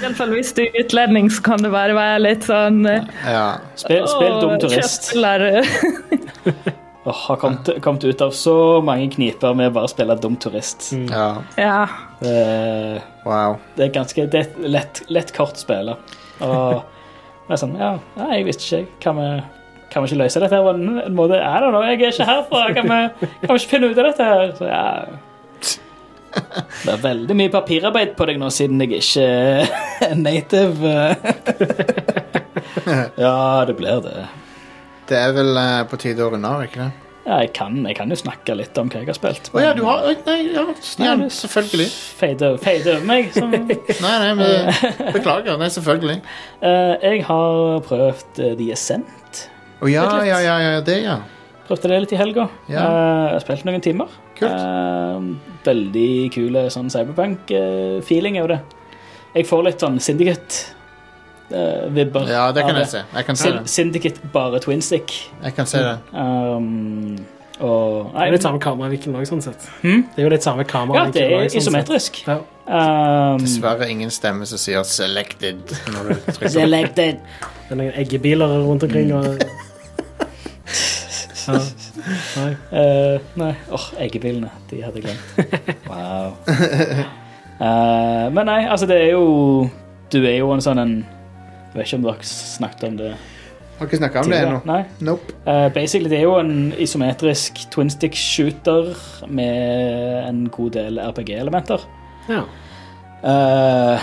D: Iallfall hvis du er utlending, så kan det bare være litt sånn eh,
B: Ja.
E: Spill, spill
D: «Åh,
E: dum turist.
D: kjøttboller».
E: Åh, har kommet, kommet ut av så mange kniper med å bare spille dum turist. Eh,
B: ja.
D: Ja.
E: Det,
B: Wow.
E: det er ganske det er et lett, lett kort spill. da. Og det er sånn, ja, nei, jeg visste ikke. Kan vi, kan vi ikke løse dette her på en en måte? I don't know, jeg er ikke herfra. Kan vi, kan vi ikke finne ut av dette her? Så ja. Det er veldig mye papirarbeid på deg nå, siden jeg ikke er native. Ja, det blir det.
B: Det er vel eh, på tide å runde av, ikke det?
E: Ja, jeg kan, jeg kan jo snakke litt om hva jeg har spilt.
B: Å ja, du har oi, Nei, ja, ja, selvfølgelig.
E: Feide feide over meg. Som,
B: Nei, nei, men Beklager. Nei, selvfølgelig.
E: Eh, jeg har prøvd eh, The Ascent.
B: Å ja, ja, ja, ja, det, ja.
E: Prøvde det litt i helga.
B: Ja.
E: Eh, jeg har spilt noen timer.
B: Kult.
E: Eh, veldig kule sånn cyberpunk-feeling over det. Jeg får litt sånn Syndicate-vibber.
B: Ja, det kan jeg se. Jeg kan se det.
E: Syndicate bare twinstick.
B: Jeg kan se det.
E: Um, og
H: Det
E: nei,
H: er jo litt samme kameravinkel òg, sånn sett. Det er jo litt samme
E: Hmm? ja, det
H: kameravinkel
E: er
H: også, sånn sett.
E: isometrisk.
H: Ja.
E: Um,
B: Dessverre ingen stemme som sier 'selected' når du trykker.
E: Selected.
H: Det er noen eggebiler rundt omkring. Og...
E: Hmm.
H: Ja. Nei.
E: Eh, nei. Åh, eggebilene. De hadde jeg glemt. Wow. Eh, men nei, altså, det er jo Du er jo en sånn en Jeg vet ikke om dere snakket om det.
B: Har ikke snakka om det
E: tidligere.
B: ennå.
E: Nei.
B: Nope.
E: Eh, basically, det er jo en isometrisk twin stick shooter med en god del RPG-elementer.
C: Ja.
E: Eh,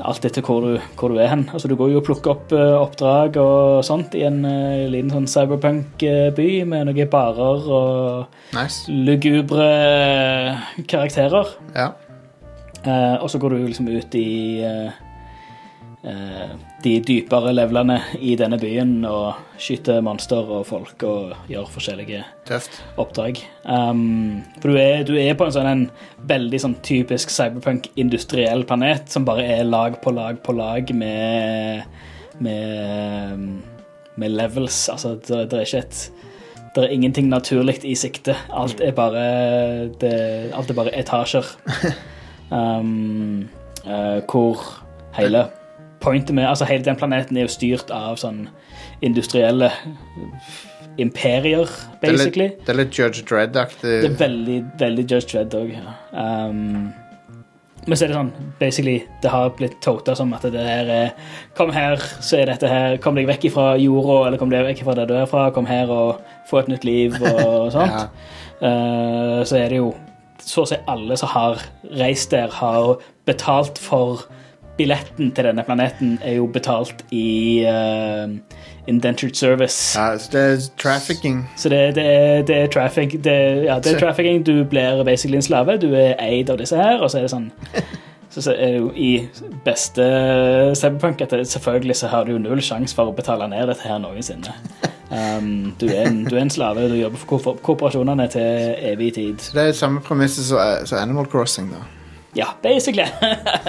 E: alt etter hvor du, hvor du er hen. Altså, du går jo og plukker opp eh, oppdrag og sånt i en eh, liten sånn cyberpunk-by med noen barer og
B: nice.
E: lugubre karakterer.
B: Ja.
E: Eh, og så går du liksom ut i eh, eh, de dypere levelene i denne byen og skyter monster og folk og gjør forskjellige
B: Tøft.
E: oppdrag. Um, for du er, du er på en sånn en veldig sånn typisk cyberpunk-industriell planet som bare er lag på lag på lag med med, um, med levels. Altså, det, det er ikke et det er ingenting naturlig i sikte. Alt er bare, det, alt er bare etasjer. Um, eh, hvor hele pointet med Altså, hele den planeten er jo styrt av sånn industrielle imperier,
B: Det er litt,
E: basically.
B: det er litt Judge Dredd-aktig.
E: Det er veldig, veldig Judge Dredd òg. Ja. Um, men så er det sånn basically, Det har blitt tota som at det her er Kom her, så er dette her. Kom deg vekk fra jorda, eller kom deg vekk fra der du er fra. Kom her og få et nytt liv og sånt. Eh, så er det jo så å si alle som har reist der, har betalt for billetten til denne planeten, er jo betalt i eh, indentured service.
B: Ja, så det er trafficking.
E: Så det, det, er, det er traffic det, er- ja, det er trafficking. Du blir basically en slave. Du er eid av disse her, og så er det sånn Så så er det jo i beste cyberpunk at det- selvfølgelig så har du jo null sjanse for å betale ned dette her noensinne. Um, du, er en, du er en slave. Du jobber for korpor- korporasjonene til evig tid.
B: Så det er samme premisset som eh, som Animal Crossing, da.
E: Ja, basically.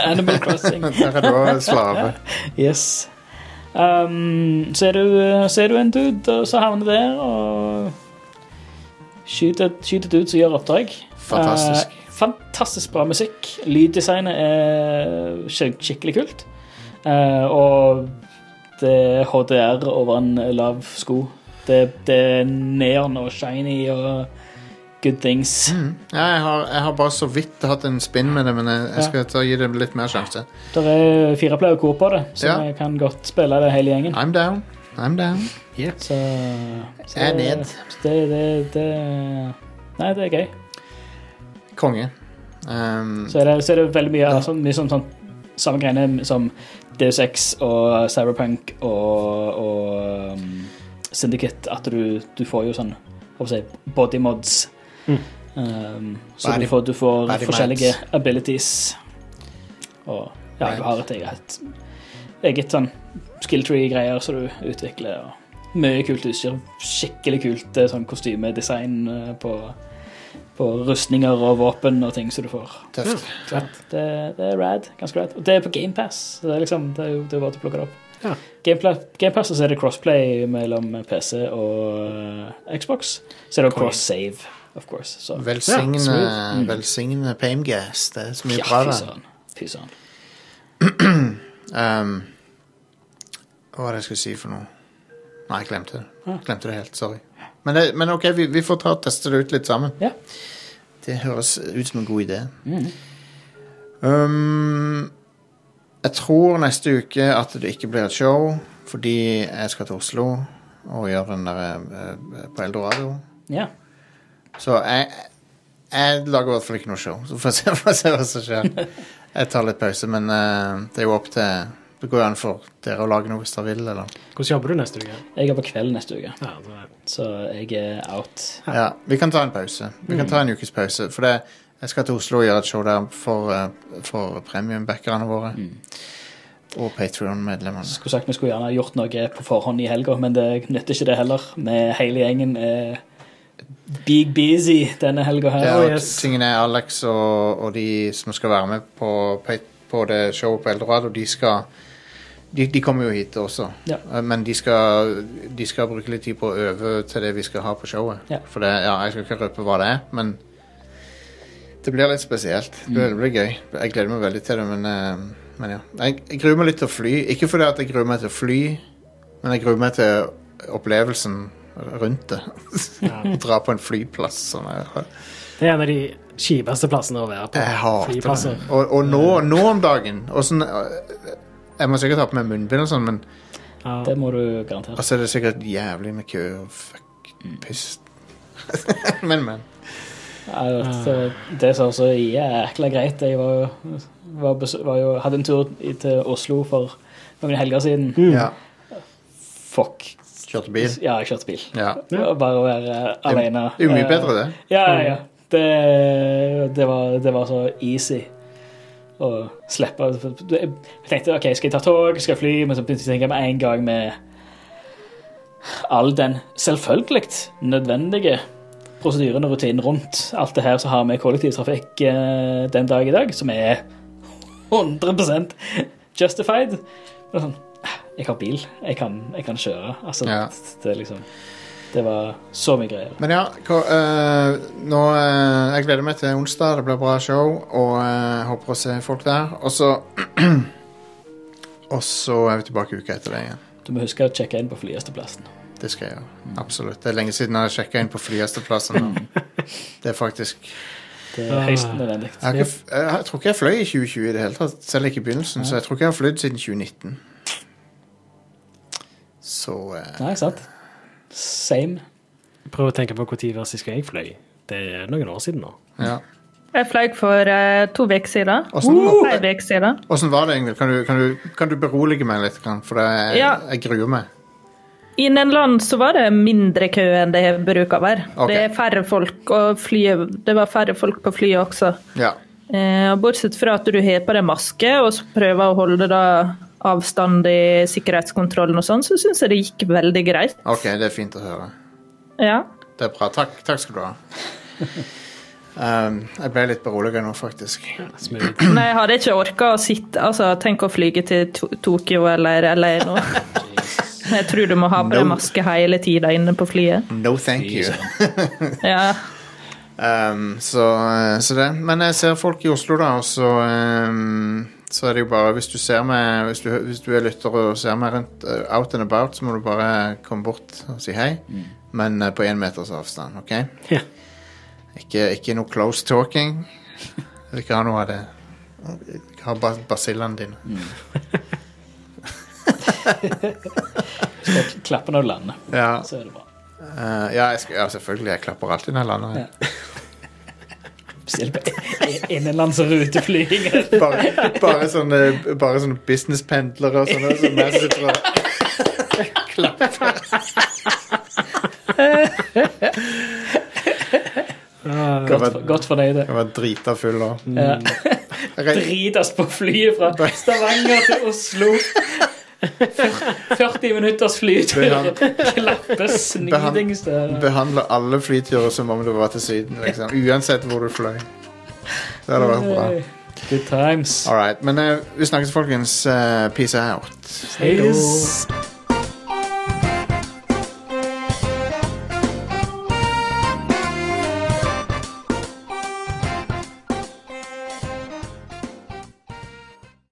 E: Animal Crossing.
B: Der er du også slave.
E: Yes. Um, så, er du, så er du en dude, og så havner du der og skyter, skyter dudes og gjør oppdrag.
B: Fantastisk.
E: Eh, fantastisk bra musikk. Lyddesignet er skik- skikkelig kult. Eh, og det er HDR over en lav sko. Det, det er neon og shiny og good things.
B: Ja, jeg, har, jeg har bare så vidt hatt en spinn med det, men jeg, jeg skal ta, gi det litt mer sjanse.
E: Det er fire player kor på det, så
B: Ja.
E: vi kan godt spille det hele gjengen.
B: I'm down. I'm down.
E: Så, så
B: Jeg er ned.
E: så Det, det, det Nei, det er gøy.
B: Konge. Um,
E: Så er det, så er det veldig mye, altså, mye sånn, sånn samme greiene som Deus Ex og Cyberpunk og, og um, Syndicate, at du, du får jo sånn hva skal jeg si, body mods. Um, så
B: Mm. Body-
E: du får, du får
B: body
E: forskjellige
B: mods.
E: abilities. Og ja,
B: Right.
E: du har et eget, eget sånn skill tree-greier som du utvikler. og mye kult utstyr. Skikkelig kult eh, sånn kostymedesign eh, på, på rustninger og våpen og ting som du får.
B: tøft.
E: Så Det, det er rad. Ganske rad. Og det er på GamePass. Det er liksom, det er jo det er bare til å plukke det opp.
C: Ja.
E: GamePla- GamePass så er det crossplay mellom PC og eh, Xbox. Så er det
C: Konge.
E: cross-save, of course. Så.
B: Velsigne,
C: Ja,
B: eh,
C: smooth.
E: Mm.
B: velsigne Pamegas. Det er så mye
E: Ja,
B: bra
E: fy
B: der.
E: søren. Fy søren.
B: Um, hva var det jeg skulle si for noe? Nei, jeg glemte det. Glemte det helt, sorry. Men, det, men OK, vi, vi får ta og teste det ut litt sammen.
E: Ja.
B: Det høres ut som en god idé.
E: Mm.
B: Um, jeg tror neste uke at det ikke blir et show, fordi jeg skal til Oslo og gjøre den der eh, på Eldorado.
E: Ja.
B: Så jeg, jeg lager i hvert fall ikke noe show. Så får jeg se, får jeg se hva som skjer. Jeg tar litt pause, men eh, det er jo opp til Det går jo an for dere å lage noe hvis dere vil, eller?
C: Hvordan jobber du neste uke?
E: Jeg er på kveld neste uke,
C: Ja, det er
E: så jeg er out.
B: Ja, vi kan ta en pause. Vi kan ta en ukes pause. For det, jeg skal til Oslo og gjøre et show der for, eh, for premiumbackerne våre.
E: Mm.
B: Og Patrion-medlemmene.
E: Skulle sagt vi skulle gjerne gjort noe på forhånd i helga, men det nytter ikke det heller. Vi hele gjengen er big busy denne helga her.
B: Ja,
C: Oh,
B: og
C: yes.
B: tingen er Alex og, og de som skal være med på, pa- på det showet på Eldorado, de skal de, de kommer jo hit også,
E: Ja.
B: Eh, men de skal, de skal bruke litt tid på å øve til det vi skal ha på showet.
E: Ja.
B: For det, ja, jeg skal ikke røpe hva det er, men det blir litt spesielt. Det blir, det blir gøy. Jeg gleder meg veldig til det, men, eh, men ja. Jeg, jeg gruer meg litt til å fly. Ikke fordi at jeg gruer meg til å fly, men jeg gruer meg til opplevelsen rundt det. Dra på en flyplass. Sånn, jeg,
C: Det er en av de kjipeste plassene å være på.
B: Jeg hater det.
C: Flyplasser.
B: Og, og nå, nå om dagen og sånn, øh, Jeg må sikkert ha på meg munnbind og sånn, men
E: Det må du garantere.
B: Og så er det sikkert jævlig med kø og fuck piss. men, men.
E: Ja, det- det som er så jækla greit Jeg var jo, var, bes- var jo, hadde en tur i- til Oslo for noen helger siden.
B: Ja.
E: Fuck.
B: Kjørte bil.
E: Ja, jeg kjørte bil.
B: Ja.
E: Og Bare å være eh, alene.
B: Det er jo mye
E: Eh,
B: bedre, det.
E: Ja, ja, ja. Det, det, var, det var så easy å slippe. Jeg tenkte OK, skal jeg ta tog, skal jeg fly? Men så begynte jeg å tenke med en gang med all den selvfølgelig nødvendige prosedyren og rutinen rundt alt det her som har med kollektivtrafikk eh, den dag i dag, som er 100 justified. Men sånn, jeg har bil, jeg kan, jeg kan kjøre. Altså,
B: Ja.
E: det, er liksom, det var så mye greier.
B: Men ja, hva, øh, nå øh, Jeg gleder meg til onsdag. Det blir bra show. Og øh, håper å se folk der. Og så Og så er vi tilbake uka etter det igjen.
E: Du må huske å sjekke inn på flygjesteplassen.
B: Det skal jeg gjøre. Absolutt. Det er lenge siden jeg har sjekka inn på flygjesteplassen. nå. Det er faktisk
E: Det
C: Ah.
E: er høyst nødvendig.
B: Jeg, har ikke, f- jeg, har- jeg tror ikke jeg fløy i 2020 i det hele tatt, selv ikke i begynnelsen. Så jeg tror ikke jeg har flydd siden 2019. Så eh,
E: Nei, sant? Same.
C: Prøv å tenke på når var sist gang jeg fløy. Det er noen år siden nå.
B: ja.
D: Jeg fløy for eh, to uker siden.
B: Åssen
E: sånn,
B: var,
D: Tre uker siden.
B: åssen var det, Ingvild? Kan, du- kan, du- kan du berolige meg litt? grann? For jeg,
D: Ja.
B: jeg gruer meg.
D: Innenlands så var det mindre kø enn det bruker å være.
B: Ok.
D: Det er færre folk, og flyet, det var færre folk på flyet også.
B: Ja.
D: Eh, og bortsett fra at du har på deg maske og så prøver å holde da avstand i sikkerhetskontrollen og sånn, så syns jeg det gikk veldig greit.
B: OK, det er fint å høre.
D: Ja.
B: Det er bra. Takk, takk skal du ha. Um, jeg ble litt beroliget nå, faktisk.
D: Men jeg hadde ikke orka å sitte altså Tenk å flyge til To- Tokyo eller LA nå. Jeg tror du må ha på deg
B: No.
D: maske hele tida inne på flyet.
B: No thank you.
D: Ja.
B: Um, så, eh, så det. Men jeg ser folk i Oslo, da, og så um, Så er det jo bare Hvis du ser meg Hvis du, hvis du er lytter og ser meg rundt, eh, out and about, så må du bare komme bort og si hei. Men eh, på én meters avstand, OK?
C: Ja.
B: Ikke, ikke noe close talking. Jeg vil ikke ha noe av det. Jeg vil Ikke ha bas- basillene dine.
E: Skal klappe når du lander,
B: Ja.
E: så er det bra.
B: Eh, ja, jeg skal, ja, selvfølgelig. Jeg klapper alltid når jeg lander. jeg.
E: Spesielt på i- innenlands og ruteflyging.
B: Bare, bare sånne, bare sånne businesspendlere og sånne som jeg sitter og
E: Godt, for- godt fornøyd.
B: Jeg var drita full da.
E: Ja.
B: Jeg regner-
E: Dritas på flyet fra Stavanger til Oslo. 40 minutters flytur. Klappesnidings der.
B: Behandle alle flyturer som om det var til Syden, liksom. Uansett hvor du fløy. Det hadde vært bra.
E: Good times.
B: All right. Men eh, vi snakkes, folkens. Eh, peace out.
E: Peace.